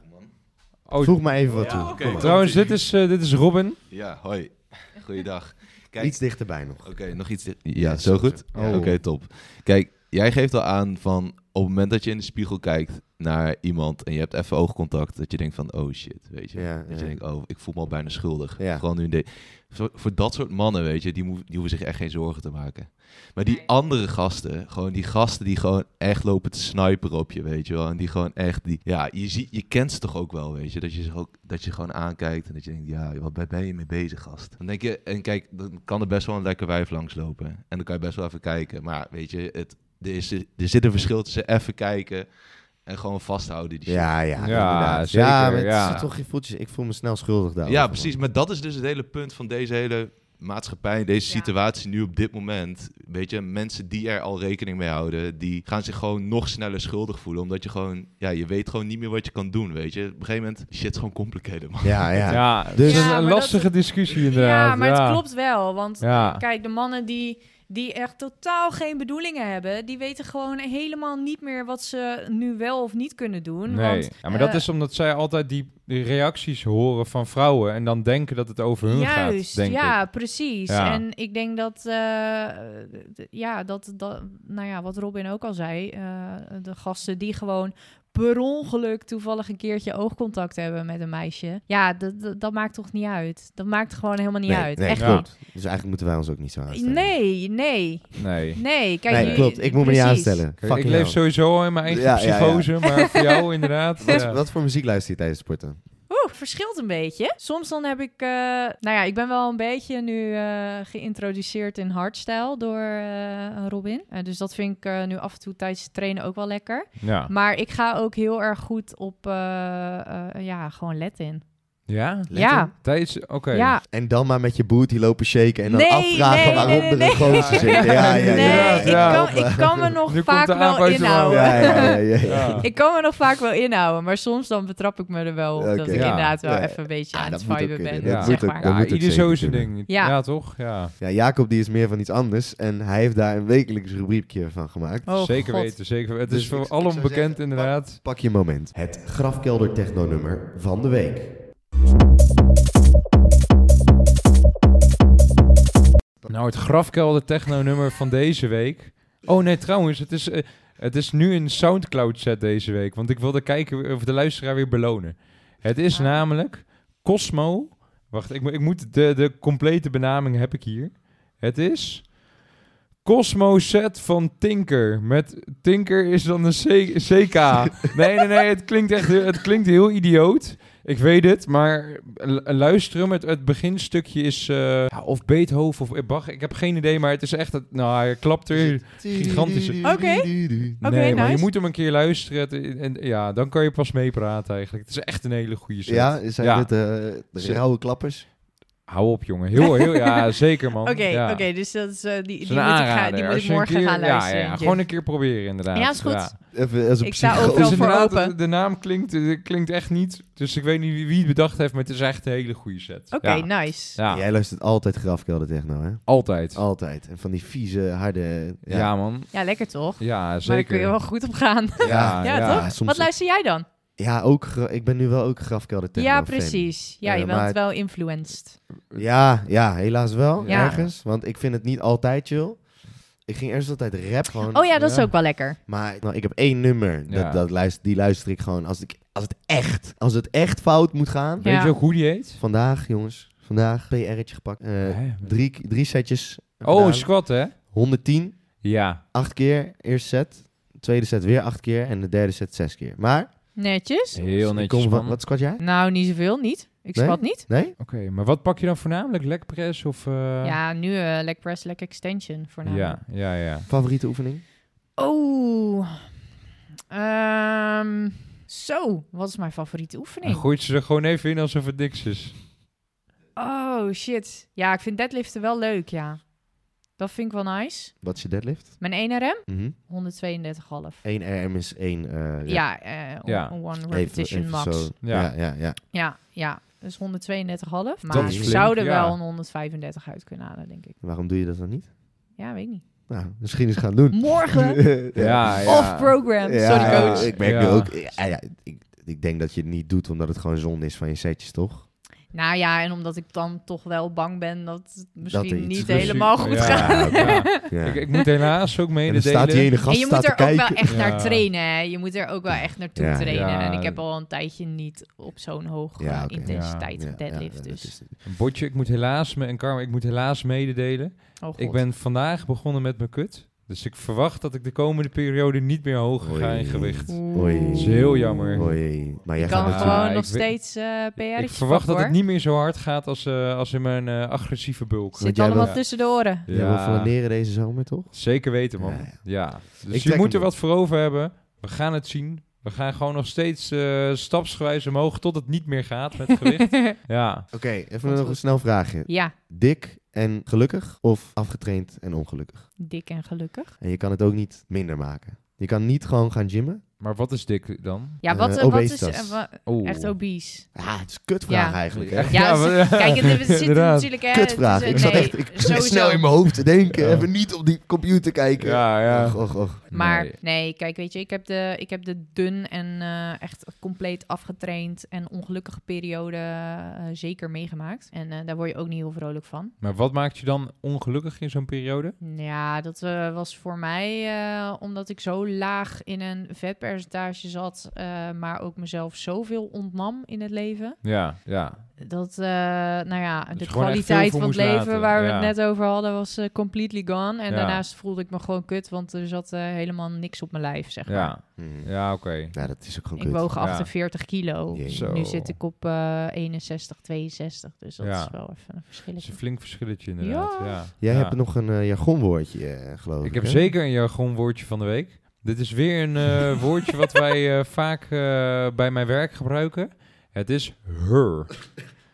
Speaker 3: Oh,
Speaker 1: Voeg maar even wat toe.
Speaker 2: oké.
Speaker 1: Kom maar.
Speaker 3: Trouwens, dit is, eh, dit is Robin.
Speaker 2: Ja, hoi. Goeiedag. Kijk,
Speaker 1: Iets dichterbij nog.
Speaker 2: oké, nog iets. di- Ja, zo goed?
Speaker 1: Ja.
Speaker 2: Oké, top. Kijk, jij geeft al aan van op het moment dat je in de spiegel kijkt naar iemand en je hebt even oogcontact, dat je denkt van, oh shit, weet je.
Speaker 1: Ja,
Speaker 2: dat
Speaker 1: ja.
Speaker 2: je denkt, oh, ik voel me al bijna schuldig.
Speaker 1: Ja.
Speaker 2: Gewoon nu in de... Voor, voor dat soort mannen, weet je, die, moe- die hoeven zich echt geen zorgen te maken. Maar die
Speaker 4: Nee.
Speaker 2: andere gasten, gewoon die gasten die gewoon echt lopen te sniperen op je, weet je wel. En die gewoon echt, die, ja, je, ziet, je kent ze toch ook wel, weet je. Dat je, ze ook, dat je gewoon aankijkt en dat je denkt, ja, wat ben- ben je mee bezig, gast? Dan denk je, en kijk, dan kan er best wel een lekker wijf langslopen. En dan kan je best wel even kijken. Maar weet je, het, er, is, er zit een verschil tussen even kijken en gewoon vasthouden die shit.
Speaker 1: Ja, ja,
Speaker 3: Ja,
Speaker 1: inderdaad.
Speaker 3: zeker,
Speaker 1: ja, maar het
Speaker 3: ja.
Speaker 1: zit toch, je voelt je- ik voel me snel schuldig daar.
Speaker 2: Ja, precies. Maar dat is dus het hele punt van deze hele maatschappij, deze
Speaker 4: Ja.
Speaker 2: situatie nu op dit moment. Weet je, mensen die er al rekening mee houden, die gaan zich gewoon nog sneller schuldig voelen. Omdat je gewoon, ja, je weet gewoon niet meer wat je kan doen, weet je. Op een gegeven moment, shit, is gewoon complicated, man.
Speaker 1: Ja, ja.
Speaker 3: Ja,
Speaker 1: ja.
Speaker 3: dus
Speaker 1: Ja,
Speaker 3: dat is
Speaker 4: maar
Speaker 3: een
Speaker 4: dat-
Speaker 3: lastige discussie inderdaad.
Speaker 4: Ja, maar het klopt wel. Want
Speaker 3: Ja.
Speaker 4: Kijk, de mannen die, die echt totaal geen bedoelingen hebben, die weten gewoon helemaal niet meer wat ze nu wel of niet kunnen doen.
Speaker 3: Nee,
Speaker 4: Want,
Speaker 3: ja, maar dat
Speaker 4: eh,
Speaker 3: is omdat zij altijd die, die reacties horen van vrouwen en dan denken dat het over hun
Speaker 4: Juist,
Speaker 3: gaat, denk
Speaker 4: ja,
Speaker 3: ik.
Speaker 4: precies.
Speaker 3: Ja.
Speaker 4: En ik denk dat, eh, d- ja, dat, dat, nou ja, wat Robin ook al zei, eh, de gasten die gewoon per ongeluk toevallig een keertje oogcontact hebben met een meisje. Ja, dat, dat, dat maakt toch niet uit. Dat maakt gewoon helemaal niet
Speaker 1: Nee,
Speaker 4: uit.
Speaker 1: nee,
Speaker 4: Echt
Speaker 3: ja.
Speaker 1: klopt. Dus eigenlijk moeten wij ons ook niet zo aanstellen.
Speaker 4: Nee, nee,
Speaker 3: Nee.
Speaker 4: nee. Kijk,
Speaker 1: Nee,
Speaker 4: je-
Speaker 1: klopt. Ik moet me niet
Speaker 4: precies.
Speaker 1: aanstellen.
Speaker 3: Kijk, ik
Speaker 1: Fucking
Speaker 3: leef
Speaker 1: hell.
Speaker 3: sowieso in mijn eigen
Speaker 1: Ja, ja, ja.
Speaker 3: psychose, maar voor jou inderdaad. eh,
Speaker 1: Wat,
Speaker 3: ja.
Speaker 1: wat voor muziek luister je tijdens sporten?
Speaker 4: Oeh, verschilt een beetje. Soms dan heb ik, eh, nou ja, ik ben wel een beetje nu eh, geïntroduceerd in hardstyle door eh, Robin. Eh, dus dat vind ik eh, nu af en toe tijdens het trainen ook wel lekker.
Speaker 3: Ja.
Speaker 4: Maar ik ga ook heel erg goed op, eh, eh, ja, gewoon let in.
Speaker 3: Ja?
Speaker 4: Ja,
Speaker 3: Tijdens... Oké.
Speaker 4: ja.
Speaker 1: En dan maar met je booty lopen shaken en dan
Speaker 4: Nee,
Speaker 1: afvragen
Speaker 4: nee,
Speaker 1: waarom
Speaker 4: nee,
Speaker 1: er
Speaker 4: nee.
Speaker 1: een gozer zit. Ja, ja,
Speaker 4: nee,
Speaker 1: ja.
Speaker 4: ik,
Speaker 3: ja.
Speaker 4: kan, ik kan me nog
Speaker 3: Nu komt
Speaker 4: vaak
Speaker 3: de
Speaker 4: wel
Speaker 3: aanwijzing wel.
Speaker 4: inhouden.
Speaker 1: Ja, ja, ja, ja, ja.
Speaker 3: Ja.
Speaker 4: Ik kan me nog vaak wel inhouden, maar soms dan betrap ik me er wel op dat
Speaker 1: Oké.
Speaker 4: ik
Speaker 3: Ja.
Speaker 4: inderdaad wel
Speaker 1: Ja.
Speaker 4: even een beetje
Speaker 1: Ah,
Speaker 4: aan
Speaker 1: dat
Speaker 4: het
Speaker 1: moet ook
Speaker 4: viben
Speaker 1: kunnen.
Speaker 4: ben.
Speaker 3: Dat
Speaker 4: zeg
Speaker 3: moet
Speaker 1: ook.
Speaker 4: maar.
Speaker 1: Dan
Speaker 3: Ja,
Speaker 1: moet het
Speaker 3: ieder
Speaker 1: zeker
Speaker 3: zo zijn
Speaker 1: kunnen.
Speaker 3: ding.
Speaker 4: Ja.
Speaker 3: ja, toch? Ja.
Speaker 1: Ja, Jacob die is meer van iets anders en hij heeft daar een wekelijks rubriekje van gemaakt.
Speaker 4: Oh,
Speaker 3: zeker
Speaker 4: God.
Speaker 3: weten, zeker weten. Het
Speaker 1: Dus
Speaker 3: is
Speaker 1: ik-
Speaker 3: voor
Speaker 1: ik
Speaker 3: allen
Speaker 1: zou
Speaker 3: bekend
Speaker 1: zeggen,
Speaker 3: inderdaad.
Speaker 1: Pak je moment. Het grafkelder technonummer van de week.
Speaker 3: Nou, het grafkelder techno-nummer van deze week. Oh nee, trouwens, het is, eh, het is nu een Soundcloud-set deze week. Want ik wilde kijken of de luisteraar weer belonen. Het is
Speaker 4: Ah.
Speaker 3: namelijk Cosmo... Wacht, ik, moet- ik moet de, de complete benaming heb ik hier. Het is Cosmo set van Tinker. Met Tinker is dan een C- CK. Nee, nee, nee, het klinkt echt heel- het klinkt heel idioot. Ik weet het, maar lu- luister hem. Het, het beginstukje is eh, ja, of Beethoven of Bach. Ik heb geen idee, maar het is echt... het- Nou, hij klapt er... Gigantische-
Speaker 4: Oké. Oké,
Speaker 3: nee, maar je
Speaker 4: nice.
Speaker 3: moet hem een keer luisteren. Het- eh, en, ja, dan kan je pas meepraten eigenlijk. Het is echt een hele goede set.
Speaker 1: Ja, zijn
Speaker 3: Ja.
Speaker 1: dit eh, de
Speaker 3: Ze-
Speaker 1: rauwe klappers?
Speaker 3: Hou op, jongen. Heel, heel, ja, zeker, man.
Speaker 4: Oké,
Speaker 3: ja.
Speaker 4: oké, dus dat is, eh, die,
Speaker 3: Het
Speaker 4: die,
Speaker 3: is
Speaker 4: moet ik,
Speaker 3: een
Speaker 4: ga,
Speaker 3: aanrader.
Speaker 4: die moet
Speaker 3: Als
Speaker 4: ik
Speaker 3: je een
Speaker 4: morgen
Speaker 3: keer-
Speaker 4: gaan luisteren.
Speaker 3: Ja, ja, ja,
Speaker 4: Jantje.
Speaker 3: gewoon een keer proberen inderdaad.
Speaker 4: Ja, is goed.
Speaker 1: Even als een
Speaker 4: Ik sta
Speaker 1: psycho-
Speaker 4: overal
Speaker 3: Het is
Speaker 4: voor
Speaker 3: inderdaad-
Speaker 4: open.
Speaker 3: De, de naam klinkt, eh, klinkt echt niet. Dus ik weet niet wie, wie het bedacht heeft, maar het is echt een hele goede set.
Speaker 4: Oké,
Speaker 3: ja.
Speaker 4: nice.
Speaker 3: Ja,
Speaker 1: Jij luistert altijd grafkelder techno, hè?
Speaker 3: altijd.
Speaker 1: Altijd. En van die vieze, harde...
Speaker 3: ja. man.
Speaker 4: Ja, lekker toch?
Speaker 3: Ja, zeker.
Speaker 4: Maar daar kun je wel goed op gaan.
Speaker 1: Ja,
Speaker 4: Ja,
Speaker 3: ja.
Speaker 4: toch?
Speaker 1: soms-
Speaker 4: Wat luister jij dan?
Speaker 1: Ja, ook, gra- ik ben nu wel ook grafkelder techno
Speaker 4: ja,
Speaker 1: fan.
Speaker 4: precies. Ja,
Speaker 1: Eh,
Speaker 4: je bent
Speaker 1: maar-
Speaker 4: wel influenced.
Speaker 1: Ja, ja, helaas wel.
Speaker 3: Ja.
Speaker 1: Ergens. Want ik vind het niet altijd chill. Ik ging eerst altijd rap gewoon.
Speaker 4: Oh ja, dat is
Speaker 3: Ja.
Speaker 4: ook wel lekker.
Speaker 1: Maar nou, ik heb één nummer.
Speaker 3: Ja.
Speaker 1: Dat, dat luister, die luister ik gewoon als, ik, als het echt. Als het echt fout moet gaan.
Speaker 3: Weet
Speaker 4: Ja.
Speaker 3: je ook hoe die heet?
Speaker 1: Vandaag, jongens. Vandaag PR'tje gepakt. Eh,
Speaker 3: Hè?
Speaker 1: drie, drie setjes.
Speaker 3: oh,
Speaker 1: gedaan.
Speaker 3: een squat, hè?
Speaker 1: 110.
Speaker 3: Ja.
Speaker 1: Acht keer. Eerste set. Tweede set weer acht keer. En de derde set zes keer. Maar.
Speaker 4: Netjes.
Speaker 3: Heel
Speaker 1: ik
Speaker 3: netjes,
Speaker 1: kom van,
Speaker 3: man.
Speaker 1: wat squat jij?
Speaker 4: Nou, niet zoveel, niet. Ik
Speaker 1: Nee?
Speaker 4: squat niet.
Speaker 1: Nee?
Speaker 3: Oké, maar wat pak je dan voornamelijk? Leg press of... eh,
Speaker 4: Ja, nu eh leg press, leg extension voornamelijk.
Speaker 3: ja, ja, ja.
Speaker 1: Favoriete oefening?
Speaker 4: Oh. Ehm, zo, wat is mijn favoriete oefening?
Speaker 3: En gooit ze er gewoon even in alsof het niks is.
Speaker 4: Oh, shit. Ja, ik vind deadliften wel leuk, ja. Dat vind ik wel nice.
Speaker 1: Wat is je deadlift?
Speaker 4: Mijn 1 RM,
Speaker 1: Mhm.
Speaker 4: 132,5.
Speaker 1: 1 RM is 1. eh
Speaker 4: Ja, eh, on-
Speaker 3: Ja.
Speaker 4: on one repetition
Speaker 1: even
Speaker 4: max.
Speaker 1: zo.
Speaker 3: Ja.
Speaker 1: ja, ja. ja.
Speaker 4: Ja, ja. Dus 132,5.
Speaker 1: Dat
Speaker 4: Maar
Speaker 1: is
Speaker 4: ze
Speaker 1: flink,
Speaker 4: zouden
Speaker 3: ja.
Speaker 4: wel een 135 uit kunnen halen, denk ik.
Speaker 1: Waarom doe je dat dan niet?
Speaker 4: Ja, weet ik niet.
Speaker 1: Nou, misschien eens gaan doen.
Speaker 4: Morgen
Speaker 3: Ja, ja.
Speaker 4: off program.
Speaker 1: Ja,
Speaker 4: Sorry,
Speaker 1: ja,
Speaker 4: coach.
Speaker 1: Ik merk
Speaker 3: Ja.
Speaker 1: nu ook. Ja, ja, ik, ik denk dat je het niet doet omdat het gewoon zonde is van je setjes, toch?
Speaker 4: Nou ja, en omdat ik dan toch wel bang ben dat het misschien
Speaker 1: er iets
Speaker 4: niet
Speaker 1: precies-
Speaker 4: helemaal goed
Speaker 3: Dus Ja,
Speaker 4: gaat.
Speaker 1: gaat.
Speaker 3: ja.
Speaker 1: Ja.
Speaker 3: Ik, ik moet helaas ook
Speaker 1: en dan
Speaker 3: mededelen...
Speaker 1: staat die ene
Speaker 4: En
Speaker 1: gast
Speaker 4: je
Speaker 1: staat
Speaker 4: moet
Speaker 1: te
Speaker 4: er ook wel
Speaker 1: kijken.
Speaker 4: echt naar
Speaker 3: Ja.
Speaker 4: trainen. Hè? Je moet er ook wel echt naartoe
Speaker 1: Ja.
Speaker 4: trainen.
Speaker 3: Ja.
Speaker 4: En ik heb al een tijdje niet op zo'n hoge
Speaker 1: Ja, oké.
Speaker 4: intensiteit
Speaker 1: Ja,
Speaker 4: deadlift.
Speaker 1: ja, dat
Speaker 4: dus.
Speaker 1: is-
Speaker 3: Botje, ik moet helaas... Me, en Karma, ik moet helaas mededelen...
Speaker 4: Oh, God.
Speaker 3: Ik ben vandaag begonnen met mijn kut. Dus ik verwacht dat ik de komende periode niet meer hoger ga
Speaker 1: Oei.
Speaker 3: in gewicht.
Speaker 4: Oeh.
Speaker 1: Oei.
Speaker 3: is heel jammer.
Speaker 1: Oei. Maar jij
Speaker 4: Je
Speaker 1: gaat
Speaker 4: kan
Speaker 1: natuurlijk.
Speaker 3: het doen.
Speaker 4: gewoon
Speaker 3: Ja,
Speaker 4: nog
Speaker 3: ik weet-
Speaker 4: steeds eh PR.
Speaker 3: Ik verwacht dat het niet meer zo hard gaat als, eh, als in mijn eh, agressieve bulk.
Speaker 1: Want
Speaker 4: Zit
Speaker 1: jij
Speaker 4: allemaal
Speaker 3: wil-
Speaker 4: tussen de oren.
Speaker 1: Je wil flaneren deze zomer, toch?
Speaker 3: Zeker weten, man.
Speaker 1: Ja,
Speaker 3: Ja.
Speaker 1: ja. Ik
Speaker 3: Dus
Speaker 1: trek
Speaker 3: je
Speaker 1: hem
Speaker 3: moet er
Speaker 1: niet.
Speaker 3: wat voor over hebben. We gaan het zien. We gaan gewoon nog steeds eh, stapsgewijs omhoog tot het niet meer gaat met gewicht. ja.
Speaker 1: Oké, even
Speaker 4: Komt
Speaker 1: nog een
Speaker 4: goed.
Speaker 1: snel vraagje.
Speaker 4: ja,
Speaker 1: Dik en gelukkig of afgetraind en ongelukkig?
Speaker 4: dik en gelukkig.
Speaker 1: En je kan het ook niet minder maken. Je kan niet gewoon gaan gymmen.
Speaker 3: Maar wat is dik dan?
Speaker 4: Ja,
Speaker 1: Eh,
Speaker 4: wat, eh, wat is
Speaker 1: obesitas.
Speaker 4: eh, wa-
Speaker 3: Oh.
Speaker 4: echt obese?
Speaker 1: Ah, het is een kutvraag
Speaker 4: Ja.
Speaker 1: eigenlijk. Hè?
Speaker 3: Echt?
Speaker 4: Ja,
Speaker 3: Ja,
Speaker 4: ze-
Speaker 3: maar-
Speaker 4: kijk, het, het zit
Speaker 3: Inderdaad.
Speaker 4: natuurlijk... Hè,
Speaker 1: Kutvraag.
Speaker 4: het
Speaker 1: ik
Speaker 4: is, eh,
Speaker 1: zat
Speaker 4: nee,
Speaker 1: echt ik zat
Speaker 4: sowieso.
Speaker 1: snel in mijn hoofd te denken.
Speaker 3: Ja.
Speaker 1: Even niet op die computer kijken.
Speaker 3: Ja, ja.
Speaker 1: Och, och, och.
Speaker 4: Maar
Speaker 3: Nee.
Speaker 4: nee. kijk, weet je, ik heb de, ik heb de dun en eh, echt compleet afgetraind en ongelukkige periode eh, zeker meegemaakt. En eh, daar word je ook niet heel vrolijk van.
Speaker 3: Maar wat maakt je dan ongelukkig in zo'n periode?
Speaker 4: Ja, dat eh, was voor mij eh, omdat ik zo laag in een vetpercentage zat, eh, maar ook mezelf zoveel ontnam in het leven.
Speaker 3: Ja, ja.
Speaker 4: Dat, eh, nou ja, de
Speaker 3: gewoon echt veel
Speaker 4: kwaliteit
Speaker 3: voor
Speaker 4: van het
Speaker 3: moest
Speaker 4: leven
Speaker 3: laten,
Speaker 4: waar we
Speaker 3: ja.
Speaker 4: het net over hadden was eh, completely gone. En
Speaker 3: Ja.
Speaker 4: daarnaast voelde ik me gewoon kut, want er zat eh, helemaal niks op mijn lijf, zeg maar.
Speaker 3: Ja,
Speaker 1: Hmm.
Speaker 3: ja oké.
Speaker 1: Ja, dat is ook gewoon
Speaker 4: Ik
Speaker 1: kut.
Speaker 4: woog
Speaker 3: Ja.
Speaker 4: 48 kilo.
Speaker 1: Jee.
Speaker 3: Zo.
Speaker 4: Nu zit ik op eh, 61, 62. Dus dat
Speaker 3: Ja.
Speaker 4: is wel even een
Speaker 3: Dat is
Speaker 4: verschilletje.
Speaker 3: een flink verschilletje inderdaad. Ja.
Speaker 4: Ja.
Speaker 1: Jij
Speaker 3: Ja.
Speaker 1: hebt nog een eh, jargonwoordje, eh, geloof ik.
Speaker 3: Ik heb
Speaker 1: hè?
Speaker 3: zeker een jargonwoordje van de week. Dit is weer een eh, woordje wat wij eh, vaak eh, bij mijn werk gebruiken. Het is her.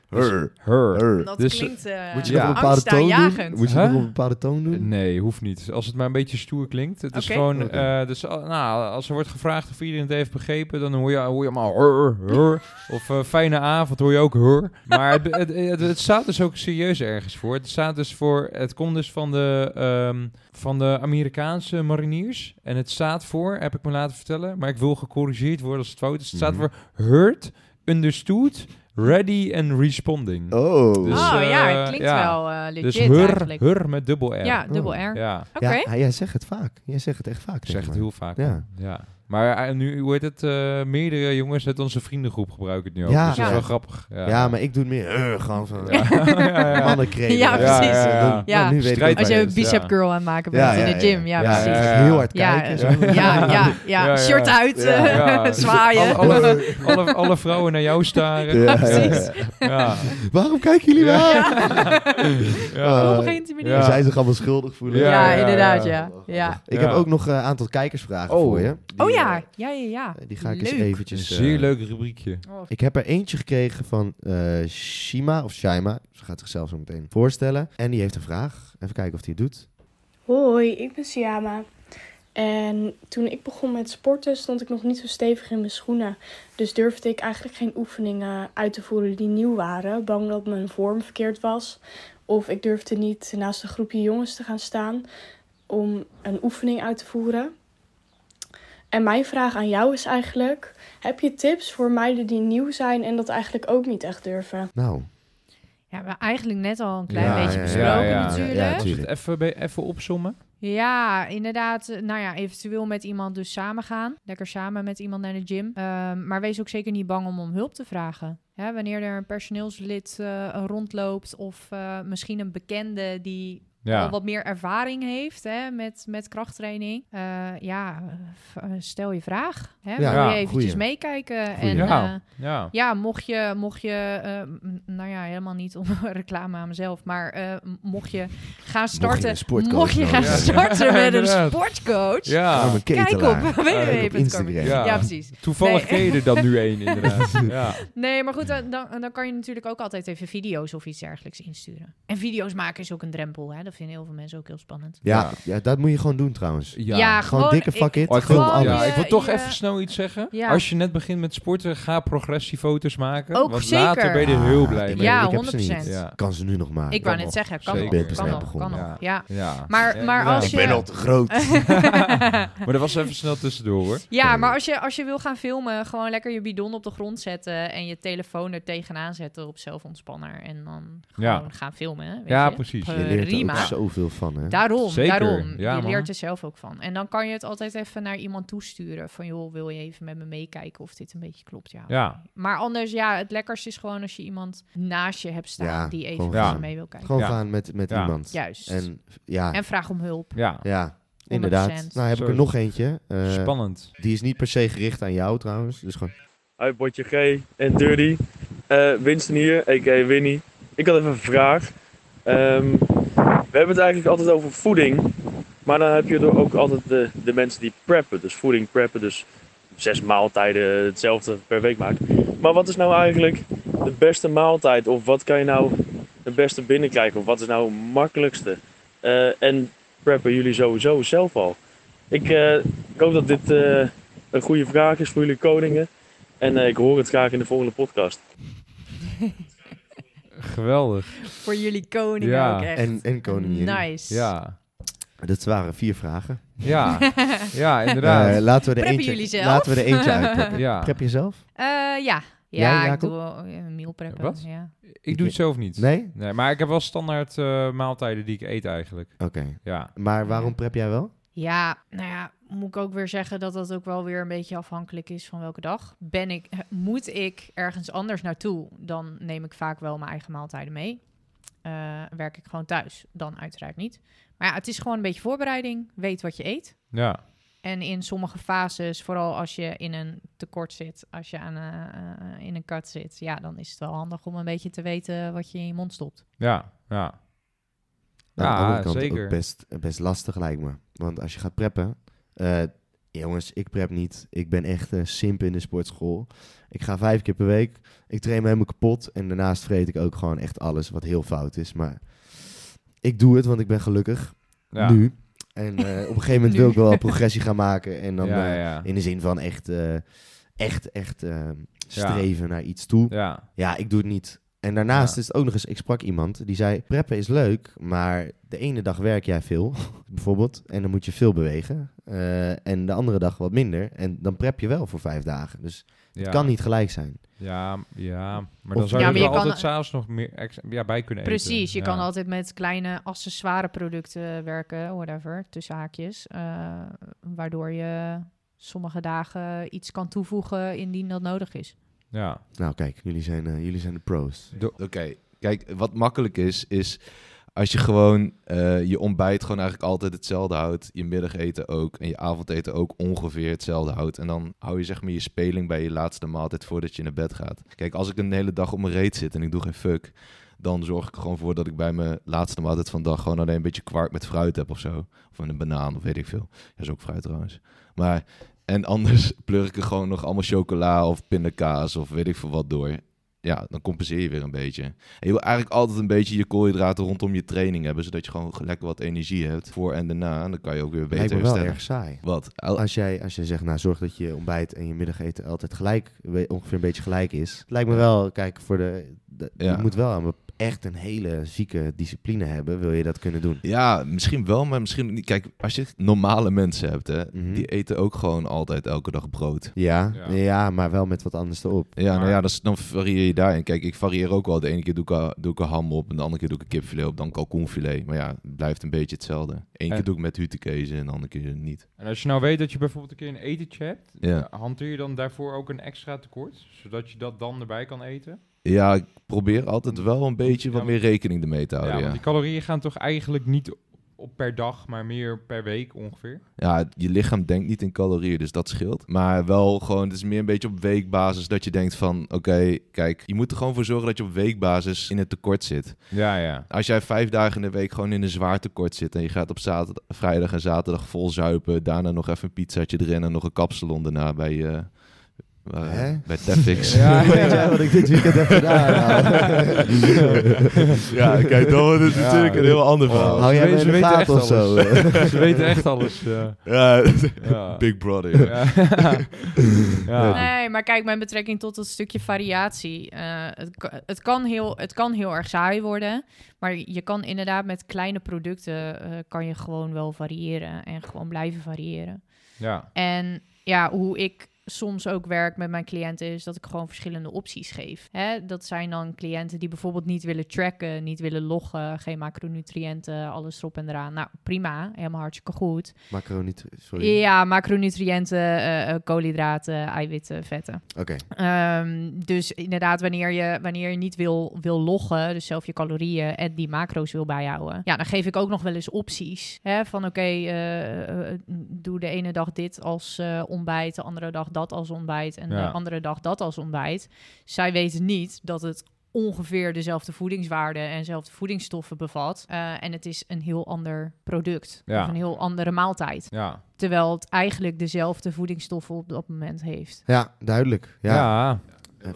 Speaker 2: Her.
Speaker 3: Her.
Speaker 2: Her.
Speaker 4: Dat
Speaker 3: Dus,
Speaker 4: klinkt eh
Speaker 1: Moet je
Speaker 3: Ja.
Speaker 1: nog een bepaalde toon doen?
Speaker 4: angstaanjagend.
Speaker 1: Moet je
Speaker 3: Huh?
Speaker 1: nog een bepaalde toon doen?
Speaker 3: Nee, hoeft niet. Dus Als het maar een beetje stoer klinkt. Het is
Speaker 4: Hm? Oké.
Speaker 3: gewoon...
Speaker 1: Oké.
Speaker 3: eh, dus, ah, nou, als er wordt gevraagd of iedereen het heeft begrepen, dan hoor je, hoor je allemaal... Hur, hur. Of eh, fijne avond hoor je ook hur. Maar het, het, het, het staat dus ook serieus ergens voor. Het staat dus voor... Het komt dus van de, ehm, van de Amerikaanse mariniers. En het staat voor, heb ik me laten vertellen. Maar ik wil gecorrigeerd worden als het fout is. Het staat
Speaker 1: Mhm.
Speaker 3: voor heard, understood, ready and responding.
Speaker 1: Oh.
Speaker 3: Dus,
Speaker 4: oh ja,
Speaker 3: eh,
Speaker 4: het klinkt
Speaker 3: ja.
Speaker 4: wel eh, legit
Speaker 3: dus hur,
Speaker 4: eigenlijk.
Speaker 3: hur met dubbel R.
Speaker 4: Ja, dubbel R.
Speaker 3: ja.
Speaker 4: Oké.
Speaker 1: Ja, ah, jij zegt het vaak. Jij zegt het echt vaak.
Speaker 3: Ik zeg het
Speaker 1: tegen mij.
Speaker 3: heel vaak.
Speaker 1: Ja.
Speaker 3: Ja. ja. Maar eh, nu, hoe heet het, eh, meerdere jongens uit onze vriendengroep gebruiken het nu ook.
Speaker 1: Ja.
Speaker 3: Dus dat is
Speaker 1: Ja.
Speaker 3: wel grappig. Ja,
Speaker 1: Ja, maar ik doe het meer. eh, gewoon van.
Speaker 3: Ja. Ja, ja.
Speaker 1: Mannenkreet.
Speaker 4: Ja, precies.
Speaker 1: Dan-
Speaker 3: Ja, ja,
Speaker 4: ja.
Speaker 1: nu weet ik
Speaker 3: Strijd-
Speaker 1: ook
Speaker 4: Als je
Speaker 1: waar je
Speaker 4: een
Speaker 1: bent.
Speaker 4: bicep
Speaker 3: Ja.
Speaker 4: girl aan het maken bent in de gym. Ja,
Speaker 3: ja,
Speaker 4: precies.
Speaker 3: ja.
Speaker 1: Heel hard
Speaker 4: Ja,
Speaker 1: kijken.
Speaker 4: ja,
Speaker 1: zo.
Speaker 4: ja, ja, ja.
Speaker 3: Ja,
Speaker 4: Shirt
Speaker 3: ja.
Speaker 4: uit,
Speaker 1: Ja.
Speaker 4: eh,
Speaker 3: Ja. Alle,
Speaker 4: zwaaien.
Speaker 3: alle, alle, alle vrouwen naar jou staren.
Speaker 1: Ja,
Speaker 4: precies.
Speaker 3: Ja.
Speaker 1: Waarom kijken jullie
Speaker 3: Ja.
Speaker 1: naar?
Speaker 3: Ja.
Speaker 4: Op
Speaker 1: Eh,
Speaker 4: een gegeven
Speaker 1: Dan
Speaker 4: manier.
Speaker 3: Ja.
Speaker 1: zij zich allemaal schuldig voelen.
Speaker 3: Ja,
Speaker 4: Ja,
Speaker 3: ja,
Speaker 4: inderdaad,
Speaker 3: ja.
Speaker 4: ja. ja.
Speaker 1: Ik
Speaker 3: Ja.
Speaker 1: heb ook nog een aantal kijkersvragen
Speaker 3: Oh.
Speaker 1: voor je. Die,
Speaker 4: Oh ja,
Speaker 1: eh,
Speaker 4: ja, ja, ja.
Speaker 1: die ga ik eens
Speaker 4: Leuk.
Speaker 3: Een
Speaker 1: eventjes... eh,
Speaker 3: zeer leuk rubriekje.
Speaker 4: Oh,
Speaker 1: Ik heb er eentje gekregen van eh, Shima, of Shima. Ze gaat zichzelf zo meteen voorstellen. En die heeft een vraag. Even kijken of die het doet.
Speaker 5: Hoi, ik ben Siama. En toen ik begon met sporten stond ik nog niet zo stevig in mijn schoenen. Dus durfde ik eigenlijk geen oefeningen uit te voeren die nieuw waren. Bang dat mijn vorm verkeerd was. Of ik durfde niet naast een groepje jongens te gaan staan om een oefening uit te voeren. En mijn vraag aan jou is eigenlijk: heb je tips voor meiden die nieuw zijn en dat eigenlijk ook niet echt durven?
Speaker 1: Nou,
Speaker 4: Ja, we hebben eigenlijk net al een klein
Speaker 1: Ja,
Speaker 4: beetje
Speaker 1: ja, ja,
Speaker 4: besproken
Speaker 3: ja, ja,
Speaker 4: natuurlijk.
Speaker 1: ja,
Speaker 4: Ja,
Speaker 1: ja,
Speaker 3: Als we het
Speaker 1: Tuurlijk.
Speaker 3: even, bij- even opzommen.
Speaker 4: inderdaad. Eh, Nou ja, eventueel met iemand dus samen gaan. Lekker samen met iemand naar de gym. Ehm, maar wees ook zeker niet bang om om hulp te vragen. Hè, wanneer er een personeelslid eh, rondloopt of eh, misschien een bekende die al
Speaker 3: Ja.
Speaker 4: wat meer ervaring heeft hè, met, met krachttraining. Eh, ja, eh, v- eh, stel je vraag. Hè,
Speaker 1: Ja,
Speaker 4: wil
Speaker 3: ja,
Speaker 4: je eventjes
Speaker 1: goeie.
Speaker 4: meekijken.
Speaker 1: Goeie.
Speaker 4: En
Speaker 3: Ja.
Speaker 4: eh,
Speaker 3: Ja.
Speaker 4: ja, mocht je, mocht je eh, m- nou ja, helemaal niet om reclame aan mezelf, maar eh, m- mocht je gaan starten,
Speaker 1: een sportcoach
Speaker 4: mocht je
Speaker 1: nodig
Speaker 4: gaan
Speaker 1: hebben.
Speaker 4: starten
Speaker 3: Ja,
Speaker 4: met een
Speaker 3: inderdaad.
Speaker 4: sportcoach,
Speaker 3: Ja.
Speaker 1: arme
Speaker 4: kijk
Speaker 1: ketelaar.
Speaker 4: op
Speaker 3: Ah. Kijk
Speaker 1: op
Speaker 4: www.carmen.
Speaker 1: Instagram.
Speaker 4: Ja.
Speaker 3: Ja.
Speaker 4: precies.
Speaker 3: Toevallig
Speaker 4: Nee.
Speaker 3: ken je er dan nu één, inderdaad. Ja.
Speaker 4: Nee, maar goed, dan, dan, dan kan je natuurlijk ook altijd even video's of iets dergelijks insturen. En video's maken is ook een drempel, hè? dat vinden heel veel mensen ook heel spannend.
Speaker 1: Ja, ja, dat moet je gewoon doen trouwens.
Speaker 4: Ja,
Speaker 1: Gewoon dikke fuck it.
Speaker 3: Oh, ik, wil,
Speaker 1: Gewoon
Speaker 4: gewoon
Speaker 1: alles.
Speaker 3: ja,
Speaker 4: je-
Speaker 3: ik wil toch
Speaker 4: je-
Speaker 3: even snel iets zeggen.
Speaker 4: Ja.
Speaker 3: Als je net begint met sporten, ga progressiefoto's maken.
Speaker 4: Ook
Speaker 3: want
Speaker 4: zeker.
Speaker 3: later ben je er heel blij
Speaker 1: Ah,
Speaker 3: mee.
Speaker 4: Ja,
Speaker 1: ik heb ze niet.
Speaker 4: 100%.
Speaker 3: Ja.
Speaker 1: Kan ze nu nog maken.
Speaker 4: Ik wou
Speaker 3: kan
Speaker 4: net
Speaker 3: nog.
Speaker 4: zeggen, kan
Speaker 3: Zeker.
Speaker 4: nog,
Speaker 1: Ik ben
Speaker 4: kan
Speaker 1: pas net
Speaker 4: nog, kan
Speaker 1: begonnen.
Speaker 4: nog, ja.
Speaker 3: Ja.
Speaker 4: Maar-
Speaker 3: Ja,
Speaker 4: maar
Speaker 3: inderdaad.
Speaker 4: als
Speaker 1: Ik
Speaker 4: je-
Speaker 1: ben al te groot.
Speaker 3: Maar dat was even snel tussendoor hoor.
Speaker 4: Ja, maar als je, als je wil gaan filmen, gewoon lekker je bidon op de grond zetten en je telefoon er tegenaan zetten op zelfontspanner en dan
Speaker 3: Ja.
Speaker 4: gewoon gaan filmen. hè, Weet
Speaker 3: Ja,
Speaker 4: je?
Speaker 3: precies.
Speaker 1: Je leert er ook
Speaker 4: Prima.
Speaker 1: zoveel van, hè?
Speaker 4: Daarom,
Speaker 3: Zeker,
Speaker 4: daarom.
Speaker 3: ja,
Speaker 4: je
Speaker 3: man.
Speaker 4: leert er zelf ook van. En dan kan je het altijd even naar iemand toesturen. Van joh, wil je even met me meekijken of dit een beetje klopt? Ja. of
Speaker 3: Ja.
Speaker 4: nee. Maar anders, ja, het lekkerste is gewoon als je iemand naast je hebt staan
Speaker 1: Ja,
Speaker 4: die even
Speaker 1: gewoon
Speaker 4: met je
Speaker 3: gaan.
Speaker 4: mee wil kijken.
Speaker 1: Gewoon
Speaker 3: Ja.
Speaker 1: gaan met, met
Speaker 3: Ja.
Speaker 1: iemand.
Speaker 4: Juist. En,
Speaker 1: En ja,
Speaker 4: vraag om hulp.
Speaker 3: Ja,
Speaker 1: ja inderdaad.
Speaker 4: 100%.
Speaker 1: Nou heb ik er
Speaker 3: Zo.
Speaker 1: nog eentje. Eh,
Speaker 3: spannend.
Speaker 1: die is niet per se gericht aan jou trouwens. Dus gewoon...
Speaker 6: Hoi Botje G en Dirty. Eh Winston hier, a.k.a. Winnie. Ik had even een vraag. Ehm, we hebben het eigenlijk altijd over voeding. Maar dan heb je er ook altijd de, de mensen die preppen. Dus voeding preppen. Dus zes maaltijden hetzelfde per week maakt. Maar wat is nou eigenlijk de beste maaltijd? Of wat kan je nou het beste binnenkrijgen? Of wat is nou het makkelijkste? Eh, en preppen jullie sowieso zelf al? Ik, eh, ik hoop dat dit eh, een goede vraag is voor jullie koningen. En eh, ik hoor het graag in de volgende podcast.
Speaker 3: Geweldig.
Speaker 4: Voor jullie koning
Speaker 3: Ja,
Speaker 4: ook echt.
Speaker 1: En, en koningin.
Speaker 4: Nice.
Speaker 3: Ja.
Speaker 1: Dat waren vier vragen.
Speaker 3: Ja. Ja, inderdaad.
Speaker 1: Eh, laten we er
Speaker 4: Preppen
Speaker 1: eentje,
Speaker 4: jullie zelf?
Speaker 1: Laten we er eentje uitpakken.
Speaker 3: Ja.
Speaker 1: Prep je zelf?
Speaker 4: Eh, ja.
Speaker 1: Jij,
Speaker 4: Ja, ik
Speaker 1: Jacob?
Speaker 4: doe wel een meal preppen.
Speaker 3: Wat?
Speaker 4: Ja.
Speaker 3: Ik doe het zelf niet.
Speaker 1: Nee?
Speaker 3: Nee, maar ik heb wel standaard eh, maaltijden die ik eet eigenlijk.
Speaker 1: Oké.
Speaker 3: Ja.
Speaker 1: Maar waarom prep jij wel?
Speaker 4: ja, nou ja, moet ik ook weer zeggen dat dat ook wel weer een beetje afhankelijk is van welke dag. Ben ik, eh, moet ik ergens anders naartoe, dan neem ik vaak wel mijn eigen maaltijden mee. Eh, werk ik gewoon thuis, dan uiteraard niet. Maar ja, het is gewoon een beetje voorbereiding. Weet wat je eet.
Speaker 3: Ja.
Speaker 4: En in sommige fases, vooral als je in een tekort zit, als je aan, eh, eh, in een kat zit, ja, dan is het wel handig om een beetje te weten wat je in je mond stopt.
Speaker 3: Ja. Ja.
Speaker 1: Aan de
Speaker 3: Ja,
Speaker 1: andere kant
Speaker 3: zeker.
Speaker 1: ook best, best lastig lijkt me. Want als je gaat preppen, eh, jongens, ik prep niet. Ik ben echt een simp in de sportschool. Ik ga vijf keer per week. Ik train me helemaal kapot. En daarnaast vreet ik ook gewoon echt alles wat heel fout is. Maar ik doe het, want ik ben gelukkig.
Speaker 3: Ja.
Speaker 1: Nu. En eh, op een gegeven moment
Speaker 4: Nu.
Speaker 1: wil ik wel progressie gaan maken. En dan
Speaker 3: ja,
Speaker 1: eh,
Speaker 3: ja.
Speaker 1: in de zin van echt, eh, echt, echt eh,
Speaker 3: Ja.
Speaker 1: streven naar iets toe.
Speaker 3: ja.
Speaker 1: Ja, ik doe het niet. En daarnaast
Speaker 3: Ja.
Speaker 1: is het ook nog eens, ik sprak iemand die zei, preppen is leuk, maar de ene dag werk jij veel, bijvoorbeeld, en dan moet je veel bewegen. eh, en de andere dag wat minder, en dan prep je wel voor vijf dagen. Dus
Speaker 3: ja.
Speaker 1: het kan niet gelijk zijn.
Speaker 3: Ja, ja. maar
Speaker 1: Of-
Speaker 3: dan zou
Speaker 4: Ja,
Speaker 3: je
Speaker 4: maar
Speaker 3: er
Speaker 4: je kan-
Speaker 3: altijd s'avonds nog meer ex- ja, bij kunnen eten.
Speaker 4: Precies, je
Speaker 3: Ja.
Speaker 4: kan altijd met kleine accessoire producten werken, whatever, tussen haakjes. eh, waardoor je sommige dagen iets kan toevoegen indien dat nodig is.
Speaker 3: Ja.
Speaker 1: Nou kijk, jullie zijn, eh, jullie zijn de pro's.
Speaker 3: Do-
Speaker 2: Oké, kijk, wat makkelijk is, is als je gewoon eh, je ontbijt gewoon eigenlijk altijd hetzelfde houdt, je middageten ook en je avondeten ook ongeveer hetzelfde houdt. En dan hou je zeg maar je speling bij je laatste maaltijd voordat je naar bed gaat. Kijk, als ik een hele dag op mijn reet zit en ik doe geen fuck, dan zorg ik er gewoon voor dat ik bij mijn laatste maaltijd van de dag gewoon alleen een beetje kwark met fruit heb of zo. Of een banaan of weet ik veel. Dat is ook fruit trouwens. Maar... En anders pleur ik er gewoon nog allemaal chocola of pindakaas of weet ik veel wat door. Ja, dan compenseer je weer een beetje. En je wil eigenlijk altijd een beetje je koolhydraten rondom je training hebben, zodat je gewoon lekker wat energie hebt voor en daarna. En dan kan je ook weer beter
Speaker 1: Lijkt me wel
Speaker 2: herstellen.
Speaker 1: erg saai.
Speaker 2: Wat? Al-
Speaker 1: Als jij, als jij zegt, nou zorg dat je ontbijt en je middageten altijd gelijk, we- ongeveer een beetje gelijk is. Het lijkt me wel, kijk, voor de, de-
Speaker 2: Ja.
Speaker 1: je moet wel een bep- echt een hele zieke discipline hebben, wil je dat kunnen doen.
Speaker 2: Ja, misschien wel, maar misschien niet. Kijk, als je normale mensen hebt, hè,
Speaker 1: Mhm.
Speaker 2: die eten ook gewoon altijd elke dag brood.
Speaker 1: Ja,
Speaker 3: Ja.
Speaker 1: ja. maar wel met wat anders erop.
Speaker 2: Ja, nou
Speaker 3: Maar-
Speaker 2: ja, dat is- dan varieer je daarin. Kijk, ik varieer ook wel. De ene keer doe ik, eh, doe ik een ham op, en de andere keer doe ik een kipfilet op, dan kalkoenfilet. Maar ja, het blijft een beetje hetzelfde. Eén
Speaker 3: En-
Speaker 2: keer doe ik met hutekezen en de andere keer niet.
Speaker 3: En als je nou weet dat je bijvoorbeeld een keer een etentje hebt,
Speaker 2: Ja.
Speaker 3: hanteer je dan daarvoor ook een extra tekort, zodat je dat dan erbij kan eten?
Speaker 2: ja, ik probeer altijd wel een beetje wat
Speaker 3: Ja,
Speaker 2: meer rekening ermee te
Speaker 3: ja,
Speaker 2: houden.
Speaker 3: want
Speaker 2: Ja,
Speaker 3: die calorieën gaan toch eigenlijk niet op per dag, maar meer per week ongeveer.
Speaker 2: Ja, het- je lichaam denkt niet in calorieën, dus dat scheelt. Maar wel gewoon, het is meer een beetje op weekbasis dat je denkt van... Oké, kijk, je moet er gewoon voor zorgen dat je op weekbasis in het tekort zit.
Speaker 3: Ja, ja.
Speaker 2: Als jij vijf dagen in de week gewoon in een zwaar tekort zit... en je gaat op zaterdag, vrijdag en zaterdag vol zuipen... daarna nog even een pizzaatje erin en nog een kapsalon daarna bij... eh, waar-
Speaker 1: Hè?
Speaker 2: bij Tefix.
Speaker 3: Ja,
Speaker 1: Weet
Speaker 3: ja.
Speaker 1: jij wat ik dit weekend heb gedaan.
Speaker 2: Ja, kijk, dan wordt het
Speaker 3: Ja.
Speaker 2: natuurlijk een heel ander verhaal.
Speaker 1: Hou jij me in
Speaker 3: Ze
Speaker 1: de
Speaker 3: weten echt
Speaker 1: gaten of zo?
Speaker 3: alles. Ze weten echt alles. Ja.
Speaker 2: Ja,
Speaker 3: Ja.
Speaker 2: Big Brother.
Speaker 3: Ja. Ja.
Speaker 4: Nee, maar kijk, met betrekking tot dat stukje variatie. eh, het, ka- het, kan heel, het kan heel erg saai worden. Maar je kan inderdaad met kleine producten eh, kan je gewoon wel variëren en gewoon blijven variëren.
Speaker 3: Ja.
Speaker 4: En ja, hoe ik soms ook werk met mijn cliënten is dat ik gewoon verschillende opties geef. Hè? Dat zijn dan cliënten die bijvoorbeeld niet willen tracken, niet willen loggen, geen macronutriënten, alles erop en eraan. Nou, prima, helemaal hartstikke goed.
Speaker 1: Macaroni, tr- sorry.
Speaker 4: Ja, macronutriënten, eh, eh, koolhydraten, eiwitten, vetten.
Speaker 1: Oké,
Speaker 4: Ehm, dus inderdaad, wanneer je, wanneer je niet wil, wil loggen, dus zelf je calorieën en die macro's wil bijhouden, ja, dan geef ik ook nog wel eens opties. Hè? Van oké, eh, eh, doe de ene dag dit als eh, ontbijt, de andere dag dat als ontbijt en
Speaker 3: Ja.
Speaker 4: de andere dag dat als ontbijt. Zij weten niet dat het ongeveer dezelfde voedingswaarden en dezelfde voedingsstoffen bevat. Eh, en het is een heel ander product
Speaker 3: Ja.
Speaker 4: of een heel andere maaltijd.
Speaker 3: Ja.
Speaker 4: Terwijl het eigenlijk dezelfde voedingsstoffen op dat moment heeft.
Speaker 1: ja, duidelijk. Ja.
Speaker 3: Ja.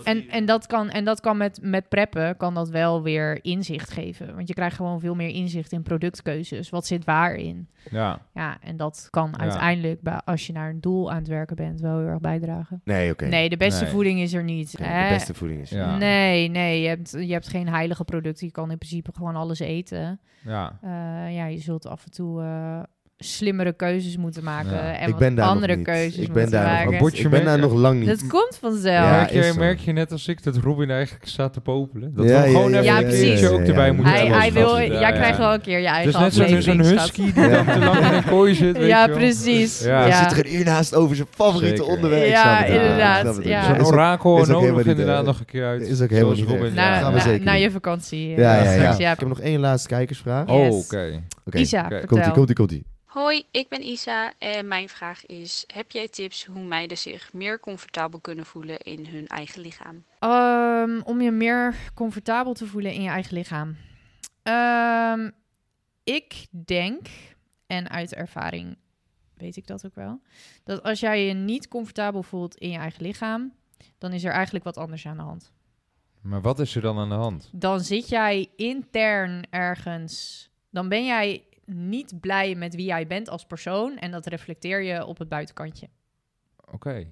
Speaker 4: En, en dat kan, en dat kan met, met preppen kan dat wel weer inzicht geven. Want je krijgt gewoon veel meer inzicht in productkeuzes. Wat zit waarin?
Speaker 3: Ja.
Speaker 4: Ja, en dat kan
Speaker 3: Ja.
Speaker 4: uiteindelijk, bij- als je naar een doel aan het werken bent, wel heel erg bijdragen.
Speaker 1: Nee, oké.
Speaker 4: Nee, de beste
Speaker 3: Nee.
Speaker 4: voeding is er niet.
Speaker 1: Oké,
Speaker 4: hè?
Speaker 1: De beste voeding is.
Speaker 3: Ja.
Speaker 4: Nee, nee, je hebt, je hebt geen heilige producten. Je kan in principe gewoon alles eten.
Speaker 3: Ja.
Speaker 4: Eh, ja, je zult af en toe eh, slimmere keuzes moeten maken.
Speaker 3: Ja.
Speaker 4: En
Speaker 1: Ik
Speaker 4: wat
Speaker 1: ben daar nog
Speaker 4: andere
Speaker 1: niet.
Speaker 4: keuzes
Speaker 1: Ik ben
Speaker 4: moeten
Speaker 1: daar
Speaker 4: maken.
Speaker 1: nog,
Speaker 3: Word je
Speaker 1: ik ben daar
Speaker 3: merken?
Speaker 1: nog lang niet.
Speaker 4: Dat komt vanzelf.
Speaker 1: Ja,
Speaker 3: merk, je,
Speaker 1: is zo.
Speaker 3: merk je net als ik dat Robin eigenlijk staat te popelen? Dat
Speaker 1: Ja,
Speaker 3: we
Speaker 1: ja,
Speaker 3: gewoon
Speaker 1: ja,
Speaker 3: even
Speaker 4: ja,
Speaker 3: een
Speaker 4: precies.
Speaker 3: keertje ook
Speaker 1: Ja,
Speaker 3: erbij
Speaker 1: ja.
Speaker 3: moeten
Speaker 4: Hij,
Speaker 3: hebben.
Speaker 4: hij wil,
Speaker 3: Ja,
Speaker 4: jij
Speaker 3: ja.
Speaker 4: krijgt wel een keer je
Speaker 3: Het is
Speaker 4: eigen
Speaker 3: net zo'n zo'n
Speaker 4: aflevering, schat.
Speaker 3: husky die dan te lang in een kooi zit. weet
Speaker 4: Ja,
Speaker 3: je wel.
Speaker 4: precies.
Speaker 3: Ja.
Speaker 4: Ja,
Speaker 1: Hij
Speaker 3: Ja.
Speaker 1: zit er een uur naast over zijn favoriete
Speaker 3: Zeker.
Speaker 1: onderwerp. Ik
Speaker 4: Ja,
Speaker 1: snap het ook.
Speaker 4: inderdaad,
Speaker 1: Ik snap het ook.
Speaker 4: ja.
Speaker 1: Is ook-
Speaker 3: Zo'n orakel
Speaker 1: is ook
Speaker 3: en nodig
Speaker 1: helemaal niet
Speaker 3: inderdaad
Speaker 1: erg.
Speaker 3: nog een keer uit.
Speaker 1: Is ook helemaal
Speaker 3: Zoals
Speaker 1: niet
Speaker 3: Robin
Speaker 1: erg.
Speaker 3: zei.
Speaker 4: Na,
Speaker 1: gaan we
Speaker 4: na-
Speaker 1: zeker
Speaker 4: na
Speaker 1: doen.
Speaker 4: je vakantie. eh,
Speaker 1: Ja, ja, ja.
Speaker 4: straks,
Speaker 1: Ik heb nog één laatste kijkersvraag.
Speaker 3: Oh, oké.
Speaker 4: Yes.
Speaker 1: Oké.
Speaker 4: Isa,
Speaker 3: Oké.
Speaker 4: vertel.
Speaker 1: Komt ie, komt ie, komt ie.
Speaker 7: Hoi, ik ben Isa en mijn vraag is: heb jij tips hoe meiden zich meer comfortabel kunnen voelen in hun eigen lichaam?
Speaker 4: Ehm, om je meer comfortabel te voelen in je eigen lichaam. Ehm, ik denk, en uit ervaring weet ik dat ook wel. Dat als jij je niet comfortabel voelt in je eigen lichaam, dan is er eigenlijk wat anders aan de hand.
Speaker 3: Maar wat is er dan aan de hand?
Speaker 4: Dan zit jij intern ergens. Dan ben jij niet blij met wie jij bent als persoon. En dat reflecteer je op het buitenkantje.
Speaker 3: Oké.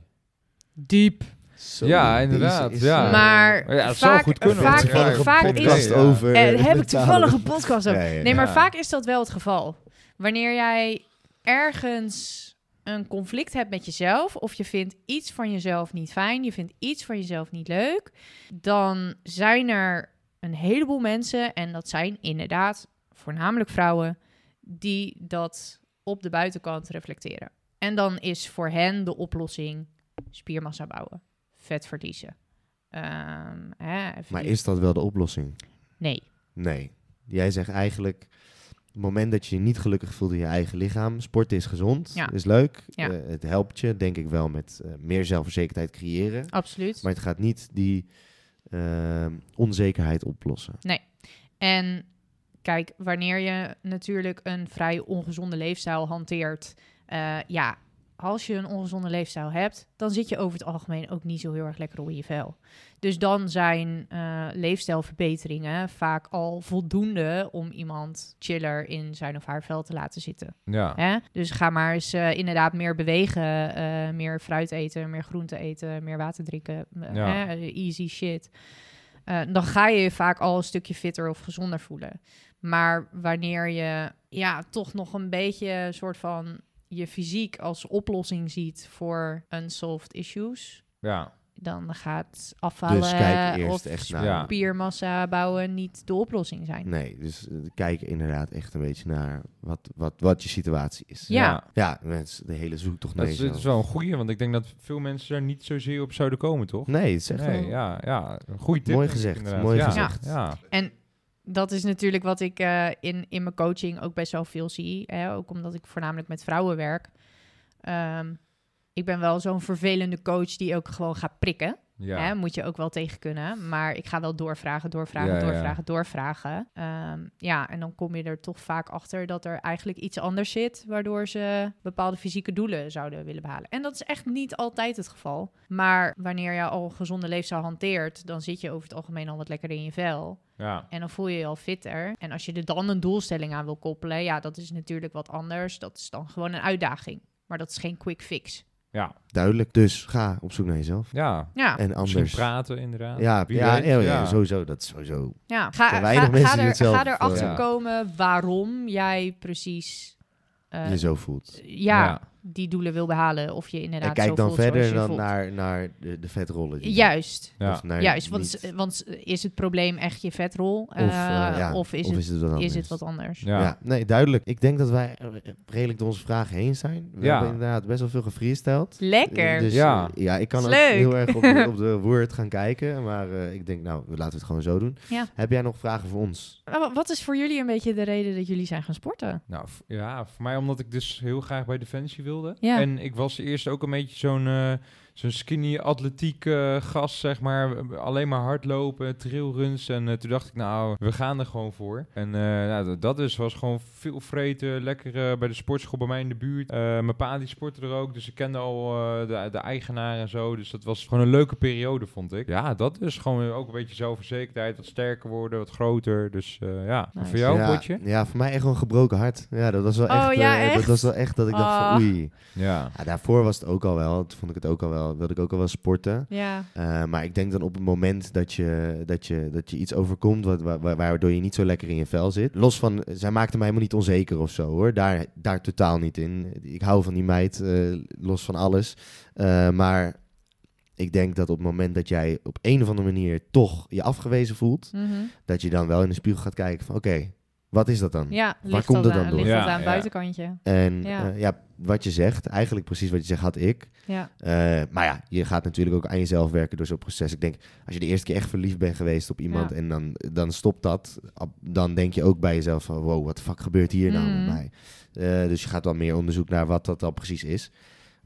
Speaker 4: Diep.
Speaker 1: Zo,
Speaker 3: Ja,
Speaker 1: deze
Speaker 3: inderdaad,
Speaker 1: is,
Speaker 3: ja.
Speaker 1: eh,
Speaker 4: Maar
Speaker 3: Maar Ah, ja, het zou
Speaker 4: vaak,
Speaker 3: goed kunnen,
Speaker 4: vaak,
Speaker 3: want het is
Speaker 4: vaak,
Speaker 1: toevallige
Speaker 3: vaak
Speaker 1: podcast
Speaker 4: is...
Speaker 3: Ja, ja.
Speaker 1: over.
Speaker 4: eh,
Speaker 1: eh,
Speaker 4: heb ik
Speaker 1: mentale-
Speaker 4: toevallig een podcast over.
Speaker 1: Ja, ja, ja.
Speaker 4: Nee, maar
Speaker 3: Ja.
Speaker 4: vaak is dat wel het geval. Wanneer jij ergens een conflict hebt met jezelf, of je vindt iets van jezelf niet fijn, je vindt iets van jezelf niet leuk, dan zijn er een heleboel mensen, en dat zijn inderdaad voornamelijk vrouwen, die dat op de buitenkant reflecteren. En dan is voor hen de oplossing spiermassa bouwen, vet verliezen. Ehm, hè, even
Speaker 1: Maar
Speaker 4: die-
Speaker 1: is dat wel de oplossing?
Speaker 4: Nee.
Speaker 1: Nee. Jij zegt eigenlijk, het moment dat je je niet gelukkig voelt in je eigen lichaam, sporten is gezond,
Speaker 4: Ja.
Speaker 1: is leuk.
Speaker 4: Ja.
Speaker 1: eh, het helpt je, denk ik wel, met eh, meer zelfverzekerdheid creëren.
Speaker 4: Absoluut.
Speaker 1: Maar het gaat niet die ehm, onzekerheid oplossen.
Speaker 4: En kijk, wanneer je natuurlijk een vrij ongezonde leefstijl hanteert, eh, ja, als je een ongezonde leefstijl hebt, dan zit je over het algemeen ook niet zo heel erg lekker op je vel. Dus dan zijn eh, leefstijlverbeteringen vaak al voldoende om iemand chiller in zijn of haar vel te laten zitten.
Speaker 3: Ja.
Speaker 4: Hè? Dus ga maar eens eh, inderdaad meer bewegen, eh, meer fruit eten, meer groente eten, meer water drinken. eh,
Speaker 3: Ja.
Speaker 4: hè, Easy shit. Eh, dan ga je je vaak al een stukje fitter of gezonder voelen. Maar wanneer je ja, toch nog een beetje een soort van je fysiek als oplossing ziet voor unsolved issues,
Speaker 3: Ja.
Speaker 4: dan gaat afvallen
Speaker 1: dus kijk eerst
Speaker 4: of
Speaker 1: echt naar.
Speaker 3: Ja.
Speaker 4: spiermassa bouwen niet de oplossing zijn.
Speaker 1: Nee, dus eh, kijk inderdaad echt een beetje naar wat, wat, wat je situatie is.
Speaker 4: Ja.
Speaker 1: Ja, mensen, de hele zoektocht
Speaker 3: Dat
Speaker 1: naar
Speaker 3: is, dat is
Speaker 1: jezelf.
Speaker 3: wel een goeie, want ik denk dat veel mensen daar niet zozeer op zouden komen, toch?
Speaker 1: Nee, het is echt
Speaker 3: nee,
Speaker 1: wel-
Speaker 3: ja, ja. Een goede tip.
Speaker 1: nou. Mooi
Speaker 3: denk ik
Speaker 1: gezegd,
Speaker 3: inderdaad.
Speaker 1: mooi
Speaker 3: ja.
Speaker 1: gezegd.
Speaker 3: Ja.
Speaker 4: dat is natuurlijk wat ik eh, in, in mijn coaching ook best wel veel zie. Hè? Ook omdat ik voornamelijk met vrouwen werk. Ehm, ik ben wel zo'n vervelende coach die ook gewoon gaat prikken.
Speaker 3: Ja.
Speaker 4: Hè? Moet je ook wel tegen kunnen. Maar ik ga wel doorvragen, doorvragen,
Speaker 3: Ja, ja.
Speaker 4: doorvragen, doorvragen. Ehm, ja, en dan kom je er toch vaak achter dat er eigenlijk iets anders zit... waardoor ze bepaalde fysieke doelen zouden willen behalen. En dat is echt niet altijd het geval. Maar wanneer je al een gezonde leefstijl hanteert... dan zit je over het algemeen al wat lekker in je vel...
Speaker 3: Ja.
Speaker 4: En dan voel je je al fitter. En als je er dan een doelstelling aan wil koppelen, ja, dat is natuurlijk wat anders. Dat is dan gewoon een uitdaging. Maar dat is geen quick fix.
Speaker 3: Ja.
Speaker 1: Duidelijk. Dus ga op zoek naar jezelf.
Speaker 3: Ja.
Speaker 4: Ja,
Speaker 1: En
Speaker 3: Misschien
Speaker 1: anders.
Speaker 3: praten, inderdaad.
Speaker 1: Ja,
Speaker 3: Wie
Speaker 1: ja,
Speaker 3: weet,
Speaker 1: ja, ja, sowieso. Dat is sowieso
Speaker 4: ja. Ga,
Speaker 1: Te
Speaker 4: ga,
Speaker 1: weinig mensen
Speaker 4: ga,
Speaker 1: doen
Speaker 4: er,
Speaker 1: het zelf. eh,
Speaker 4: ga erachter
Speaker 3: Ja.
Speaker 4: komen waarom jij precies eh,
Speaker 1: je zo voelt.
Speaker 4: ja,
Speaker 3: Ja.
Speaker 4: die doelen wil behalen. Of je inderdaad
Speaker 1: En kijk
Speaker 4: zo
Speaker 1: dan
Speaker 4: voelt zoals
Speaker 1: verder
Speaker 4: je
Speaker 1: dan
Speaker 4: voelt. Eh,
Speaker 1: naar, naar de, de vetrollen. die-
Speaker 4: Juist.
Speaker 3: Ja.
Speaker 1: Of naar
Speaker 4: Juist,
Speaker 1: niet-
Speaker 4: want, eh,
Speaker 1: of,
Speaker 4: want is het probleem echt je vetrol?
Speaker 1: eh,
Speaker 4: Eh,
Speaker 1: ja,
Speaker 4: of is, het,
Speaker 1: het wat
Speaker 4: is
Speaker 1: anders?
Speaker 4: het wat anders?
Speaker 1: Ja.
Speaker 3: Ja.
Speaker 1: nee, duidelijk. Ik denk dat wij eh, redelijk door onze vragen heen zijn. We
Speaker 3: Ja.
Speaker 1: hebben inderdaad best wel veel gefreesteld.
Speaker 4: Lekker.
Speaker 1: Dus,
Speaker 3: Ja.
Speaker 1: eh, ja, ik kan
Speaker 4: Is
Speaker 1: ook
Speaker 4: leuk.
Speaker 1: heel erg op de, op de Word gaan kijken. Maar eh, ik denk, nou, laten we het gewoon zo doen.
Speaker 4: Ja.
Speaker 1: Heb jij nog vragen voor ons?
Speaker 4: Maar Eh, wa- Wat is voor jullie een beetje de reden dat jullie zijn gaan sporten?
Speaker 3: Nou, v- ja, voor mij omdat ik dus heel graag bij Defensie wilde.
Speaker 4: Ja.
Speaker 3: En ik was eerst ook een beetje zo'n eh, zo'n skinny atletiek eh gast, zeg maar. Alleen maar hardlopen, trailruns. En eh, toen dacht ik, nou, we gaan er gewoon voor. En eh, nou, d- dat dus was gewoon veel vreten, lekker eh, bij de sportschool bij mij in de buurt. Eh, mijn pa die sportte er ook, dus ik kende al eh, de, de eigenaar en zo. Dus dat was gewoon een leuke periode, vond ik. Ja, dat is gewoon ook een beetje zelfverzekerdheid. Wat sterker worden, wat groter. Dus eh, ja, En
Speaker 4: Nice.
Speaker 3: voor jou,
Speaker 1: ja,
Speaker 3: Potje?
Speaker 1: Ja, voor mij echt wel een gebroken hart. Ja, dat was wel
Speaker 4: Oh,
Speaker 1: echt,
Speaker 4: ja,
Speaker 1: eh, Dat
Speaker 4: echt?
Speaker 1: was wel echt dat ik dacht
Speaker 4: Ah.
Speaker 1: van oei.
Speaker 3: Ja.
Speaker 1: Ja, daarvoor was het ook al wel. Toen vond ik het ook al wel. Wilde ik ook al wel sporten.
Speaker 4: Ja,
Speaker 1: Eh, maar ik denk dan op het moment dat je, dat je, dat je iets overkomt wat, wa- wa- waardoor je niet zo lekker in je vel zit. Los van, eh, zij maakte mij helemaal niet onzeker of zo hoor. Daar, daar totaal niet in. Ik hou van die meid, eh, los van alles. Eh, maar ik denk dat op het moment dat jij op een of andere manier toch je afgewezen voelt,
Speaker 4: Mhm.
Speaker 1: dat je dan wel in de spiegel gaat kijken van oké, wat is dat dan?
Speaker 4: ja ligt
Speaker 1: komt
Speaker 4: dat
Speaker 1: het
Speaker 4: aan,
Speaker 1: dan door?
Speaker 4: ligt dat
Speaker 3: Ja,
Speaker 4: aan
Speaker 3: ja.
Speaker 4: buitenkantje.
Speaker 1: En
Speaker 4: Ja.
Speaker 1: eh, ja, wat je zegt, eigenlijk precies wat je zegt had ik.
Speaker 4: Ja.
Speaker 1: Eh, maar ja, je gaat natuurlijk ook aan jezelf werken door zo'n proces. Ik denk, als je de eerste keer echt verliefd bent geweest op iemand
Speaker 4: Ja.
Speaker 1: en dan, dan stopt dat, ab- dan denk je ook bij jezelf van, wow, wat de fuck gebeurt hier nou
Speaker 4: Mm.
Speaker 1: met mij? Eh, dus je gaat wel meer onderzoek naar wat dat dan precies is.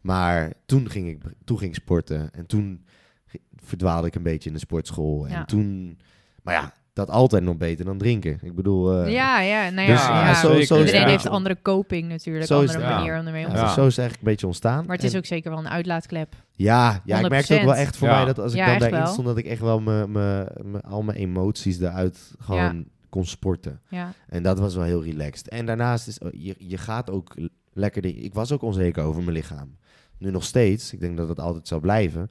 Speaker 1: Maar toen ging ik, toen ging ik sporten en toen ge- verdwaalde ik een beetje in de sportschool. En
Speaker 4: Ja.
Speaker 1: toen, maar ja, dat altijd nog beter dan drinken. Ik bedoel, eh,
Speaker 4: ja, ja, nou ja.
Speaker 1: dus,
Speaker 4: ja.
Speaker 1: ja, zo- zo is het
Speaker 4: Iedereen
Speaker 1: eigenlijk-
Speaker 4: heeft een andere coping natuurlijk,
Speaker 1: Zo is
Speaker 4: andere
Speaker 3: het. Ja.
Speaker 4: manier om ermee om
Speaker 1: ja,
Speaker 4: te
Speaker 3: Ja.
Speaker 1: zo is het eigenlijk een beetje ontstaan.
Speaker 4: Maar het is
Speaker 1: En-
Speaker 4: ook zeker wel een uitlaatklep.
Speaker 1: Ja, ja ik merkte ook wel
Speaker 4: 100%.
Speaker 1: echt voor
Speaker 3: Ja.
Speaker 1: mij dat als ik
Speaker 4: Ja,
Speaker 1: dan
Speaker 4: echt
Speaker 1: daarin
Speaker 4: wel.
Speaker 1: stond, dat ik echt wel me, me, me- al mijn emoties eruit gewoon kon sporten.
Speaker 4: Ja.
Speaker 1: En dat was wel heel relaxed. En daarnaast is oh, je, je gaat ook l- lekker. dingen- Ik was ook onzeker over mijn lichaam. Nu nog steeds. Ik denk dat dat altijd zal blijven.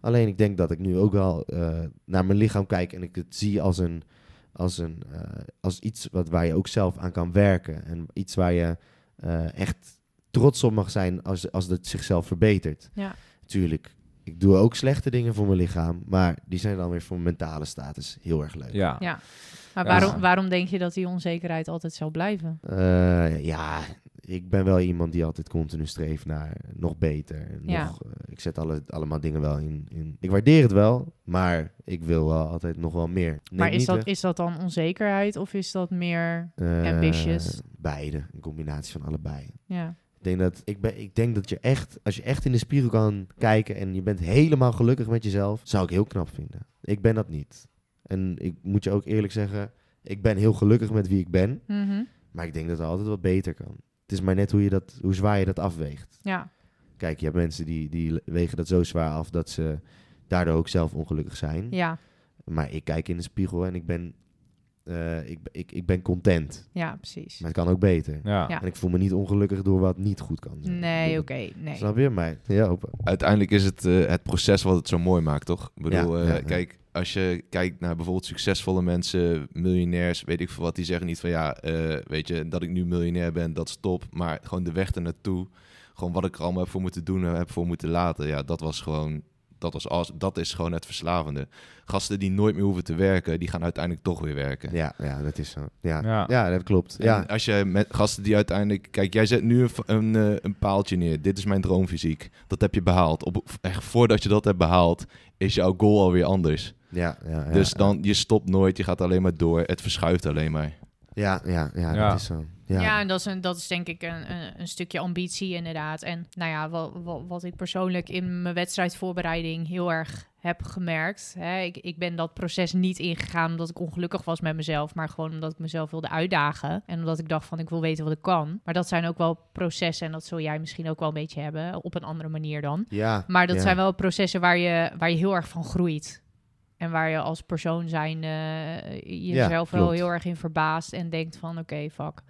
Speaker 1: Alleen ik denk dat ik nu ook wel eh, naar mijn lichaam kijk en ik het zie als een. Als, een, eh, als iets wat, waar je ook zelf aan kan werken. En iets waar je eh, echt trots op mag zijn als, als het zichzelf verbetert.
Speaker 4: Ja.
Speaker 1: Tuurlijk, ik doe ook slechte dingen voor mijn lichaam. Maar die zijn dan weer voor mijn mentale status heel erg leuk.
Speaker 3: Ja.
Speaker 4: Ja. Maar
Speaker 3: Ja.
Speaker 4: waarom, waarom denk je dat die onzekerheid altijd zal blijven?
Speaker 1: Eh, ja, ik ben wel iemand die altijd continu streeft naar nog beter.
Speaker 4: Ja.
Speaker 1: Nog, eh, ik zet alle, allemaal dingen wel in, in. Ik waardeer het wel, maar ik wil wel altijd nog wel meer. Neem
Speaker 4: maar is
Speaker 1: niet
Speaker 4: dat,
Speaker 1: weg-
Speaker 4: is dat dan onzekerheid of is dat meer...
Speaker 1: Eh,
Speaker 4: ambitious?
Speaker 1: Beide, een combinatie van allebei.
Speaker 4: Ja,
Speaker 1: Ik denk, dat, ik, ben, ik denk dat je echt, als je echt in de spiegel kan kijken en je bent helemaal gelukkig met jezelf, zou ik heel knap vinden. Ik ben dat niet. En ik moet je ook eerlijk zeggen, ik ben heel gelukkig met wie ik ben.
Speaker 4: Mhm.
Speaker 1: Maar ik denk dat het altijd wat beter kan. Het is maar net hoe, je dat, hoe zwaar je dat afweegt.
Speaker 4: ja.
Speaker 1: Kijk, je hebt mensen die, die wegen dat zo zwaar af dat ze daardoor ook zelf ongelukkig zijn.
Speaker 4: ja,
Speaker 1: Maar ik kijk in de spiegel en ik ben, eh, ik, ik, ik ben content.
Speaker 4: ja, precies.
Speaker 1: Maar het kan ook beter.
Speaker 3: Ja.
Speaker 4: Ja.
Speaker 1: En ik voel me niet ongelukkig door wat niet goed kan.
Speaker 4: Nee, oké,
Speaker 1: Dat-
Speaker 4: nee.
Speaker 1: Snap je? Maar ja, hoppa.
Speaker 2: uiteindelijk is het eh, het proces wat het zo mooi maakt, toch? Ik bedoel,
Speaker 1: Ja,
Speaker 2: eh,
Speaker 1: ja, ja.
Speaker 2: kijk, als je kijkt naar bijvoorbeeld succesvolle mensen, miljonairs, weet ik veel wat, die zeggen niet van ja, eh, weet je, dat ik nu miljonair ben, dat is top. Maar gewoon de weg ernaartoe, gewoon wat ik er allemaal heb voor moeten doen en heb voor moeten laten, ja, dat was gewoon, dat, was als, dat is gewoon het verslavende. Gasten die nooit meer hoeven te werken, die gaan uiteindelijk toch weer werken.
Speaker 1: ja, ja, dat is zo. Ja, ja.
Speaker 3: Ja.
Speaker 1: dat klopt.
Speaker 2: Ja.
Speaker 1: Ja,
Speaker 2: als je met gasten die uiteindelijk... Kijk, jij zet nu een, v- een, eh, een paaltje neer. Dit is mijn droomfysiek. Dat heb je behaald. Op, echt, voordat je dat hebt behaald, is jouw goal alweer anders.
Speaker 1: ja, ja, ja.
Speaker 2: dus dan, je stopt nooit. Je gaat alleen maar door. Het verschuift alleen maar.
Speaker 1: Ja, ja, ja,
Speaker 3: Ja.
Speaker 1: dat is zo.
Speaker 4: Ja,
Speaker 1: Ja, ja.
Speaker 4: en dat is, een, dat is denk ik een, een, een stukje ambitie inderdaad. En nou ja, wat, wat, ik persoonlijk in mijn wedstrijdvoorbereiding heel erg heb gemerkt. Hè, ik, ik ben dat proces niet ingegaan omdat ik ongelukkig was met mezelf, maar gewoon omdat ik mezelf wilde uitdagen. En omdat ik dacht van ik wil weten wat ik kan. Maar dat zijn ook wel processen en dat zul jij misschien ook wel een beetje hebben, op een andere manier dan. Maar dat
Speaker 1: ja.
Speaker 4: zijn wel processen waar je, waar je heel erg van groeit. En waar je als persoon zijn eh, jezelf wel
Speaker 1: klopt.
Speaker 4: heel erg in verbaast. En denkt van oké, fuck.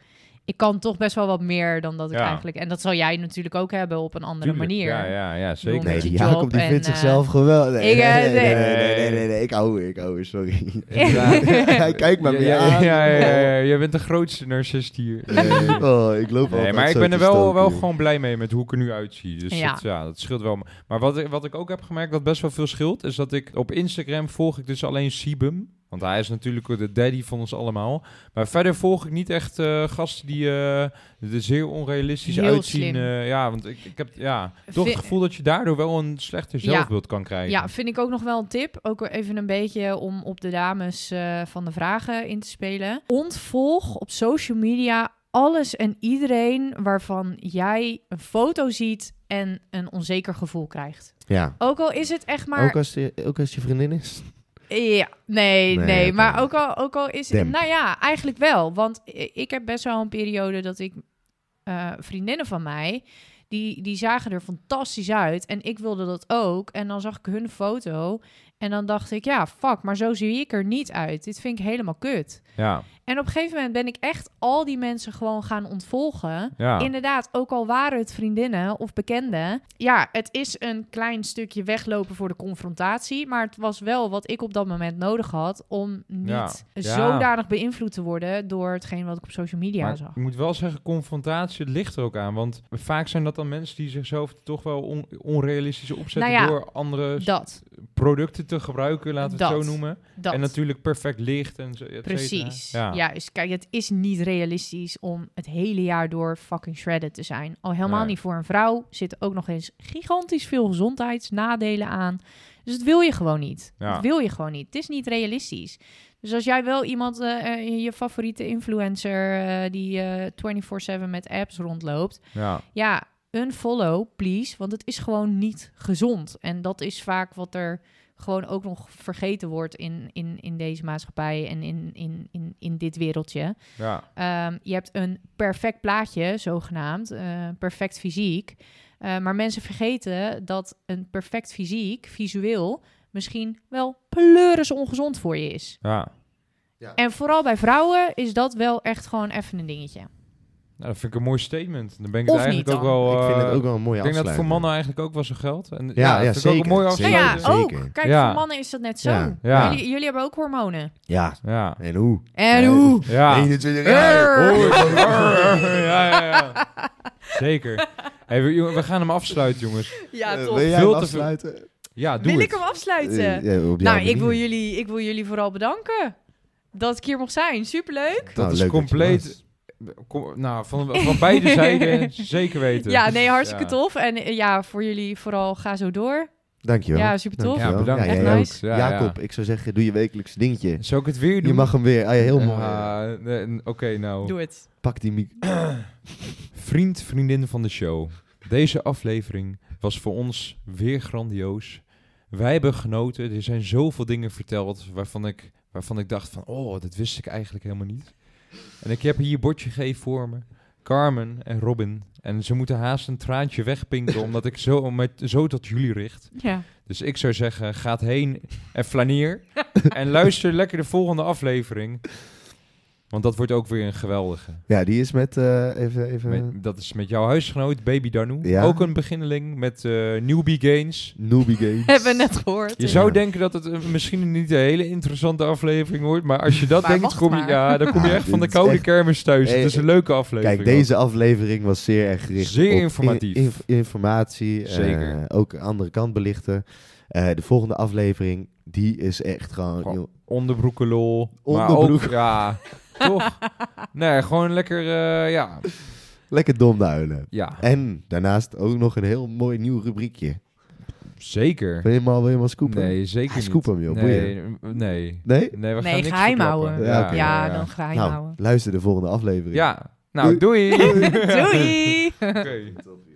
Speaker 4: Ik kan toch best wel wat meer dan dat ik
Speaker 3: Ja.
Speaker 4: eigenlijk. En dat zal jij natuurlijk ook hebben op een andere
Speaker 3: Tuurlijk.
Speaker 4: manier.
Speaker 3: Ja, ja, ja, zeker.
Speaker 1: Nee, die
Speaker 4: die job
Speaker 1: Jacob die
Speaker 4: en,
Speaker 1: vindt
Speaker 4: eh,
Speaker 1: zichzelf geweldig. Nee,
Speaker 4: ik, eh,
Speaker 1: nee, nee, nee,
Speaker 4: nee.
Speaker 1: nee, nee, nee, nee, nee, ik hou weer, ik hou weer, sorry.
Speaker 3: Inderdaad.
Speaker 1: Hij kijkt me
Speaker 3: Ja,
Speaker 1: weer
Speaker 3: ja,
Speaker 1: aan. Oh.
Speaker 3: ja, ja, ja, ja, jij bent de grootste narcist hier.
Speaker 1: Nee, oh, ik loop
Speaker 3: Nee,
Speaker 1: altijd
Speaker 3: maar ik
Speaker 1: zo
Speaker 3: ben er
Speaker 1: te
Speaker 3: wel,
Speaker 1: stoken,
Speaker 3: wel
Speaker 1: joh.
Speaker 3: gewoon blij mee met hoe ik er nu uitzie. Dus
Speaker 4: Ja.
Speaker 3: Dat, ja, dat scheelt wel. Maar wat, ik- wat ik ook heb gemerkt, wat best wel veel scheelt, is dat ik op Instagram volg ik dus alleen Sibum. Want hij is natuurlijk de daddy van ons allemaal. Maar verder volg ik niet echt eh, gasten die eh, er zeer onrealistisch
Speaker 4: Heel
Speaker 3: uitzien.
Speaker 4: slim.
Speaker 3: eh, ja, want ik, ik heb ja, toch
Speaker 4: Vi-
Speaker 3: het gevoel dat je daardoor wel een slechter
Speaker 4: Ja.
Speaker 3: zelfbeeld kan krijgen.
Speaker 4: Ja, vind ik ook nog wel een tip. Ook even een beetje om op de dames eh, van de vragen in te spelen. Ontvolg op social media alles en iedereen waarvan jij een foto ziet en een onzeker gevoel krijgt.
Speaker 1: Ja.
Speaker 4: Ook al is het echt maar
Speaker 1: Ook, als je, ook als je vriendin is?
Speaker 4: Ja, nee,
Speaker 1: Nee,
Speaker 4: nee.
Speaker 1: oké.
Speaker 4: Maar ook al, ook al is
Speaker 1: Demp.
Speaker 4: Nou ja, eigenlijk wel. Want i- ik heb best wel een periode dat ik... eh, vriendinnen van mij, die, die zagen er fantastisch uit. En ik wilde dat ook. En dan zag ik hun foto. En dan dacht ik, ja, fuck, maar zo zie ik er niet uit. Dit vind ik helemaal kut.
Speaker 3: ja.
Speaker 4: En op een gegeven moment ben ik echt al die mensen gewoon gaan ontvolgen.
Speaker 3: ja.
Speaker 4: Inderdaad, ook al waren het vriendinnen of bekenden. Ja, het is een klein stukje weglopen voor de confrontatie. Maar het was wel wat ik op dat moment nodig had. om niet
Speaker 3: Ja. Ja.
Speaker 4: zodanig beïnvloed te worden. door hetgeen wat ik op social media
Speaker 3: maar
Speaker 4: zag.
Speaker 3: ik moet wel zeggen, confrontatie het ligt er ook aan. Want vaak zijn dat dan mensen die zichzelf toch wel on- onrealistisch opzetten...
Speaker 4: Nou ja,
Speaker 3: door andere
Speaker 4: Dat,
Speaker 3: producten te gebruiken, laten we het
Speaker 4: Dat.
Speaker 3: zo noemen.
Speaker 4: dat.
Speaker 3: En natuurlijk perfect licht en zo. et cetera.
Speaker 4: Precies.
Speaker 3: Ja.
Speaker 4: Juist. Kijk, het is niet realistisch om het hele jaar door fucking shredded te zijn. Al helemaal
Speaker 3: Nee.
Speaker 4: niet voor een vrouw. Zitten ook nog eens gigantisch veel gezondheidsnadelen aan. Dus dat wil je gewoon niet.
Speaker 3: Ja.
Speaker 4: Dat wil je gewoon niet. Het is niet realistisch. Dus als jij wel iemand, eh, eh, je favoriete influencer eh, die eh 24/7 met apps rondloopt,
Speaker 3: Ja.
Speaker 4: ja, unfollow please, want het is gewoon niet gezond. En dat is vaak wat er gewoon ook nog vergeten wordt in, in, in deze maatschappij en in, in, in, in dit wereldje.
Speaker 3: Ja.
Speaker 4: Ehm, je hebt een perfect plaatje, zogenaamd, eh, perfect fysiek. Eh, maar mensen vergeten dat een perfect fysiek, visueel, misschien wel pleuris ongezond voor je is.
Speaker 3: ja.
Speaker 4: En vooral bij vrouwen is dat wel echt gewoon even een dingetje.
Speaker 3: Nou, dat vind ik een mooi statement. Dan ben ik
Speaker 4: Of
Speaker 3: het eigenlijk
Speaker 4: niet
Speaker 3: ook
Speaker 4: dan?
Speaker 3: wel...
Speaker 1: ik vind
Speaker 3: eh,
Speaker 1: het ook wel een mooie
Speaker 3: ik denk dat het voor
Speaker 1: afsluiter.
Speaker 3: mannen eigenlijk ook wel zo geldt. En, ja,
Speaker 1: ja,
Speaker 3: dat vind ik ook
Speaker 1: zeker,
Speaker 3: een mooi
Speaker 1: zeker.
Speaker 4: Nou ja,
Speaker 3: afsluiten.
Speaker 1: zeker.
Speaker 4: ook. Kijk,
Speaker 3: Ja.
Speaker 4: voor mannen is dat net zo.
Speaker 1: Ja.
Speaker 3: Ja.
Speaker 4: Jullie, jullie hebben ook hormonen.
Speaker 1: Ja,
Speaker 4: oh.
Speaker 3: Ja.
Speaker 1: en hoe?
Speaker 4: En
Speaker 1: Ja.
Speaker 4: hoe?
Speaker 3: Ja.
Speaker 1: 21 jaar.
Speaker 4: Err.
Speaker 1: Hoi.
Speaker 3: ja, ja, ja. Zeker. Hey, we, jongen, we gaan hem afsluiten, jongens.
Speaker 4: Ja,
Speaker 1: Eh,
Speaker 4: toch.
Speaker 1: wil jij
Speaker 3: Veel
Speaker 1: hem
Speaker 3: te
Speaker 1: afsluiten?
Speaker 3: Ja, doe
Speaker 4: Wil
Speaker 3: het.
Speaker 4: ik hem afsluiten?
Speaker 1: Eh, ja, op jouw
Speaker 4: nou, ik wil,
Speaker 1: manier.
Speaker 4: jullie, ik wil jullie vooral bedanken dat ik hier mocht zijn. Superleuk.
Speaker 1: Nou,
Speaker 3: Dat is
Speaker 1: leuk je
Speaker 3: compleet...
Speaker 1: was.
Speaker 3: Kom- nou, van, van beide zijden zeker weten.
Speaker 4: Ja, nee, hartstikke
Speaker 3: Ja.
Speaker 4: tof. En eh, ja, voor jullie vooral ga zo door.
Speaker 1: Dankjewel.
Speaker 4: Ja, super tof.
Speaker 1: Dankjewel.
Speaker 3: Ja, bedankt.
Speaker 1: jij
Speaker 4: Echt
Speaker 1: ook.
Speaker 4: nice.
Speaker 3: Ja, ja.
Speaker 1: Jacob, ik zou zeggen, doe je wekelijkse dingetje.
Speaker 3: Zou ik het weer doen?
Speaker 1: Je mag hem weer. Ah, ja, heel mooi.
Speaker 3: Ja, nee, n- Oké, nou.
Speaker 4: Doe het.
Speaker 1: Pak die mic.
Speaker 3: Vriend, vriendin van de show. Deze aflevering was voor ons weer grandioos. Wij hebben genoten. Er zijn zoveel dingen verteld waarvan ik, waarvan ik dacht van... Oh, dat wist ik eigenlijk helemaal niet. En ik heb hier een bordje gegeven voor me. Carmen en Robin. En ze moeten haast een traantje wegpinken... omdat ik zo, met, zo tot jullie richt.
Speaker 4: Ja.
Speaker 3: Dus ik zou zeggen, gaat heen en flaneer. en luister lekker de volgende aflevering. Want dat wordt ook weer een geweldige.
Speaker 1: Ja, die is met... eh, even... even
Speaker 3: Met- dat is met jouw huisgenoot, Baby Danu.
Speaker 1: Ja.
Speaker 3: Ook een beginneling met eh newbie gains.
Speaker 1: Noobie Games.
Speaker 4: Hebben we net gehoord.
Speaker 3: Je zou
Speaker 1: Ja.
Speaker 3: denken dat het een- misschien niet een hele interessante aflevering wordt. Maar als je dat
Speaker 4: Maar
Speaker 3: denkt,
Speaker 4: wacht
Speaker 3: kom je,
Speaker 4: maar.
Speaker 3: ja, dan kom je
Speaker 1: Ja,
Speaker 3: echt van de
Speaker 1: dit is
Speaker 3: koude
Speaker 1: echt-
Speaker 3: kermis thuis.
Speaker 1: Hey,
Speaker 3: het is een leuke aflevering.
Speaker 1: Kijk, deze aflevering was zeer erg gericht
Speaker 3: Zeer
Speaker 1: op in-
Speaker 3: informatief.
Speaker 1: inf- informatie. eh,
Speaker 3: Zeker.
Speaker 1: ook een andere kant belichten. Eh, de volgende aflevering, die is echt gewoon...
Speaker 3: Gewoon-
Speaker 1: joh,
Speaker 3: Onderbroeken lol. Maar ook,
Speaker 1: Onderbroek.
Speaker 3: ja, toch? Nee, gewoon lekker, eh, ja.
Speaker 1: lekker dom duilen.
Speaker 3: Ja,
Speaker 1: En daarnaast ook nog een heel mooi nieuw rubriekje.
Speaker 3: zeker.
Speaker 1: Wil je hem al, wil je hem al scoopen?
Speaker 3: Nee, zeker
Speaker 1: Ah,
Speaker 3: niet.
Speaker 1: scoop hem, joh,
Speaker 3: Nee, nee.
Speaker 1: Nee?
Speaker 3: Nee, we gaan
Speaker 4: Nee,
Speaker 3: niks
Speaker 4: geheim
Speaker 3: verklappen.
Speaker 4: houden.
Speaker 1: Ja, oké.
Speaker 4: Ja, dan geheim
Speaker 1: nou,
Speaker 4: houden.
Speaker 1: luister de volgende aflevering.
Speaker 3: Ja, nou, doei.
Speaker 4: Doei!
Speaker 3: Oké.